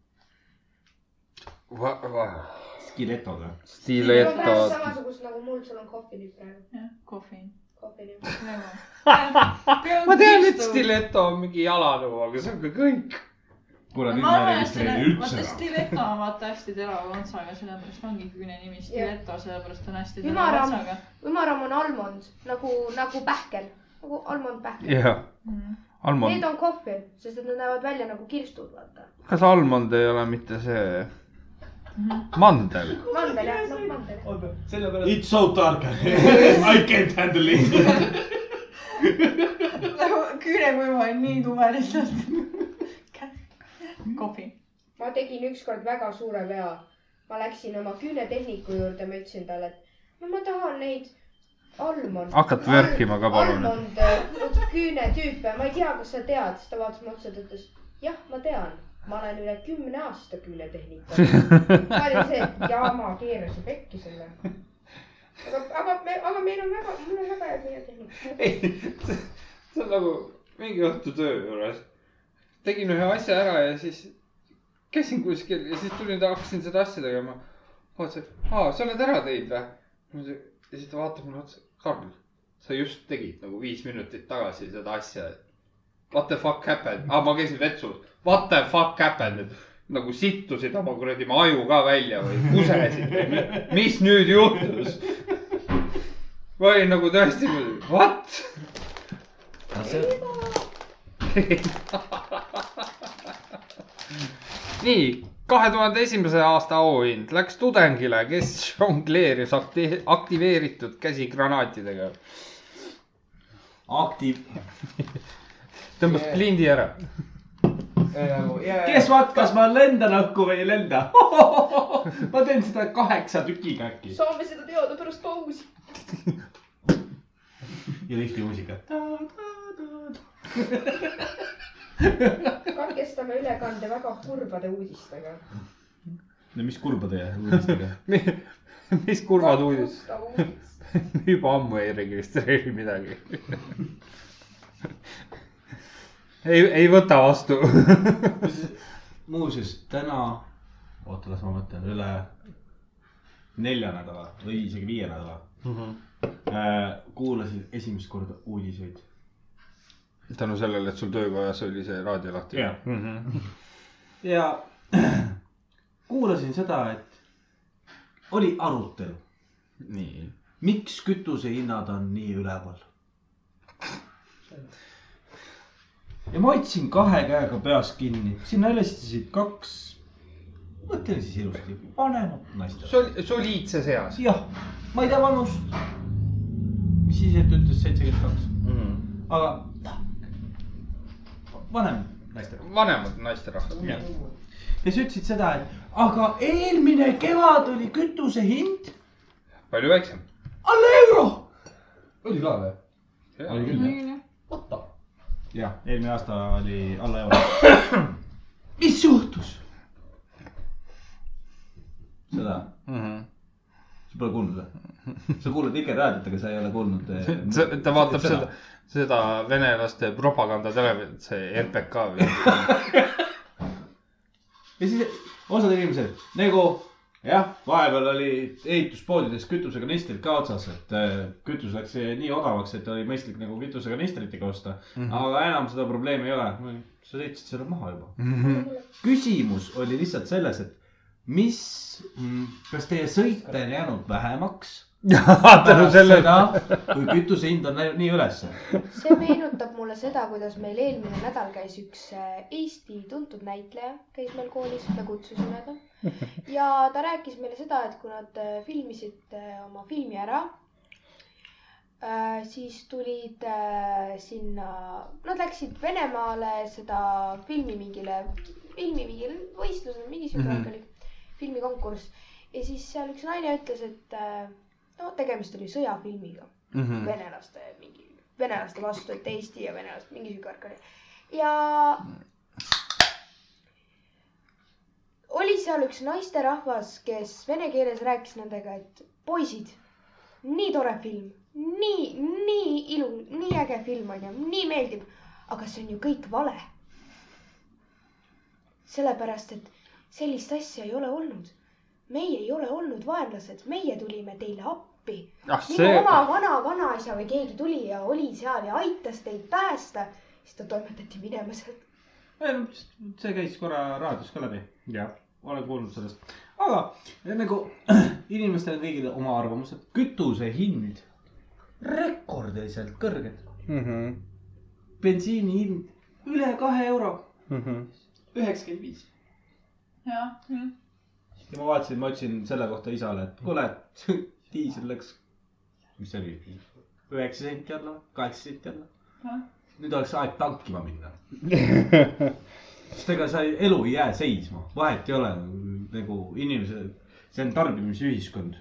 Speaker 3: Stiletod või ?
Speaker 2: stiletod .
Speaker 5: samasugused nagu mul , sul on kohvinid praegu .
Speaker 16: jah , kohviin .
Speaker 5: kohvinid .
Speaker 2: ma tean , et . stileto on mingi jalaluu , aga see on ka kõik .
Speaker 9: kuule , nüüd
Speaker 16: ma
Speaker 9: ma ei
Speaker 16: arvan , et
Speaker 9: registreeri üldse
Speaker 16: selle , vaata
Speaker 9: ära .
Speaker 16: stiletto on vaata hästi terava otsaga , sellepärast ongi küüne nimi stiletto , sellepärast on hästi terava
Speaker 5: Ümaramm.
Speaker 16: otsaga .
Speaker 5: ümaram on almond nagu , nagu pähkel , nagu almondpähkel yeah. .
Speaker 2: jah ,
Speaker 5: Need
Speaker 2: almond .
Speaker 5: on kohvil , sest et nad näevad välja nagu kirstud , vaata .
Speaker 2: kas almond ei ole mitte see Mhm. mandel ?
Speaker 5: mandel jah , noh mandel jah .
Speaker 4: oota , sellepärast ,
Speaker 3: It's so dark . I can't handle it .
Speaker 16: küünekuiva on nii tume lihtsalt . kohvi .
Speaker 5: ma tegin ükskord väga suure vea . ma läksin oma küünetehniku juurde , ma ütlesin talle , et no ma tahan neid almond .
Speaker 2: Hakkad värkima ka, palun.
Speaker 5: almond äh, küünetüüpe , ma ei tea , kas sa tead , siis ta vaatas mu otsa , ta ütles jah , ma tean , ma olen üle kümne aasta küünetehnika . ma olin see , et jama , keerasin pekki selle . aga , aga , aga meil on väga , mul on väga hea küünetehnika .
Speaker 2: ei , see on nagu mingi õhtu töö juures . tegin ühe asja ära ja siis käisin kuskil ja siis tulin , hakkasin seda asja tegema . vaatasin , aa , sa oled ära teinud või ? ja siis ta vaatab mulle otsa , Karl , sa just tegid nagu viis minutit tagasi seda asja . What the fuck happened ah, , ma käisin vetsus , what the fuck happened , nagu sittusid oma kuradi oma aju ka välja või kusesid või mis nüüd juhtus ? ma olin nagu tõesti , what ? nii , kahe tuhande esimese aasta auhind läks tudengile , kes žongleeris akti- , aktiveeritud käsigranaatidega .
Speaker 3: Aktiiv .
Speaker 2: tõmbas plindi ära .
Speaker 3: kes vaat , kas ma lendan õhku või ei lenda ? ma teen seda kaheksa tükiga äkki .
Speaker 5: soovime seda teada pärast pausi .
Speaker 3: ja lihvimuusika .
Speaker 5: katkestame ülekande väga kurbade uudistega .
Speaker 3: no mis kurba teie uudistega ?
Speaker 2: mis kurvad uudised , juba ammu ei registreeri midagi . ei , ei võta vastu .
Speaker 3: muuseas täna , oota , las ma mõtlen , üle nelja nädala või isegi viie nädala
Speaker 2: Mhm.
Speaker 3: äh, kuulasin esimest korda uudiseid .
Speaker 2: tänu sellele , et sul töökojas oli see raadio lahti .
Speaker 3: Jah.
Speaker 2: Mhm.
Speaker 3: ja kuulasin seda , et oli arutelu ,
Speaker 2: nii .
Speaker 3: miks kütusehinnad on nii üleval . ja ma hoidsin kahe käega peas kinni , sinna helistasid kaks , mõtle siis ilusti , vanemat naist .
Speaker 2: Sol- , soliidses eas
Speaker 3: jah , ma ei tea vanust . mis siis , et ütles seitsekümmend kaks ,
Speaker 2: mm . -hmm
Speaker 3: aga noh, vanem naisterahvas .
Speaker 2: vanemad naisterahvad .
Speaker 3: ja siis ütlesid seda , et aga eelmine kevad oli kütuse hind
Speaker 2: palju väiksem .
Speaker 3: alla euro .
Speaker 8: oli ka või ?
Speaker 2: oli
Speaker 8: küll
Speaker 3: jah , eelmine aasta oli alla euro . mis juhtus ? seda ,
Speaker 2: mm . -hmm.
Speaker 3: sa pole kuulnud või ? sa kuulad Vikerraadiot , aga sa ei ole kuulnud . eh,
Speaker 2: see , ta vaatab seda , seda venelaste propagandatelevisiooni , see RPK või ?
Speaker 3: ja siis osad inimesed nagu jah , vahepeal oli ehituspoodides kütusekanistrid ka otsas , et äh, kütus läks eh, nii odavaks , et oli mõistlik nagu kütusekanistritega osta mm . -hmm. aga enam seda probleemi ei ole . sa sõitsid selle maha juba . küsimus oli lihtsalt selles , et mis , kas teie sõite on jäänud vähemaks ?
Speaker 2: tänu sellele .
Speaker 3: kui kütuse hind on läinud nii ülesse .
Speaker 14: see meenutab mulle seda , kuidas meil eelmine nädal käis üks äh, Eesti tuntud näitleja , käis meil koolis , me kutsusime ta . ja ta rääkis meile seda , et kui nad äh, filmisid äh, oma filmi ära , siis tulid äh, sinna , nad läksid Venemaale seda filmi mingile , filmi mingile võistlusele , mingi siuke
Speaker 2: Mhm.
Speaker 14: värk oli , filmikonkurss . ja siis seal üks naine ütles , et äh, no tegemist oli sõjafilmiga
Speaker 2: Mhm.
Speaker 14: venelaste mingi , venelaste vastu , et Eesti ja venelased , mingi siuke värk oli . ja oli seal üks naisterahvas , kes vene keeles rääkis nendega , et poisid , nii tore film , nii , nii ilu , nii äge film onju , nii meeldib , aga see on ju kõik vale . sellepärast , et sellist asja ei ole olnud . meie ei ole olnud vaenlased , meie tulime teile appi
Speaker 2: ah
Speaker 14: minu see...
Speaker 2: see ,
Speaker 14: oma vana-vanaisa või keegi tuli ja oli seal ja aitas teid päästa , siis ta toimetati minema sealt .
Speaker 3: see käis korra raadios ka läbi . jah . olen kuulnud sellest . aga nagu inimestel on kõigil oma arvamused , kütuse hind rekordiliselt kõrged ,
Speaker 1: Mm-hmm.
Speaker 3: bensiini hind üle kahe euro ,
Speaker 1: Mm-hmm.
Speaker 3: üheksakümmend viis .
Speaker 16: jah ,
Speaker 3: ja ma vaatasin , ma ütlesin selle kohta isale , et kuule , diisel läks , mis see oli , üheksa senti alla , kaheksa senti alla . nüüd oleks aeg tankima minna . sest ega sa ei- elu ei jää seisma , vahet ei ole nagu inimese , see on tarbimisühiskond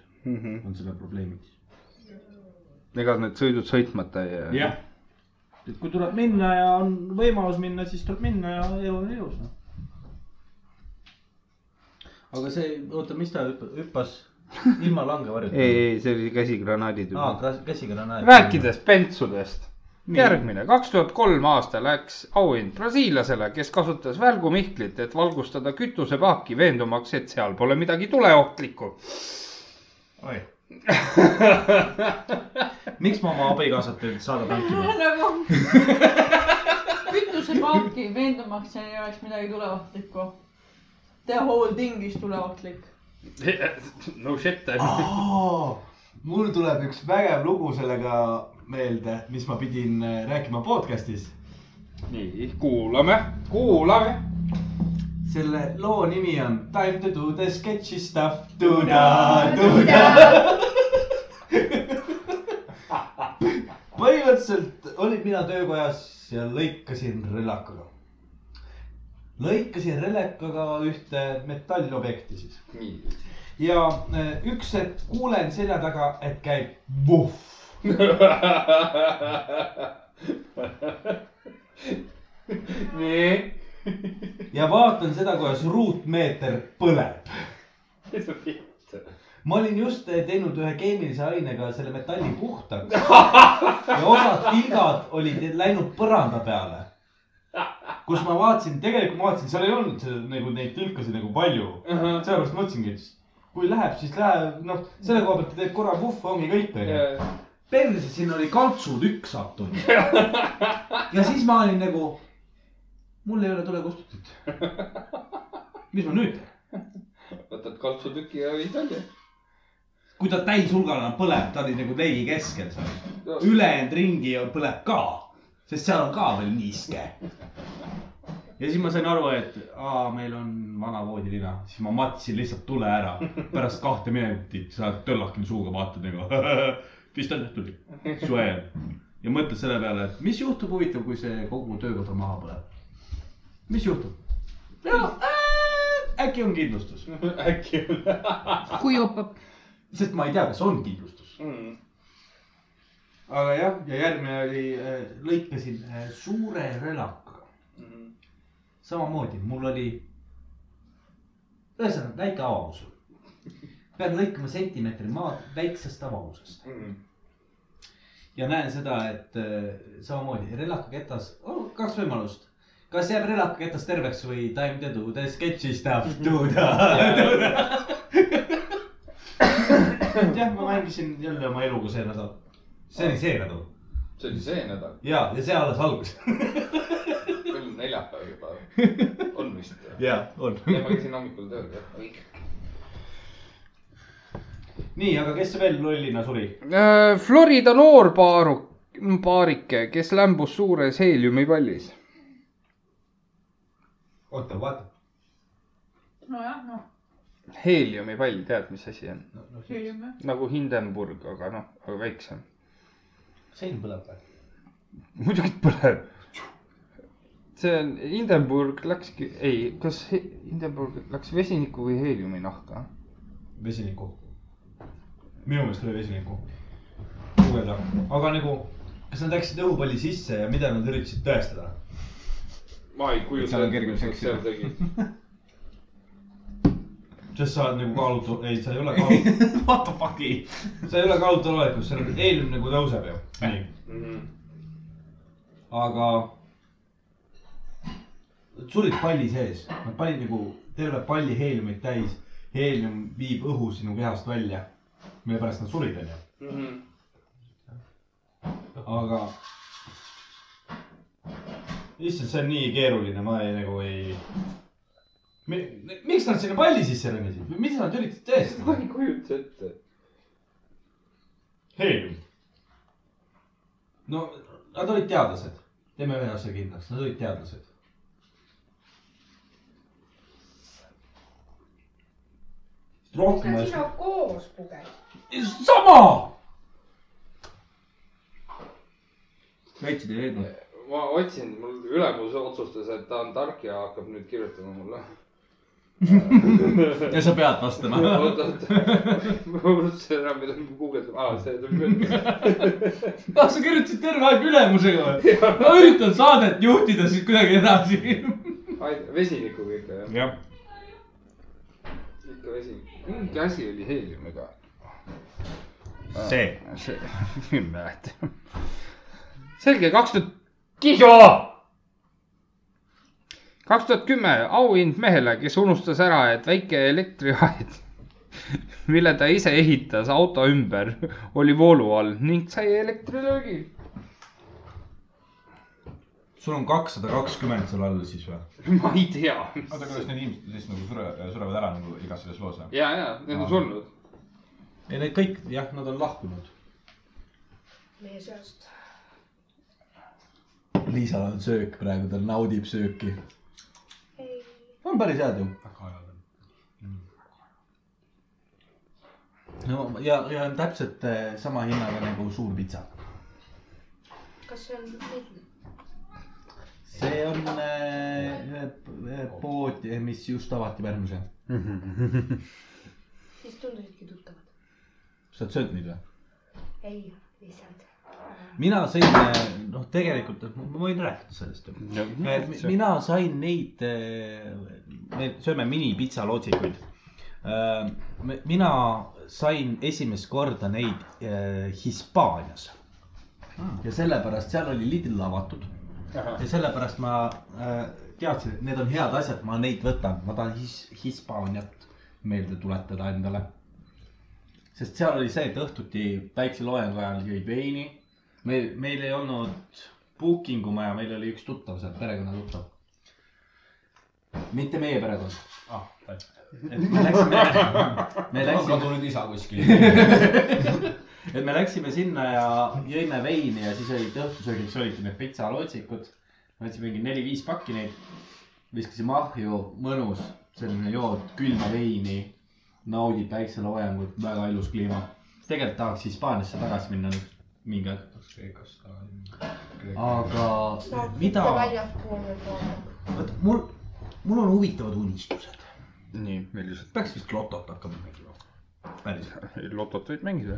Speaker 3: on selle probleemiks .
Speaker 2: ega need sõidud sõitmata ei jää .
Speaker 3: jah , et kui tuleb minna ja on võimalus minna , siis tuleb minna ja elu on ilus noh . aga see , oota , mis ta hüppa- hüppas ilma langevarjuta ?
Speaker 2: ei , ei , see oli käsigranaadid
Speaker 3: aa
Speaker 2: juba ,.
Speaker 3: käsiga on aeg .
Speaker 2: rääkides pentsudest , järgmine , kaks tuhat kolm aasta läks auhind brasiillasele , kes kasutas välgumihklit , et valgustada kütusepaaki , veendumaks , et seal pole midagi tuleohtlikku .
Speaker 3: oi miks ma oma abikaasat ei saada tankima ?
Speaker 16: nagu kütusepaaki veendumaks , et ei oleks midagi tuleohtlikku . The whole thing is tuleohtlik .
Speaker 2: no shit .
Speaker 8: mul tuleb üks vägev lugu sellega meelde , mis ma pidin äh, rääkima podcast'is .
Speaker 2: nii , kuulame , kuulame .
Speaker 8: selle loo nimi on Time to do the sketchy stuff . põhimõtteliselt olin mina töökojas ja lõikasin relakaga . lõikasin relakaga ühte metallobjekti siis . ja äh, üks hetk kuulen selja taga , et käib vuhh .
Speaker 2: nii .
Speaker 8: ja vaatan seda , kuidas ruutmeeter põleb . ma olin just eh, teinud ühe keemilise ainega selle metalli puhtaks ja osad tilgad olid läinud põranda peale , kus ma vaatasin , tegelikult ma vaatasin , seal ei olnud seal nagu neid tilkasid nagu palju uh -huh. . sellepärast ma mõtlesingi , et kui läheb , siis läheb , noh , selle koha pealt teed korra puhv , ongi kõik , onju .
Speaker 3: perse , sinna oli kaltsutükk sattunud . ja siis ma olin nagu , mul ei ole tulekustutit . mis ma nüüd teen ?
Speaker 2: võtad kaltsutüki ja viid välja .
Speaker 3: kui ta täishulgana põleb , ta oli nagu leigi keskel seal . ülejäänud ringi põleb ka , sest seal on ka veel niiske . ja siis ma sain aru , et aa , meil on vana voodilina , siis ma matsin lihtsalt tule ära . pärast kahte minutit sa töllakin suuga vaatad nagu vist on tehtud , soe . ja mõtled selle peale , et mis juhtub huvitav , kui see kogu töökoda maha põleb . mis juhtub ? äkki on kindlustus ?
Speaker 2: äkki on .
Speaker 16: kui jopab .
Speaker 3: sest ma ei tea , kas on kindlustus .
Speaker 2: Mm-hmm.
Speaker 8: aga jah , ja järgmine oli , lõikasin äh, suure relakaga .
Speaker 3: samamoodi , mul oli , ühesõnaga väike avavus . pean lõikama sentimeetri maad väiksest avavusest . ja näen seda , et äh, samamoodi relakaketas , kaks võimalust . kas jääb relakaketas terveks või time to do the sketchy stuff to the .
Speaker 8: jah , ma mängisin jälle oma eluga see nädal .
Speaker 3: see oli see nädal .
Speaker 20: see oli see nädal ,
Speaker 3: ja , ja see alles algus .
Speaker 20: meil on neljapäev juba . on vist ?
Speaker 3: ja , on .
Speaker 20: ja ma käisin hommikul tööl , jah .
Speaker 4: nii , aga kes veel lollina suri ?
Speaker 2: Äh, Florida noorpaaru , paarike , kes lämbus suures heeliumipallis .
Speaker 4: oota , vaata .
Speaker 16: nojah , noh ,
Speaker 2: heeliumipall , tead , mis asi on ?
Speaker 16: hiljem jah .
Speaker 2: nagu Hindenburg , aga noh , aga väiksem .
Speaker 4: sein põleb või ?
Speaker 2: muidugi põleb . see on , Hindenburg läkski , ei , kas he- Hindenburg läks vesiniku või heeliumi nahka ?
Speaker 4: vesiniku . minu meelest oli vesiniku . guugelda , aga nagu , kas nad läksid õhupalli sisse ja mida nad üritasid tõestada ?
Speaker 1: ma ei kujuta .
Speaker 3: seal on kergem seksida.
Speaker 1: seal tegid .
Speaker 4: sest sa oled nagu kaalutu , ei , sa ei ole kaalutu ,
Speaker 3: What the fuck'i ?
Speaker 4: sa ei ole kaalutu olekus , seal on eelmine nagu tõuseb ju . nii , aga . Nad surid palli sees , nad panid nagu terve palli heeliumit täis . heelium viib õhu sinu kehast välja , mille pärast nad surid , onju . aga . issand , see on nii keeruline , ma ei nagu ei . miks nad sinna palli sisse ronisid või mida nad üritasid
Speaker 1: ma
Speaker 4: tõestada ?
Speaker 1: ei kujuta ette .
Speaker 4: heelium . no nad olid teadlased , teeme ühe asja kindlaks , nad olid teadlased . rohkem ma ei
Speaker 5: sina koos puged .
Speaker 4: oska . sama .
Speaker 3: väikseid ei leidnud .
Speaker 1: ma otsin , mul ülemus otsustas , et ta on tark ja hakkab nüüd kirjutama mulle .
Speaker 3: ja sa pead vastama .
Speaker 1: oot , oot , ma unustasin ära , mida ma guugeldan , aa , see tuli küll .
Speaker 3: ah , sa kirjutasid terve aeg ülemusega või ? ma üritan saadet juhtida siis kuidagi edasi .
Speaker 1: vesinikuga ikka jah ,
Speaker 4: jah ,
Speaker 1: ikka vesinik . mingi asi oli heeliumiga .
Speaker 4: see .
Speaker 2: see , ei mäleta . selge , kaks tuhat , Kiso . kaks tuhat kümme auhind mehele , kes unustas ära , et väike elektriaed , mille ta ise ehitas auto ümber , oli voolu all ning sai elektrilöögi .
Speaker 3: sul on kakssada kakskümmend seal all siis või ?
Speaker 1: ma ei tea .
Speaker 3: oota , kas need inimesed siis nagu sure , surevad ära nagu igas selles loos või ?
Speaker 1: ja , ja , need
Speaker 2: Ah.
Speaker 1: on surnud .
Speaker 3: ei , need kõik , jah , nad on lahkunud .
Speaker 5: meie seast .
Speaker 3: Liisal on söök praegu , ta naudib sööki .
Speaker 5: ei ,
Speaker 3: on päris head ju . no ja , ja on täpselt eh, sama hinnaga nagu suur pitsa .
Speaker 5: kas see on lihtne ?
Speaker 3: see on äh, eh, pood , mis just avati Pärnus jah .
Speaker 5: siis tundusidki tuttavad .
Speaker 3: sa oled söönud neid või ?
Speaker 5: ei , lihtsalt .
Speaker 3: mina sain , noh , tegelikult ma ma võin rääkida sellest ju . mina sain neid , me sööme minipitsalotsikuid . mina sain esimest korda neid eh, Hispaanias ja sellepärast seal oli Lidl avatud . ja sellepärast ma eh, teadsin , et need on head asjad , ma neid võtan , ma tahan his, Hispaaniat meelde tuletada endale . sest seal oli see , et õhtuti väikse loengu ajal jõid veini meil , meil ei olnud booking umaja , meil oli üks tuttav seal , perekonnatuttav . mitte meie perekond .
Speaker 4: ah ,
Speaker 3: et me läksime , me läksime ,
Speaker 4: kadunud isa kuskil .
Speaker 3: et me läksime sinna ja jõime veini ja siis olid õhtusöögiks olidki need pitsalotsikud . võtsime mingi neli-viis pakki neid , viskasime ahju , mõnus selline jood külma veini , naudid päikseloojangut , väga ilus kliima . tegelikult tahaks Hispaaniasse tagasi minna nüüd mingi aeg , aga mida ,
Speaker 5: väljaspool veel poole .
Speaker 3: vot mul , mul on huvitavad unistused .
Speaker 2: nii , millised ?
Speaker 3: peaks vist lotot hakkama mängima . päriselt .
Speaker 2: lotot võid mängida .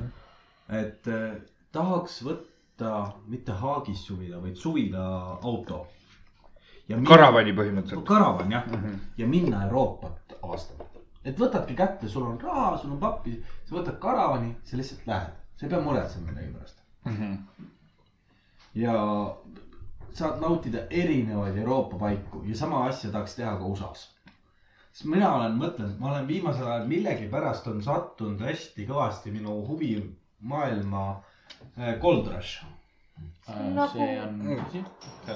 Speaker 3: et eh, tahaks võtta mitte Haagis suvila , vaid suvila auto .
Speaker 2: karavani põhimõtteliselt .
Speaker 3: karavan jah mm , -hmm. ja minna Euroopat avastama . et võtadki kätte , sul on raha , sul on pappi , sa võtad karavani , sa lihtsalt lähed , sa ei pea muretsema millegi pärast . Mhm. ja saad nautida erinevaid Euroopa paiku ja sama asja tahaks teha ka USA-s . sest mina olen mõtelnud , ma olen viimasel ajal millegipärast on sattunud hästi kõvasti minu huvi maailma äh, Gold Rush . Ah, see on Mm.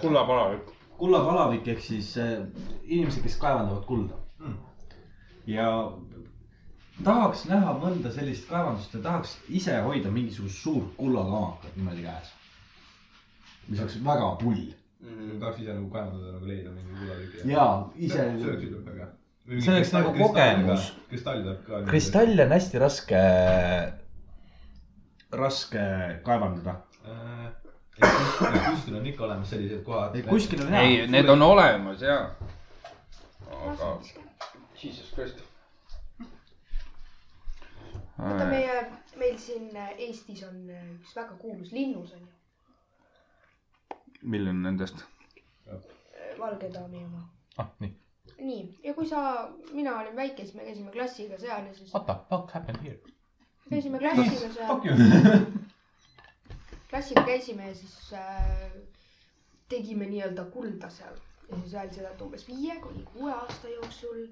Speaker 1: kullapalavik .
Speaker 3: kullapalavik ehk siis äh, inimesed , kes kaevandavad kulda mm. . ja tahaks näha mõnda sellist kaevandust ja tahaks ise hoida mingisugust suurt kullakamakat niimoodi käes . mis oleks väga pull .
Speaker 8: mm. . tahaks ise nagu kaevandada , nagu leida mingi kullatüki .
Speaker 3: Jaa, ise-
Speaker 8: sööksid on väga .
Speaker 3: See oleks nagu kogemus.
Speaker 8: kristall tuleb ka .
Speaker 3: kristalle on hästi raske , raske kaevandada .
Speaker 8: kuskil on ikka olemas sellised kohad .
Speaker 3: kuskil on
Speaker 2: ei , need on olemas ja . aga .
Speaker 1: Jesus Christ .
Speaker 5: vaata meie , meil siin äh, Eestis on äh, üks väga kuulus linnus on ju ,
Speaker 2: milline nendest ?
Speaker 5: äh, Valge daami oma .
Speaker 2: ah , nii .
Speaker 5: nii , ja kui sa , mina olin väike , siis me käisime klassiga seal ja siis
Speaker 2: What the fuck happened here ?
Speaker 5: käisime klassiga seal , klassiga käisime ja siis äh, tegime nii-öelda kulda seal ja siis öeldi seda , et umbes viie kuni kuue aasta jooksul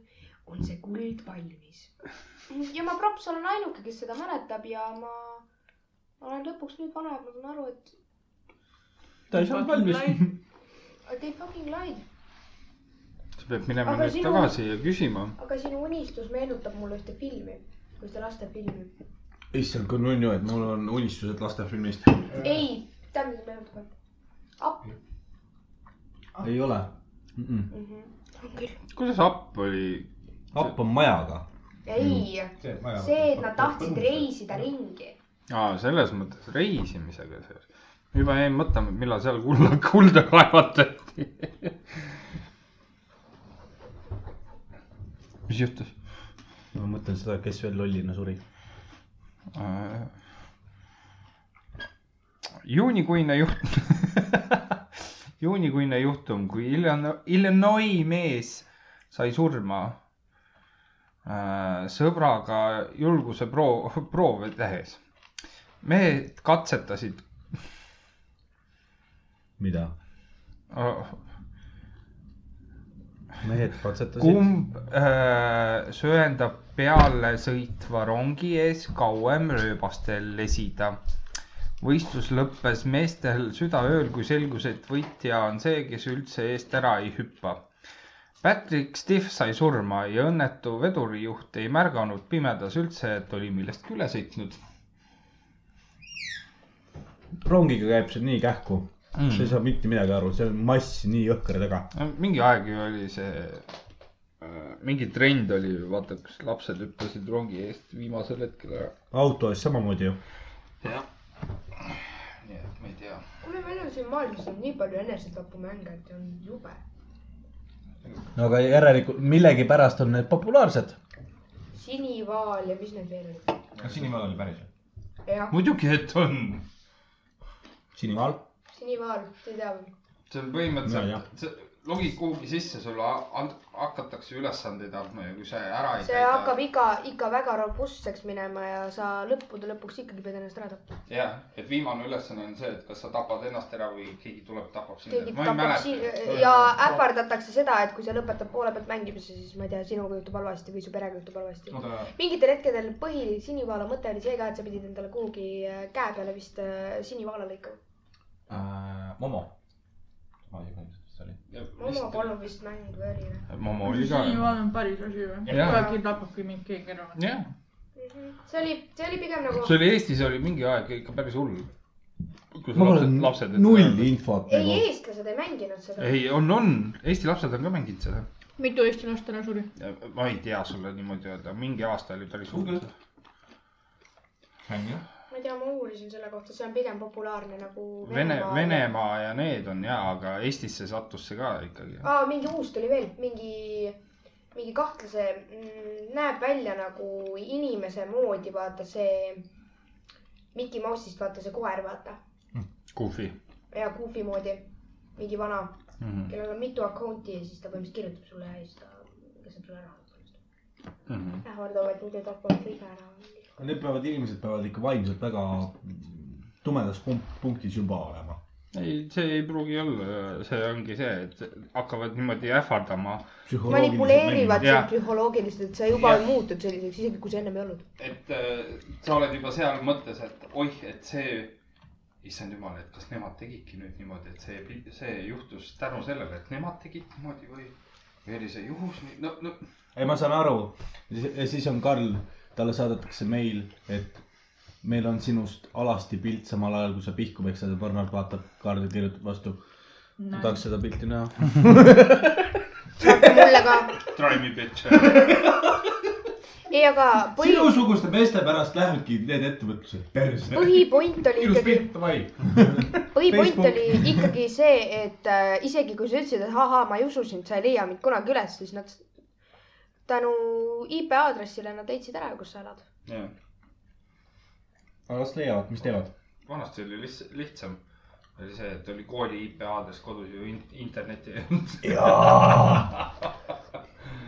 Speaker 5: on see kuld valmis . ja ma props olen ainuke , kes seda mäletab ja ma olen lõpuks nüüd vana , et ma saan aru , et
Speaker 3: ta ei saanud valmis .
Speaker 5: I they fucking lied .
Speaker 2: sa pead minema
Speaker 5: Aga
Speaker 2: aga nüüd
Speaker 5: sinu-
Speaker 2: sinu... tagasi ja küsima .
Speaker 5: aga sinu unistus meenutab mulle ühte filmi , ühte lastefilmi .
Speaker 3: issand , kui nunnu , et mul on unistused lastefilmist .
Speaker 5: ei , tead , mis meenutab ? app
Speaker 3: ei ole .
Speaker 5: mm . -hmm. on küll .
Speaker 2: kuidas app oli ?
Speaker 3: happ on majaga .
Speaker 5: ei , Mm. see , et nad tahtsid reisida ringi .
Speaker 2: aa , selles mõttes reisimisega seoses . juba jäin mõtlema , et millal seal kulla , kulda kaevatati . mis juhtus ?
Speaker 3: ma mõtlen seda , kes veel lollina suri .
Speaker 2: Äh, juunikuine juht , juunikuine juhtum , kui Illinois , Illinois mees sai surma äh, sõbraga julguse proo- , proove tehes . mehed katsetasid
Speaker 3: mida ?
Speaker 2: äh,
Speaker 3: mehed katsetasid .
Speaker 2: kumb äh, söandab peale sõitva rongi ees kauem rööbastel lesida . võistlus lõppes meestel südaööl , kui selgus , et võitja on see , kes üldse eest ära ei hüppa . Patrick Stiff sai surma ja õnnetu vedurijuht ei märganud pimedas üldse , et oli millestki üle sõitnud .
Speaker 3: rongiga käib see nii kähku mm. . sa ei saa mitte midagi aru , see on mass nii jõhker taga .
Speaker 2: mingi aeg ju oli see ,
Speaker 1: äh,
Speaker 2: mingi trend oli , vaata , kus lapsed hüppasid rongi eest viimasel hetkel ära .
Speaker 3: auto ees samamoodi ju .
Speaker 2: jah . nii et ma ei tea .
Speaker 5: kuule , meil on siin maailmas on nii palju enesetapumänge , et on jube .
Speaker 3: no aga järelikult millegipärast on need populaarsed .
Speaker 5: sinivaal ja mis need veel olid ?
Speaker 8: kas sinimaal oli päris ?
Speaker 5: jah ,
Speaker 2: muidugi , et on .
Speaker 3: sinimaal .
Speaker 5: sinivaal , te ei tea või ?
Speaker 1: see on
Speaker 3: Nojah.
Speaker 1: põhimõtteliselt , see logid kuhugi sisse , sulle a- and- hakatakse ülesandeid andma ja kui sa ära ei
Speaker 5: see hakkab ikka , ikka väga robustseks minema ja sa lõppude lõpuks ikkagi pead ennast ära tapma .
Speaker 1: jah , et viimane ülesanne on see , et kas sa tapad ennast ära või keegi tuleb , tapab sind
Speaker 5: keegi .
Speaker 1: ma ei
Speaker 5: tapab
Speaker 1: mäleta .
Speaker 5: siin ja ähvardatakse seda , et kui sa lõpetad poole pealt mängimise , siis ma ei tea , sinuga juhtub halvasti või su perega juhtub halvasti .
Speaker 8: oota ,
Speaker 5: mingitel hetkedel põhi sinivaala mõte oli see ka , et sa pidid endale kuhugi äh, käe peale vist äh, sinivaala lõikama .
Speaker 4: Momo .
Speaker 5: Momo polnud vist mäng või oli
Speaker 2: Momo oli ka .
Speaker 16: sinivalv on päris asi või ?
Speaker 2: Jah.
Speaker 16: äkki tapabki mind keegi ära ?
Speaker 2: jah ,
Speaker 1: Mhm.
Speaker 5: või ? see oli , see oli pigem nagu
Speaker 2: see oli Eestis oli mingi aeg ikka päris hull . kus
Speaker 3: mul
Speaker 2: lapsed ,
Speaker 3: on
Speaker 2: lapsed .
Speaker 3: null . infot
Speaker 5: ei ,
Speaker 3: nagu .
Speaker 5: eestlased ei mänginud seda .
Speaker 2: ei , on , on , Eesti lapsed on ka mänginud seda .
Speaker 16: mitu Eesti last ära suri ?
Speaker 2: ma ei tea sulle niimoodi öelda , mingi aasta oli päris hull .
Speaker 5: ma ei tea , ma uurisin selle kohta , see on pigem populaarne nagu
Speaker 2: Vene , Venemaa ja need on ja , aga Eestisse sattus see ka ikkagi .
Speaker 5: aa , mingi uus tuli veel , mingi , mingi kahtlase , näeb välja nagu inimese moodi , vaata see Mickey Mouse'ist , vaata see koer , vaata .
Speaker 2: Goofy
Speaker 5: ja Goofy moodi , mingi vana ,
Speaker 2: mm . -hmm.
Speaker 5: kellel on mitu account'i ja siis ta põhimõtteliselt kirjutab sulle ja siis ta laseb sulle ära .
Speaker 2: Mm -hmm.
Speaker 5: ähvardavad , et muidu tapavad sa ise ära .
Speaker 3: Need peavad , inimesed peavad ikka vaimselt väga tumedas punk- punktis juba olema .
Speaker 2: ei , see ei pruugi olla , see ongi see , et hakkavad niimoodi ähvardama .
Speaker 5: manipuleerivad
Speaker 2: mängimine.
Speaker 5: sind
Speaker 2: Jaa.
Speaker 5: psühholoogiliselt , sa juba muutud selliseks , isegi kui sa ennem ei olnud .
Speaker 1: et äh, sa oled juba seal mõttes , et oih , et see , issand jumal , et kas nemad tegidki nüüd niimoodi , et see , see juhtus tänu sellele , et nemad tegid niimoodi või , või oli see juhus , no , no
Speaker 3: ei , ma saan aru . ja siis on Karl , talle saadetakse meil , et meil on sinust alasti pilt samal ajal , kui sa pihku peksad ja Bernard vaatab kaardi , kirjutab vastu .
Speaker 16: Näe.
Speaker 3: tahaks seda pilti näha .
Speaker 5: mulle ka .
Speaker 2: Try me bitch .
Speaker 5: ei , aga põhi ,
Speaker 3: sinusuguste meeste pärast lähevadki need ettevõtlused perse .
Speaker 5: põhipoint oli
Speaker 3: ilus
Speaker 5: ikkagi
Speaker 3: pilt , davai .
Speaker 5: põhipoint
Speaker 3: Facebook.
Speaker 5: oli ikkagi see , et äh, isegi kui sa ütlesid , et ahaa , ma ei usu sind , sa ei leia mind kunagi üles , siis nad tänu IP aadressile nad leidsid ära , kus sa elad .
Speaker 2: jah ,
Speaker 3: aga las leiavad , mis teevad .
Speaker 2: vanasti oli lihts- , lihtsam . oli see , et oli kooli IP aadress kodus ju in- internetti ei olnud .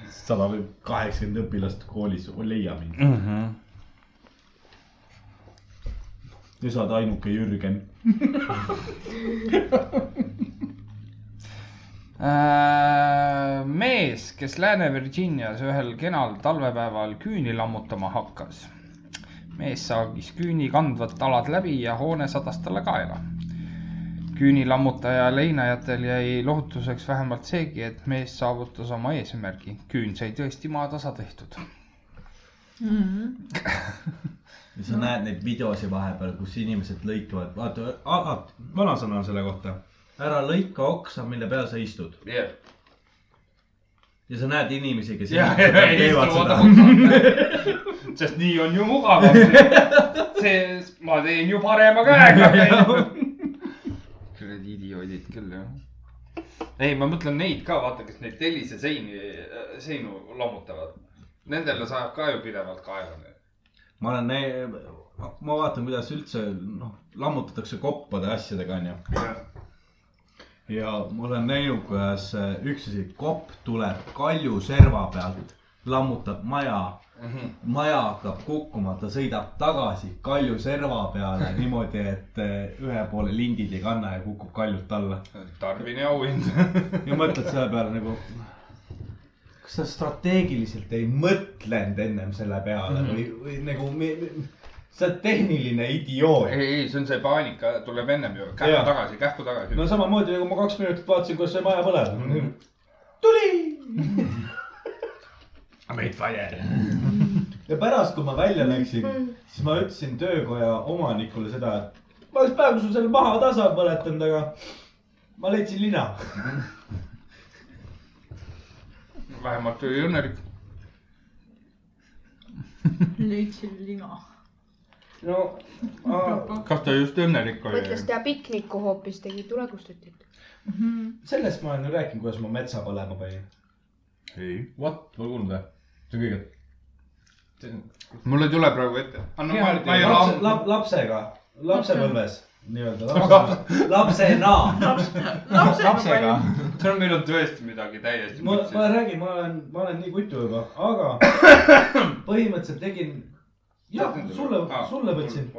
Speaker 3: sada või kaheksakümmend õpilast koolis , leia mind .
Speaker 21: mm . -hmm.
Speaker 3: ja sa oled ainuke Jürgen .
Speaker 21: Äh, mees , kes Lääne-Virginias ühel kenal talvepäeval küüni lammutama hakkas . mees saagis küüni kandvat alad läbi ja hoone sadas talle kaela . küüni lammutaja leinajatel jäi lohutuseks vähemalt seegi , et mees saavutas oma eesmärgi . küün sai tõesti maatasa tehtud .
Speaker 16: Mm-hmm.
Speaker 3: ja sa näed neid videosi vahepeal , kus inimesed lõikavad , vaata , alati , vanasõna on selle kohta . ära lõika oksa , mille peal sa istud .
Speaker 2: jah ,
Speaker 3: ja sa näed inimesi , kes
Speaker 2: jah ,
Speaker 3: teevad seda .
Speaker 2: sest nii on ju mugavam . see , ma teen ju parema käega . kuradi idioodid küll jah . ei , ma mõtlen neid ka , vaata , kes neid tellise seini , seinu lammutavad . Nendele sajab ka ju pidevalt kaela .
Speaker 3: ma olen näinud , ma vaatan , kuidas üldse noh , lammutatakse koppade asjadega onju . ja ma olen näinud , kuidas äh, üks asi , kopp tuleb kaljuserva pealt , lammutab maja mm .
Speaker 2: Mhm.
Speaker 3: -hmm. maja hakkab kukkuma , ta sõidab tagasi kaljuserva peale niimoodi , et äh, ühe poole lindid ei kanna ja kukub kaljult alla .
Speaker 2: Tarvini auhind .
Speaker 3: ja mõtled selle peale nagu , kas sa strateegiliselt ei mõtlenud ennem selle peale või , või nagu , sa oled tehniline idioot .
Speaker 2: ei , ei , see on see paanika , tuleb ennem ju . kähku
Speaker 3: Jaa.
Speaker 2: tagasi , kähku tagasi .
Speaker 3: no samamoodi nagu ma kaks minutit vaatasin , kuidas see maja põleb . tuli . Made fire . ja pärast , kui ma välja läksin , siis ma ütlesin töökoja omanikule seda , et ma oleks praegu sul selle maha tasa põletanud , aga ma leidsin lina .
Speaker 2: vähemalt oli õnnelik .
Speaker 16: leidsin lina .
Speaker 2: no kas ta just õnnelik
Speaker 5: mõtles teha pikniku hoopis , tegi tulekustutit .
Speaker 3: sellest ma olen ju rääkinud , kuidas ma metsa põlema panin . ei . What , pole kuulnud või ? see on kõige .
Speaker 2: mul ei tule praegu ette .
Speaker 3: lapse ,
Speaker 2: ma
Speaker 3: lap, lapsega , lapsepõlves nii-öelda lapse , lapsena . lapsega .
Speaker 2: see on meil on tõesti midagi täiesti .
Speaker 3: ma , ma räägin , ma olen , ma olen nii kutu juba , aga põhimõtteliselt tegin , jah , sulle , sulle võtsin .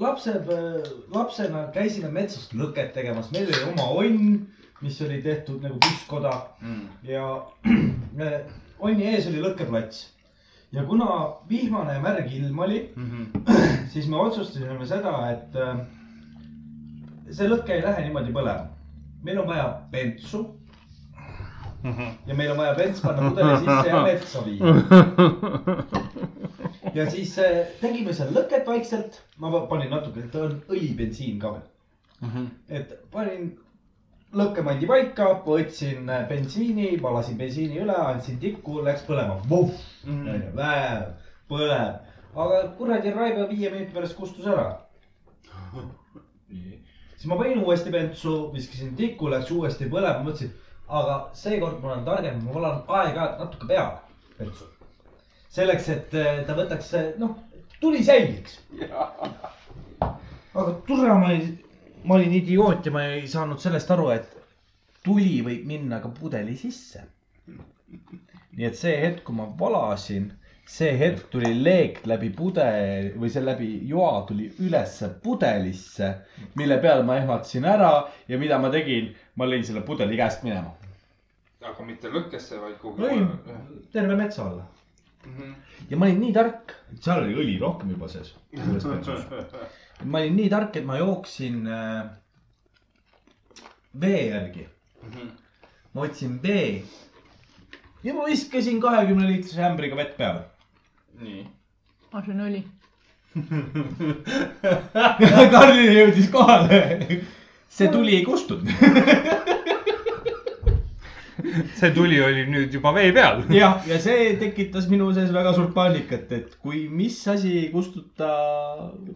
Speaker 3: lapsed , lapsena käisime metsas lõket tegemas , meil oli oma onn , mis oli tehtud nagu püsskoda mm. ja me- onni ees oli lõkkeplats . ja kuna vihmane ja märg ilm oli mm , -hmm. siis me otsustasime seda , et äh, see lõke ei lähe niimoodi põlema . meil on vaja bentsu mm . -hmm. ja meil on vaja bents panna pudeli sisse ja metsa viia . ja siis äh, tegime seal lõket vaikselt , ma va- panin natuke , ta on õlibensiin ka veel mm . -hmm. et panin lõkkemandi paika , võtsin äh, bensiini , valasin bensiini üle , andsin tikku , läks põlema , vuh ,
Speaker 8: Mhm.
Speaker 3: väev , põleb , aga kuradi raive viie minuti pärast kustus ära . siis ma panin uuesti bentsu , viskasin tikku , läks uuesti põlema , mõtlesin , aga seekord ma olen targem , ma valan aeg-ajalt natuke peale bentsu . selleks , et äh, ta võtaks , noh , tuli säiliks . aga tore , ma ei , ma olin idioot ja ma ei saanud sellest aru , et tuli võib minna ka pudeli sisse . nii et see hetk , kui ma valasin , see hetk tuli leek läbi pudeli või see läbi joa tuli ülesse pudelisse , mille peale ma ehmatasin ära ja mida ma tegin , ma lõin selle pudeli käest minema .
Speaker 2: aga mitte lõkkesse , vaid kuhugi
Speaker 3: lõin terve metsa alla ja ma olin nii tark , seal oli õli rohkem juba sees , selles bentsus . ma olin nii tark , et ma jooksin äh, vee järgi . ma võtsin vee ja ma viskasin kahekümne liitrise ämbriga vett peale .
Speaker 22: nii .
Speaker 16: aa , see on õli .
Speaker 3: Karlin jõudis kohale . see tuli ei kustunud .
Speaker 2: see tuli oli nüüd juba vee peal .
Speaker 3: jah , ja see tekitas minu sees väga suurt paanikat , et kui mis asi ei kustuta ,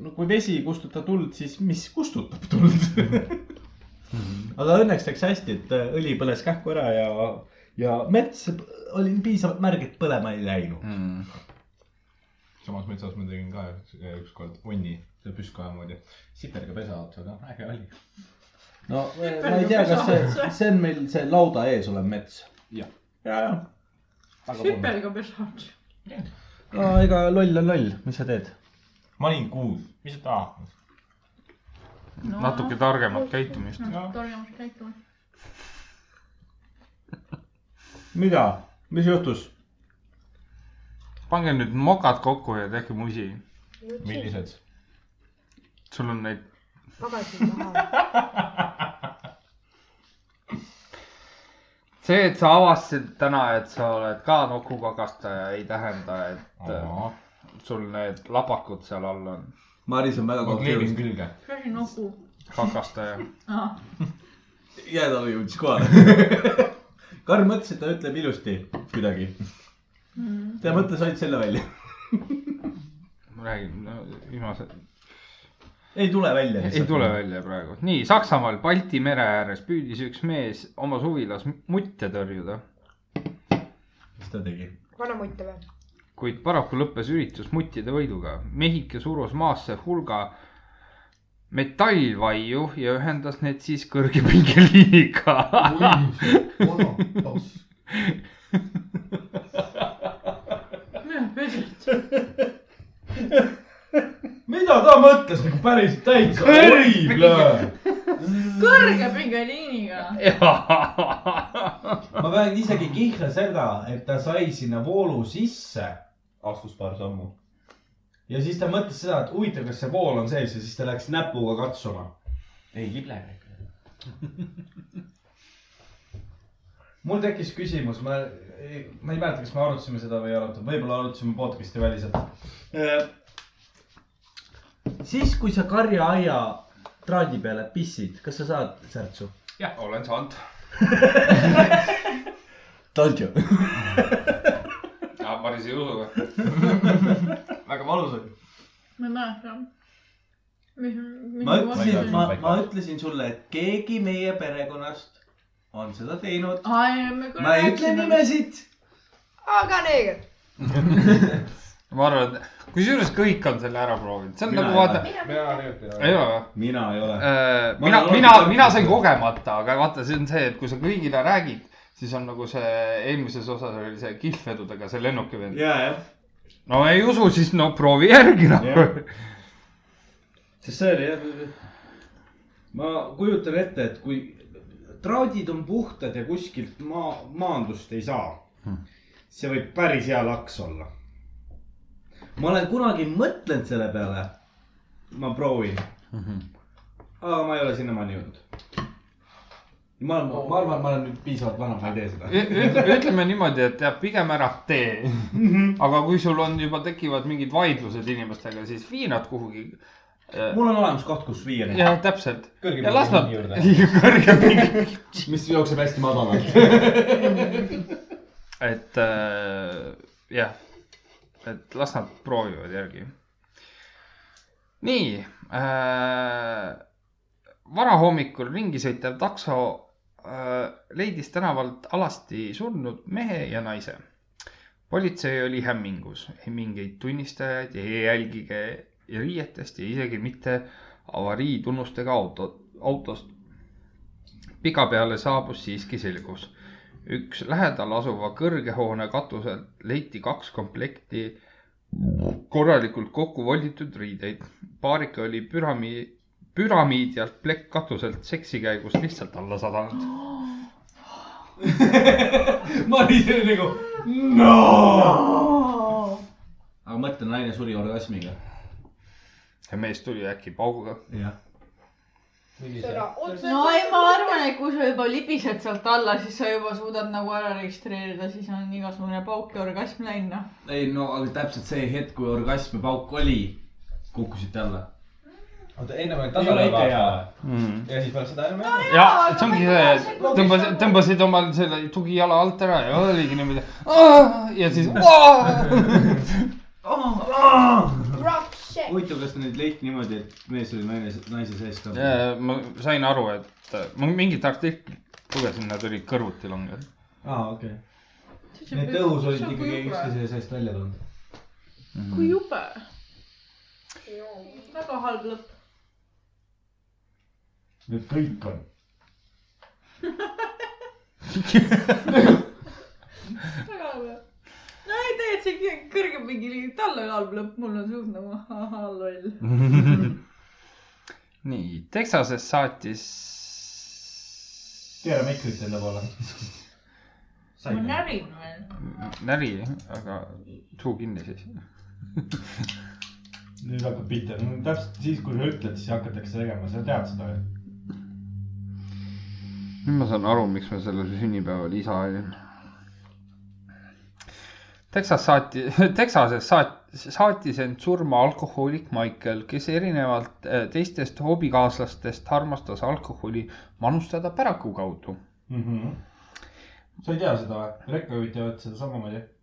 Speaker 3: no kui vesi ei kustuta tuld , siis mis kustutab tuld ?
Speaker 23: Mhm.
Speaker 3: aga õnneks läks hästi , et äh, õli põles kähku ära ja , ja mets oli piisavalt märg , et põlema ei läinud .
Speaker 23: Mhm. samas metsas ma tegin ka üks- ükskord onni , see püsskoja moodi , sipelga pesa otsaga , äge oli .
Speaker 3: no ma ei tea , kas see , see on meil see lauda ees olev mets .
Speaker 23: Jah.
Speaker 3: ja , ja .
Speaker 16: sipelga pesad .
Speaker 3: no ega loll on loll , mis sa teed ?
Speaker 23: ma olin kuus , mis sa tahad ?
Speaker 2: natuke targemat käitumist .
Speaker 16: targemaks käituma .
Speaker 3: mida , mis juhtus ?
Speaker 2: pange nüüd mokad kokku ja tehke musi .
Speaker 23: millised ?
Speaker 2: sul on neid ,
Speaker 5: magasin maha .
Speaker 22: see , et sa avastasid täna , et sa oled ka nokukagastaja , ei tähenda , et
Speaker 23: ma
Speaker 22: äh, sul need lapakud seal all on .
Speaker 3: Maris on väga
Speaker 23: kleebin
Speaker 3: konfliktis .
Speaker 23: külge .
Speaker 16: mis asi nagu- nupu ?
Speaker 22: kakastaja .
Speaker 3: jäätalu jõudis kohale . Karl mõtles , et ta ütleb ilusti kuidagi . ta mõtles ainult selle välja .
Speaker 22: ma räägin , no viimase ,
Speaker 3: ei tule välja
Speaker 22: ei tule . välja praegu . nii , Saksamaal Balti mere ääres püüdis üks mees oma suvilas mutte tõrjuda ,
Speaker 3: mis ta tegi ?
Speaker 5: vanamutt või ?
Speaker 22: kuid paraku lõppes üritus muttide võiduga . mehike surus maasse hulga metallvaiu ja ühendas need siis kõrgepingeliiniga .
Speaker 16: mida pesad ?
Speaker 4: mida ta mõtles nagu päris täitsa horrible .
Speaker 16: kõrgepingeliiniga .
Speaker 4: ma pean isegi kihla seda , et ta sai sinna voolu sisse , astus paar sammu . ja siis ta mõtles seda , et huvitav , kas see vool on sees ja siis ta läks näpuga katsuma . ei kible . mul tekkis küsimus , ma , ma ei mäleta , kas me arutasime seda või ei arutanud , võib-olla arutasime podcast'i väliselt .
Speaker 3: siis , kui sa karjaaia traadi peale pissid , kas sa saad särtsu ?
Speaker 24: jah , olen saanud .
Speaker 3: told you .
Speaker 24: Maris ei usu või ?
Speaker 4: väga valus oli .
Speaker 16: ma ei mäleta . mis , mis
Speaker 3: ma ütlesin , ma
Speaker 16: ma .,
Speaker 3: ma ütlesin sulle , et keegi meie perekonnast on seda teinud .
Speaker 16: aa , ei , me küll
Speaker 3: ma ei ütle
Speaker 2: nagu-
Speaker 16: rääkisime .
Speaker 3: nimesid .
Speaker 5: aga neeger .
Speaker 2: ma arvan , et kusjuures kõik on selle ära proovinud , see on
Speaker 3: Mina
Speaker 2: nagu
Speaker 3: ei
Speaker 2: vaata ,
Speaker 4: mina tegelikult ei
Speaker 2: ei ole või ?
Speaker 3: mina ei ole .
Speaker 2: Äh,
Speaker 3: Ma
Speaker 2: mina
Speaker 3: olen ,
Speaker 2: mina
Speaker 3: alati- ,
Speaker 2: mina sain kogemata , aga vaata , see on see , et kui sa kõigile räägid , siis on nagu see eelmises osas oli see kihlvedudega see lennuki vend .
Speaker 3: ja , jah .
Speaker 2: no ei usu , siis no proovi järgi
Speaker 3: Jah.
Speaker 2: nagu .
Speaker 4: sest see oli jah , ma kujutan ette , et kui traadid on puhtad ja kuskilt maa , maandust ei saa , see võib päris hea laks olla .
Speaker 3: ma olen kunagi mõtlenud selle peale .
Speaker 4: ma proovin , aga ma ei ole sinnamaani jõudnud . ma olen , ma arvan , ma olen nüüd piisavalt vana , ma ei tee seda .
Speaker 2: ütleme niimoodi , et jah , pigem ära tee .
Speaker 3: Mhm.
Speaker 2: aga kui sul on juba tekivad mingid vaidlused inimestega , siis vii nad kuhugi .
Speaker 4: mul on olemas koht , kus viia neid .
Speaker 2: jah , täpselt .
Speaker 23: kõrge
Speaker 2: ja las nad
Speaker 23: juurde .
Speaker 2: kõrgem pingi .
Speaker 4: mis jookseb hästi madalalt .
Speaker 2: et äh, jah , et las nad proovivad järgi . nii äh, , varahommikul ringi sõitev takso äh, leidis tänavalt alasti surnud mehe ja naise . politsei oli hämmingus , ei mingeid tunnistajaid , ei jälgige riietest ja isegi mitte avariitunnustega auto , autost . pikapeale saabus siiski selgus , üks lähedal asuva kõrge hoone katuselt leiti kaks komplekti korralikult kokku volditud riideid . paarika oli püramiid , püramiid ja plekk katuselt seksi käigus lihtsalt alla sadanud .
Speaker 4: Maris oli nagu ,
Speaker 3: aga mõtle , naine suri orgasmiga .
Speaker 2: ja mees tuli äkki pauguga .
Speaker 3: jah .
Speaker 5: sõna otseses
Speaker 16: no ei , ma arvan , et kui sa juba libised sealt alla , siis sa juba suudad nagu ära registreerida , siis on igasugune pauk ja orgasm läinud , noh .
Speaker 3: ei no aga täpselt see hetk , kui orgasm ja pauk oli , kukkusite alla .
Speaker 1: oota , ennem oli tasakaalu vaata . ja siis pärast seda enam ei ole .
Speaker 2: Mm. ja see ongi see , et tõmbas , tõmbasid omal selle tugijala alt ära ja oligi niimoodi . ja siis .
Speaker 5: rock shit .
Speaker 4: huvitav , kas ta nüüd leiti niimoodi , et mees oli naine , naise sees ka ?
Speaker 2: ma sain aru , et äh, ma mingit artiklit lugesin , nad olid kõrvuti langenud .
Speaker 1: aa , okei . Need tõhus olid ikkagi . üksteise seest välja tulnud .
Speaker 16: kui jube . väga halb lõpp .
Speaker 1: nüüd kõik on .
Speaker 16: väga halb lõpp . no ei tegelikult see kõige kõrgem mingi , tal oli halb lõpp , mul on suht nagu ahah , loll .
Speaker 2: nii , Texases saatis .
Speaker 1: keera mikrit selle poole .
Speaker 16: ma närin veel .
Speaker 2: näri , aga suu kinni siis .
Speaker 1: nüüd hakkab pihta , täpselt siis , kui sa ütled , siis hakatakse tegema , sa tead seda ju .
Speaker 2: nüüd ma saan aru , miks ma sellel sünnipäeval isa olin . Texas saati , Texases saat- , saatis end surma alkohoolik Michael , kes erinevalt eh, teistest hobikaaslastest armastas alkoholi manustada päraku kaudu .
Speaker 1: Mhm. sa ei tea seda või ? rekkajuhid teevad seda samamoodi . Osad-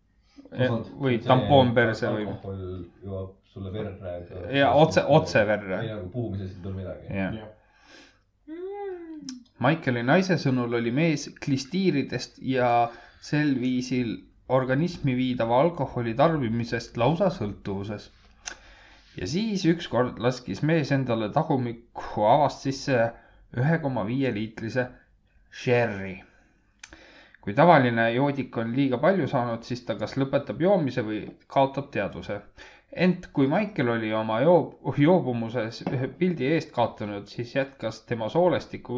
Speaker 2: Eh, või tampoon perse või .
Speaker 25: alkohol jõuab sulle verre .
Speaker 2: ja otse , otse verre .
Speaker 25: ei nagu puhumisest ei tule midagi .
Speaker 2: jah . Maikeli naise sõnul oli mees klistiiridest ja sel viisil organismi viidava alkoholi tarbimisest lausa sõltuvuses . ja siis ükskord laskis mees endale tagumikku avast sisse ühe koma viie liitrise sherry . kui tavaline joodik on liiga palju saanud , siis ta kas lõpetab joomise või kaotab teadvuse ent kui Maicel oli oma joob- , joobumuses ühe pildi eest kaotanud , siis jätkas tema soolestiku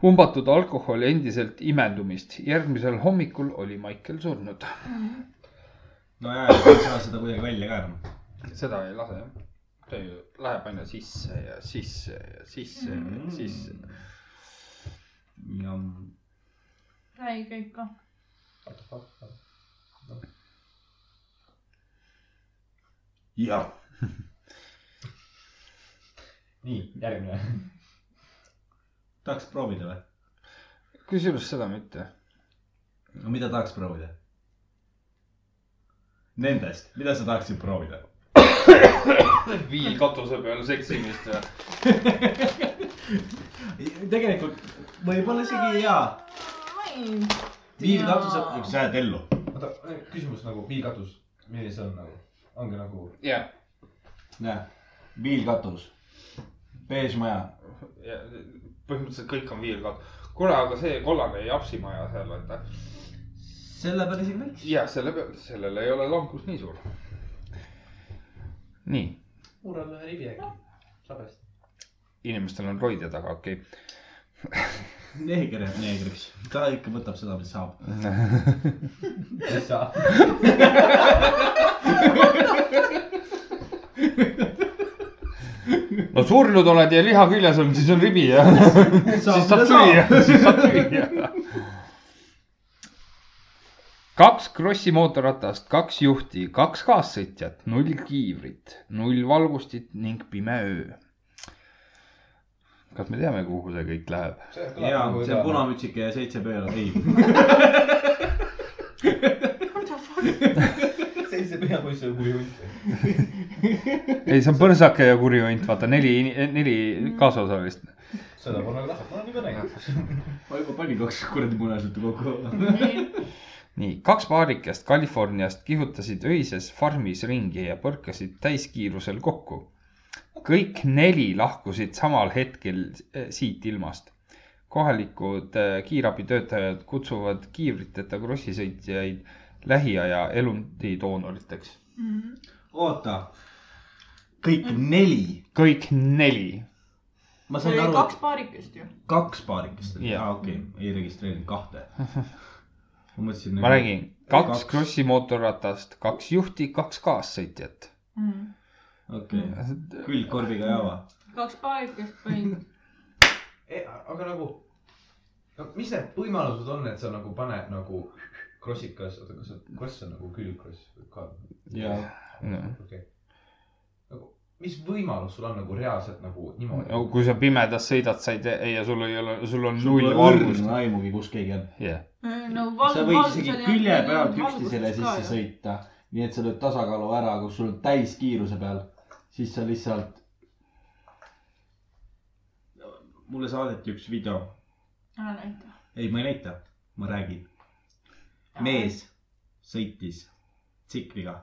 Speaker 2: pumbatud alkohol endiselt imendumist . järgmisel hommikul oli Maicel surnud .
Speaker 4: nojah , ei saa seda kuidagi välja ka enam .
Speaker 2: seda ei lase jah . ta ju läheb aina sisse ja sisse ja sisse
Speaker 26: Mm.
Speaker 2: ja sisse .
Speaker 4: ja
Speaker 16: räägi ikka .
Speaker 4: jah ,
Speaker 1: nii , järgmine .
Speaker 4: tahaks proovida või ?
Speaker 2: kusjuures seda mitte .
Speaker 4: no mida tahaks proovida ? Nendest , mida sa tahaksid proovida ?
Speaker 26: viil katuse peal seksimist ja .
Speaker 4: tegelikult võib-olla isegi jaa . viil katuse , sa jääd ellu .
Speaker 1: oota , küsimus nagu piirkatus , milline see on nagu , ongi nagu .
Speaker 2: jah ,
Speaker 4: näe , viilkatus , beež maja .
Speaker 26: põhimõtteliselt kõik on viilkatus . kuule , aga see kollane japsimaja seal , et .
Speaker 4: selle peale isegi võiks .
Speaker 26: jah , selle peale , sellel ei ole langus nii suur .
Speaker 2: nii ,
Speaker 1: murran ühe rivi äkki , sabest .
Speaker 2: inimestel on roide taga , okei okay. .
Speaker 4: neeger jääb neegriks , ta ikka võtab seda , mis saab .
Speaker 1: ei saa .
Speaker 2: no surnud oled ja liha küljes on , siis on ribi ja siis saab süüa , siis saab süüa . kaks Krossi mootorratast , kaks juhti , kaks kaassõitjat , null kiivrit , null valgustit ning pime öö . kas me teame , kuhu see kõik läheb ?
Speaker 4: ja
Speaker 27: nagu
Speaker 4: see punamütsike ja seitse pööra , ei .
Speaker 1: seitse peapoissi on kuri hunt .
Speaker 2: ei , see on põrsake ja kuri hunt , vaata neli , neli kaasosalist .
Speaker 1: seda pole nagu tahtnud , ma olen juba näinud .
Speaker 4: ma juba panin kaks kuradi munasetu kokku .
Speaker 2: nii , kaks paarikest Californiast kihutasid öises farmis ringi ja põrkasid täiskiirusel kokku . kõik neli lahkusid samal hetkel eh, siit ilmast . kohalikud eh, kiirabitöötajad kutsuvad kiivriteta krossisõitjaid lähiaja elundidoonoriteks .
Speaker 4: oota , kõik neli ,
Speaker 2: kõik neli .
Speaker 4: ma
Speaker 16: see
Speaker 4: sain
Speaker 16: oli
Speaker 4: aru ,
Speaker 16: kaks paarikest ju .
Speaker 4: kaks paarikest oli ,
Speaker 2: Jah.
Speaker 4: aa okei , ei registreerinud kahte . ma mõtlesin .
Speaker 2: ma räägin , kaks . krossimootorratast , kaks juhti , kaks kaassõitjat .
Speaker 16: Mm.
Speaker 4: okei , külgkorbiga java .
Speaker 16: kaks paarikest või
Speaker 27: aga nagu , mis need võimalused on , et sa nagu paned nagu krossikas , oota , kas see kross on nagu külgkross või ka ?
Speaker 2: Jah. Jah.
Speaker 27: okei . nagu , mis võimalus sul on nagu reaalselt nagu niimoodi ?
Speaker 2: no kui sa pimedas sõidad , sa ei tea ja sul ei ole , sul on
Speaker 3: Sul
Speaker 2: null
Speaker 3: pole
Speaker 2: valgust .
Speaker 3: õrna aimugi , kus keegi on .
Speaker 2: jah ,
Speaker 16: Mm, no
Speaker 3: sa võid isegi külje pealt üksteisele sisse . sõita , nii et sa lööd tasakaalu ära , kus sul täiskiiruse peal , siis sa lihtsalt . mulle saadeti üks video ,
Speaker 16: ära näita .
Speaker 3: ei , ma ei näita , ma räägin . mees sõitis tsikliga ,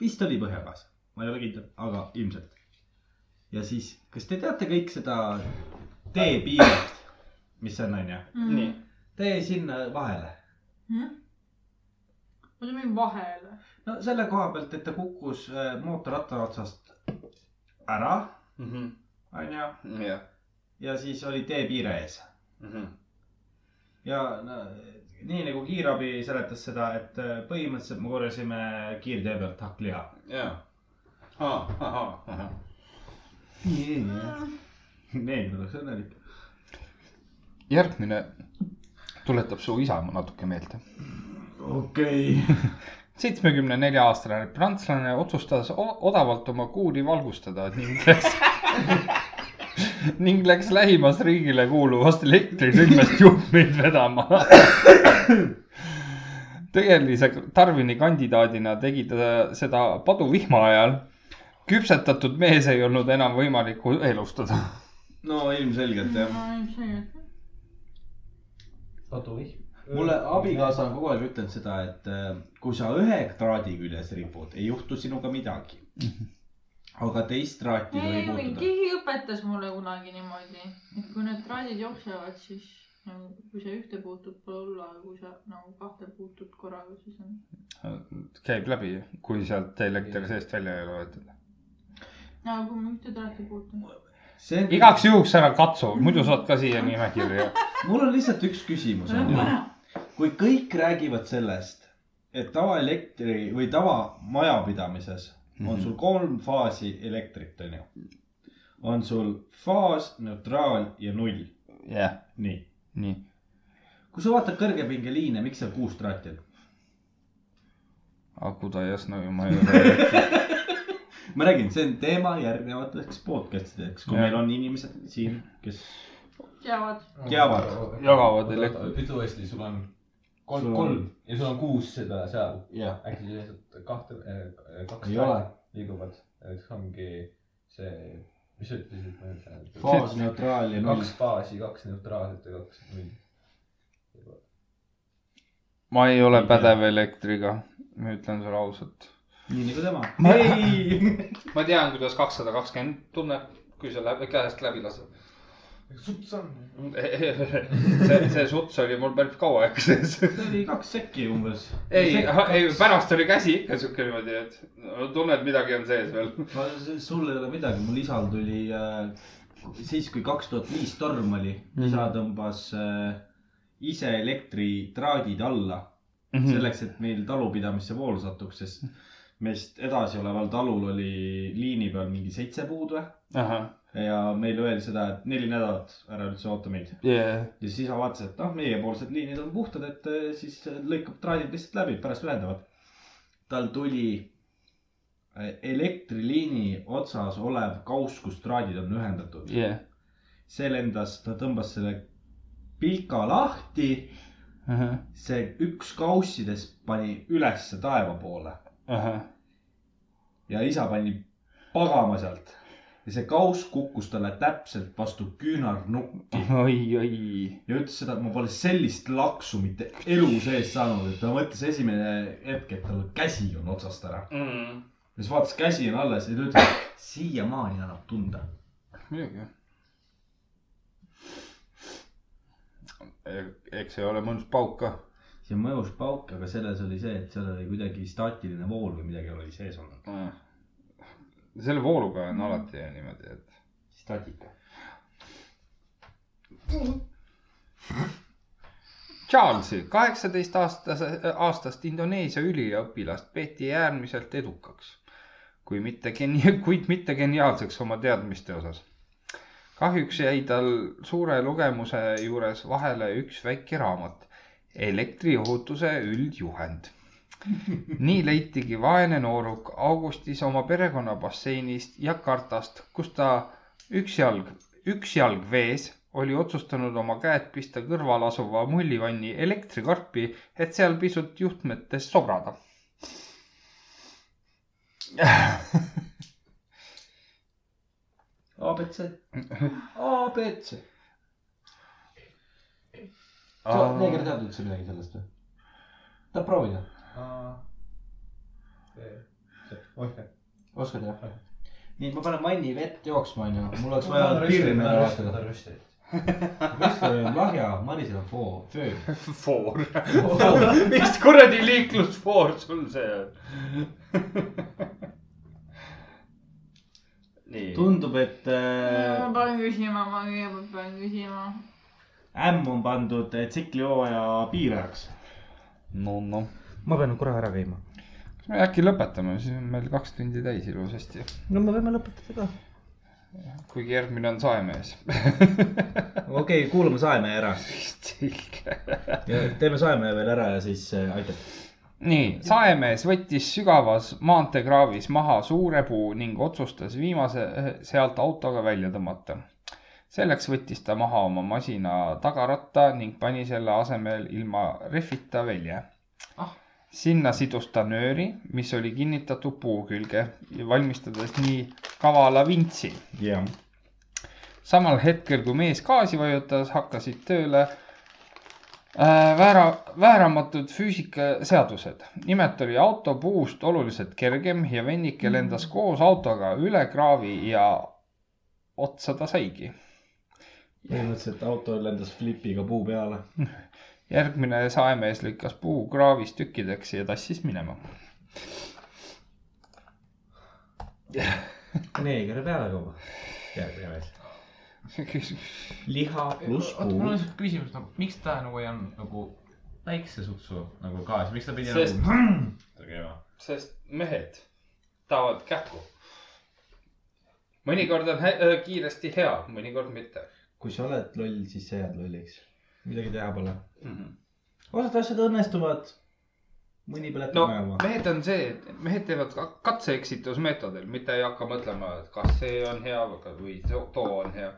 Speaker 3: vist oli põhjakas , ma ei ole kindel , aga ilmselt . ja siis , kas te teate kõik seda teepiiret , mis see on , onju ?
Speaker 16: nii .
Speaker 3: tee sinna vahele .
Speaker 16: oota , mingi vahele .
Speaker 3: no selle koha pealt , et ta kukkus äh, mootorratta otsast ära , onju . ja siis oli teepiire ees ja no, nii nagu kiirabi seletas seda , et äh, põhimõtteliselt me korjasime kiirtee pealt hakkliha .
Speaker 2: jah .
Speaker 3: Neegri oleks õnnelik .
Speaker 2: järgmine tuletab su isa natuke meelde .
Speaker 3: okei okay. .
Speaker 2: seitsmekümne nelja aastane prantslane otsustas o- odavalt oma kuuri valgustada ning läks ning läks lähimas riigile kuuluvast elektrisündmest juhtmeid vedama . tegelise Tarvini kandidaadina tegi ta seda paduvihma ajal . küpsetatud mees ei olnud enam võimalik elustada .
Speaker 3: no ilmselgelt jah .
Speaker 27: paduvihm .
Speaker 3: mulle abikaasa on kogu aeg ütelnud seda , et äh, kui sa ühe traadi küljes ripud , ei juhtu sinuga midagi . aga teist traati ei tohi puutuda .
Speaker 16: keegi õpetas mulle kunagi niimoodi , et kui need traadid jooksevad , siis nagu kui sa ühte puutud , pole hullu , aga kui sa nagu kahte puutud korraga , siis on .
Speaker 2: käib läbi , kui sealt elekter seest välja ei ole võetud .
Speaker 16: no aga kui ma ühte traati puutun .
Speaker 3: see on
Speaker 2: igaks juhuks ära katsu , muidu saad ka siia nimekirja .
Speaker 3: mul on lihtsalt üks küsimus . kui kõik räägivad sellest , et tavaelektri või tavamajapidamises on sul kolm faasi elektrit , onju . on sul faas , neutraal ja null .
Speaker 2: jah ,
Speaker 3: nii .
Speaker 2: nii .
Speaker 3: kui sa vaatad kõrgepingeliine , miks seal kuus traati on ?
Speaker 2: aku ta jasno ju ma ei ole .
Speaker 3: ma räägin , see on teema järgnevateks podcast ideks , kui
Speaker 2: Jah.
Speaker 3: meil on inimesed siin , kes
Speaker 16: teavad .
Speaker 3: teavad .
Speaker 2: jagavad elektri- .
Speaker 27: ütle uuesti , sul on kolm ,
Speaker 3: Sul on-
Speaker 27: kolm ja sul on kuus seda seal .
Speaker 3: jah ,
Speaker 27: äkki sa lihtsalt kahte , kaks
Speaker 3: Ei ole.
Speaker 27: liiguvad , et ongi see , mis sa ütlesid , ma ei mäleta .
Speaker 3: faas , neutraal ja null
Speaker 27: kaks . baasi , kaks neutraalset ja kaks null .
Speaker 2: ma ei ole pädev elektriga , ma ütlen sulle ausalt .
Speaker 3: nii nagu tema .
Speaker 2: Ma-
Speaker 3: ei ,
Speaker 1: ma tean , kuidas kakssada kakskümmend tunneb , kui sa läbi , käest läbi lased .
Speaker 27: suts on .
Speaker 1: see , see suts oli mul päris kaua aega sees .
Speaker 3: see oli kaks sekki umbes .
Speaker 1: ei , ei pärast oli käsi ikka siuke niimoodi , et no, tunned , midagi on sees veel .
Speaker 3: ma , sul ei ole midagi , mul isal tuli äh, siis , kui kaks tuhat viis torm oli mm , -hmm. isa tõmbas äh, ise elektritraadid alla mm
Speaker 2: Mhm.
Speaker 3: -hmm. selleks , et meil talupidamisse vool satuks , sest meist edasioleval talul oli liini peal mingi seitse puud või
Speaker 2: ahah ,
Speaker 3: ja meile öeldi seda , et neli nädalat ära üldse oota meid .
Speaker 2: jajah .
Speaker 3: ja siis isa vaatas , et noh , meiepoolsed liinid on puhtad , et äh, siis lõikab traadid lihtsalt läbi , pärast ühendavad . tal tuli äh, elektriliini otsas olev kauss , kus traadid on ühendatud
Speaker 2: jah ,
Speaker 3: see lendas , ta tõmbas selle pilka lahti ,
Speaker 2: ahah ,
Speaker 3: see üks kaussidest pani ülesse taeva poole
Speaker 2: ahah ,
Speaker 3: ja isa pani pagama sealt ja see kauss kukkus talle täpselt vastu küünarnukki
Speaker 2: oi , oi ,
Speaker 3: ja ütles seda , et ma pole sellist laksu mitte elu sees saanud , et ta mõtles esimene hetk , et tal käsi on otsast ära mm. . ja siis vaatas , käsi on alles ja ta ütles , siiamaani annab tunda .
Speaker 2: muidugi . Eh, eks see ole mõnus pauk ka .
Speaker 3: see mõjus pauk , aga selles oli see , et seal oli kuidagi staatiline vool või midagi oli sees olnud .
Speaker 2: Ah. selle vooluga on alati niimoodi , et .
Speaker 3: statika .
Speaker 2: Charlesi , kaheksateist aastase , aastast Indoneesia üliõpilast peeti äärmiselt edukaks , kui mitte geni- , kuid mitte geniaalseks oma teadmiste osas . kahjuks jäi tal suure lugemuse juures vahele üks väike raamat, elektriohutuse üldjuhend. nii leitigi vaene nooruk augustis oma perekonna basseinist Jakartast, kus ta üksjalg, üksjalg vees oli otsustanud oma käed pista kõrval asuva mullivanni elektrikarpi, et seal pisut juhtmetes sobrada
Speaker 27: abc, abc.
Speaker 3: neeger teab üldse midagi sellest või ? tahad proovida ? oskad jah ? nii , ma panen vanni vett jooksma , onju . mul oleks vaja pirni ära vahetada . Kristo on lahja , Marisel on foo- , föö .
Speaker 1: foor . mis kuradi liiklusfoor sul see on ? nii .
Speaker 3: tundub , et
Speaker 16: ma
Speaker 3: äh,
Speaker 16: pean küsima , ma kõigepealt pean küsima .
Speaker 3: ämm on pandud eh, tsiklihooaja piirajaks .
Speaker 2: no , noh .
Speaker 3: ma pean korra ära käima .
Speaker 2: kas me äkki lõpetame , siis on meil kaks tundi täis ilusasti .
Speaker 3: no me võime lõpetada ka .
Speaker 2: kuigi järgmine on Saemees .
Speaker 3: okei , kuulame Saemäe ära .
Speaker 2: selge .
Speaker 3: teeme Saemäe veel ära ja siis eh, aitab .
Speaker 2: nii , saemees võttis sügavas maanteekraavis maha suure puu ning otsustas viimase eh, sealt autoga välja tõmmata . selleks võttis ta maha oma masina tagaratta ning pani selle asemel ilma rehvita välja . sinna sidus ta nööri , mis oli kinnitatud puu külge , valmistades nii kavala vintsi
Speaker 3: jah .
Speaker 2: samal hetkel , kui mees gaasi vajutas , hakkasid tööle äh, väära , vääramatud füüsikaseadused . nimelt oli auto puust oluliselt kergem ja
Speaker 3: Mm.
Speaker 2: vennike lendas koos autoga üle kraavi ja otsa ta saigi .
Speaker 3: põhimõtteliselt auto lendas flipiga puu peale .
Speaker 2: järgmine saemees lükkas puu kraavis tükkideks ja tassis minema .
Speaker 3: neegri peale kaua ? järgmine mees . liha pluss
Speaker 4: oota , mul
Speaker 3: puu
Speaker 4: on . lihtsalt küsimus , no miks ta nagu ei olnud nagu väikse sutsu nagu gaasi , miks ta pidi
Speaker 1: Sest-
Speaker 4: nagu vrrrm tegema ?
Speaker 1: sest mehed tahavad kähku . mõnikord on hä- äh, kiiresti hea , mõnikord mitte .
Speaker 3: kui sa oled loll , siis sa jääd lolliks . midagi teha pole . osad asjad õnnestuvad . mõni põletab
Speaker 1: no
Speaker 3: minema .
Speaker 1: mehed on see , et mehed teevad ka- katse-eksitusmeetodil , mitte ei hakka mõtlema , et kas see on hea või ka- või too too on hea .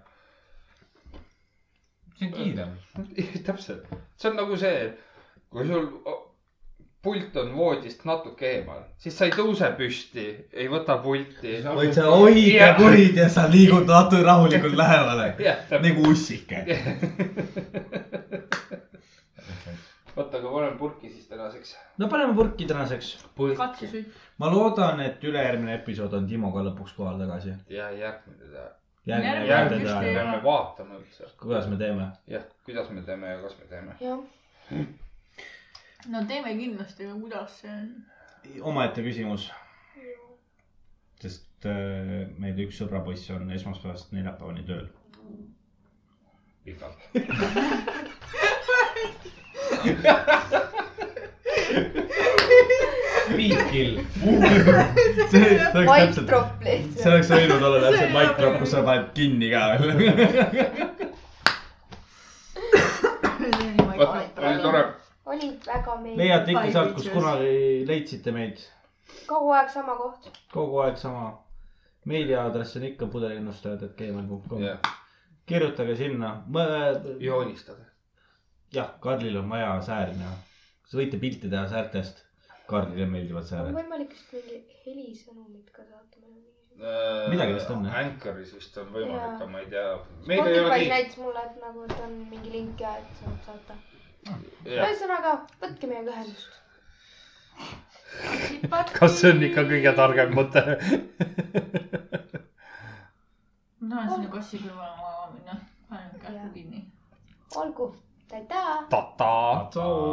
Speaker 4: see on kiirem .
Speaker 1: täpselt , see on nagu see , et kui sul o- pult on voodist natuke eemal , siis sa ei tõuse püsti , ei võta pulti .
Speaker 9: vaid sa hoid ja kurid ja sa liigud natu rahulikult lähemale .
Speaker 1: Jah, täpselt.
Speaker 9: nagu ussike .
Speaker 1: oota , aga ma olen purki siis tänaseks .
Speaker 3: no paneme purki tänaseks .
Speaker 16: katsesütt .
Speaker 3: ma loodan , et ülejärgmine episood on Timo ka lõpuks kohal tagasi .
Speaker 1: ja järgmine teha .
Speaker 3: järgmine kord
Speaker 1: järgmist
Speaker 16: teeme.
Speaker 3: teda ,
Speaker 1: peame vaatama üldse ,
Speaker 3: kuidas me teeme .
Speaker 1: jah , kuidas me teeme ja kas me teeme .
Speaker 5: jah ,
Speaker 16: no teeme kindlasti , aga kuidas see on ?
Speaker 3: omaette küsimus . sest äh, meil üks sõbrapoiss on esmaspäevast neljapäevani tööl .
Speaker 1: pikalt .
Speaker 3: viikil .
Speaker 9: see
Speaker 5: mic drop
Speaker 9: see
Speaker 5: lihtsalt .
Speaker 9: oleks võinud olla täpselt mic drop , kus sa paned kinni ka veel .
Speaker 1: oli tore .
Speaker 5: oli väga meeldiv .
Speaker 3: leiate ikka sealt , kus kunagi leidsite meid .
Speaker 5: kogu aeg sama koht .
Speaker 3: kogu aeg sama . meiliaadress on ikka pudelinnustajad.gmail.com
Speaker 1: Jah. .
Speaker 3: kirjutage sinna .
Speaker 1: joonistada .
Speaker 3: jah , Karlil on vaja sääri näha . kas võite pilti teha säärtest ? Karlile meeldivad
Speaker 5: on
Speaker 3: sääred .
Speaker 5: võimalik vist mingi helisõnumit ka saata meile .
Speaker 3: Midagi vist on, jah.
Speaker 1: jah ? Äh, Anchoris vist on
Speaker 5: Jaa.
Speaker 1: võimalik , aga ma ei tea . meil ei ole
Speaker 5: Spotify's
Speaker 1: nii .
Speaker 5: näitas mulle , et nagu , et on mingi link ja et saab saata .
Speaker 1: jah ,
Speaker 5: ühesõnaga , võtke meiega ühendust .
Speaker 2: kas see on ikka kõige targem mõte ?
Speaker 16: ma tahan sinna kassi kõrvale magama minna , panen kähku kinni .
Speaker 5: olgu , aitäh .
Speaker 2: ta-ta .
Speaker 3: tšau .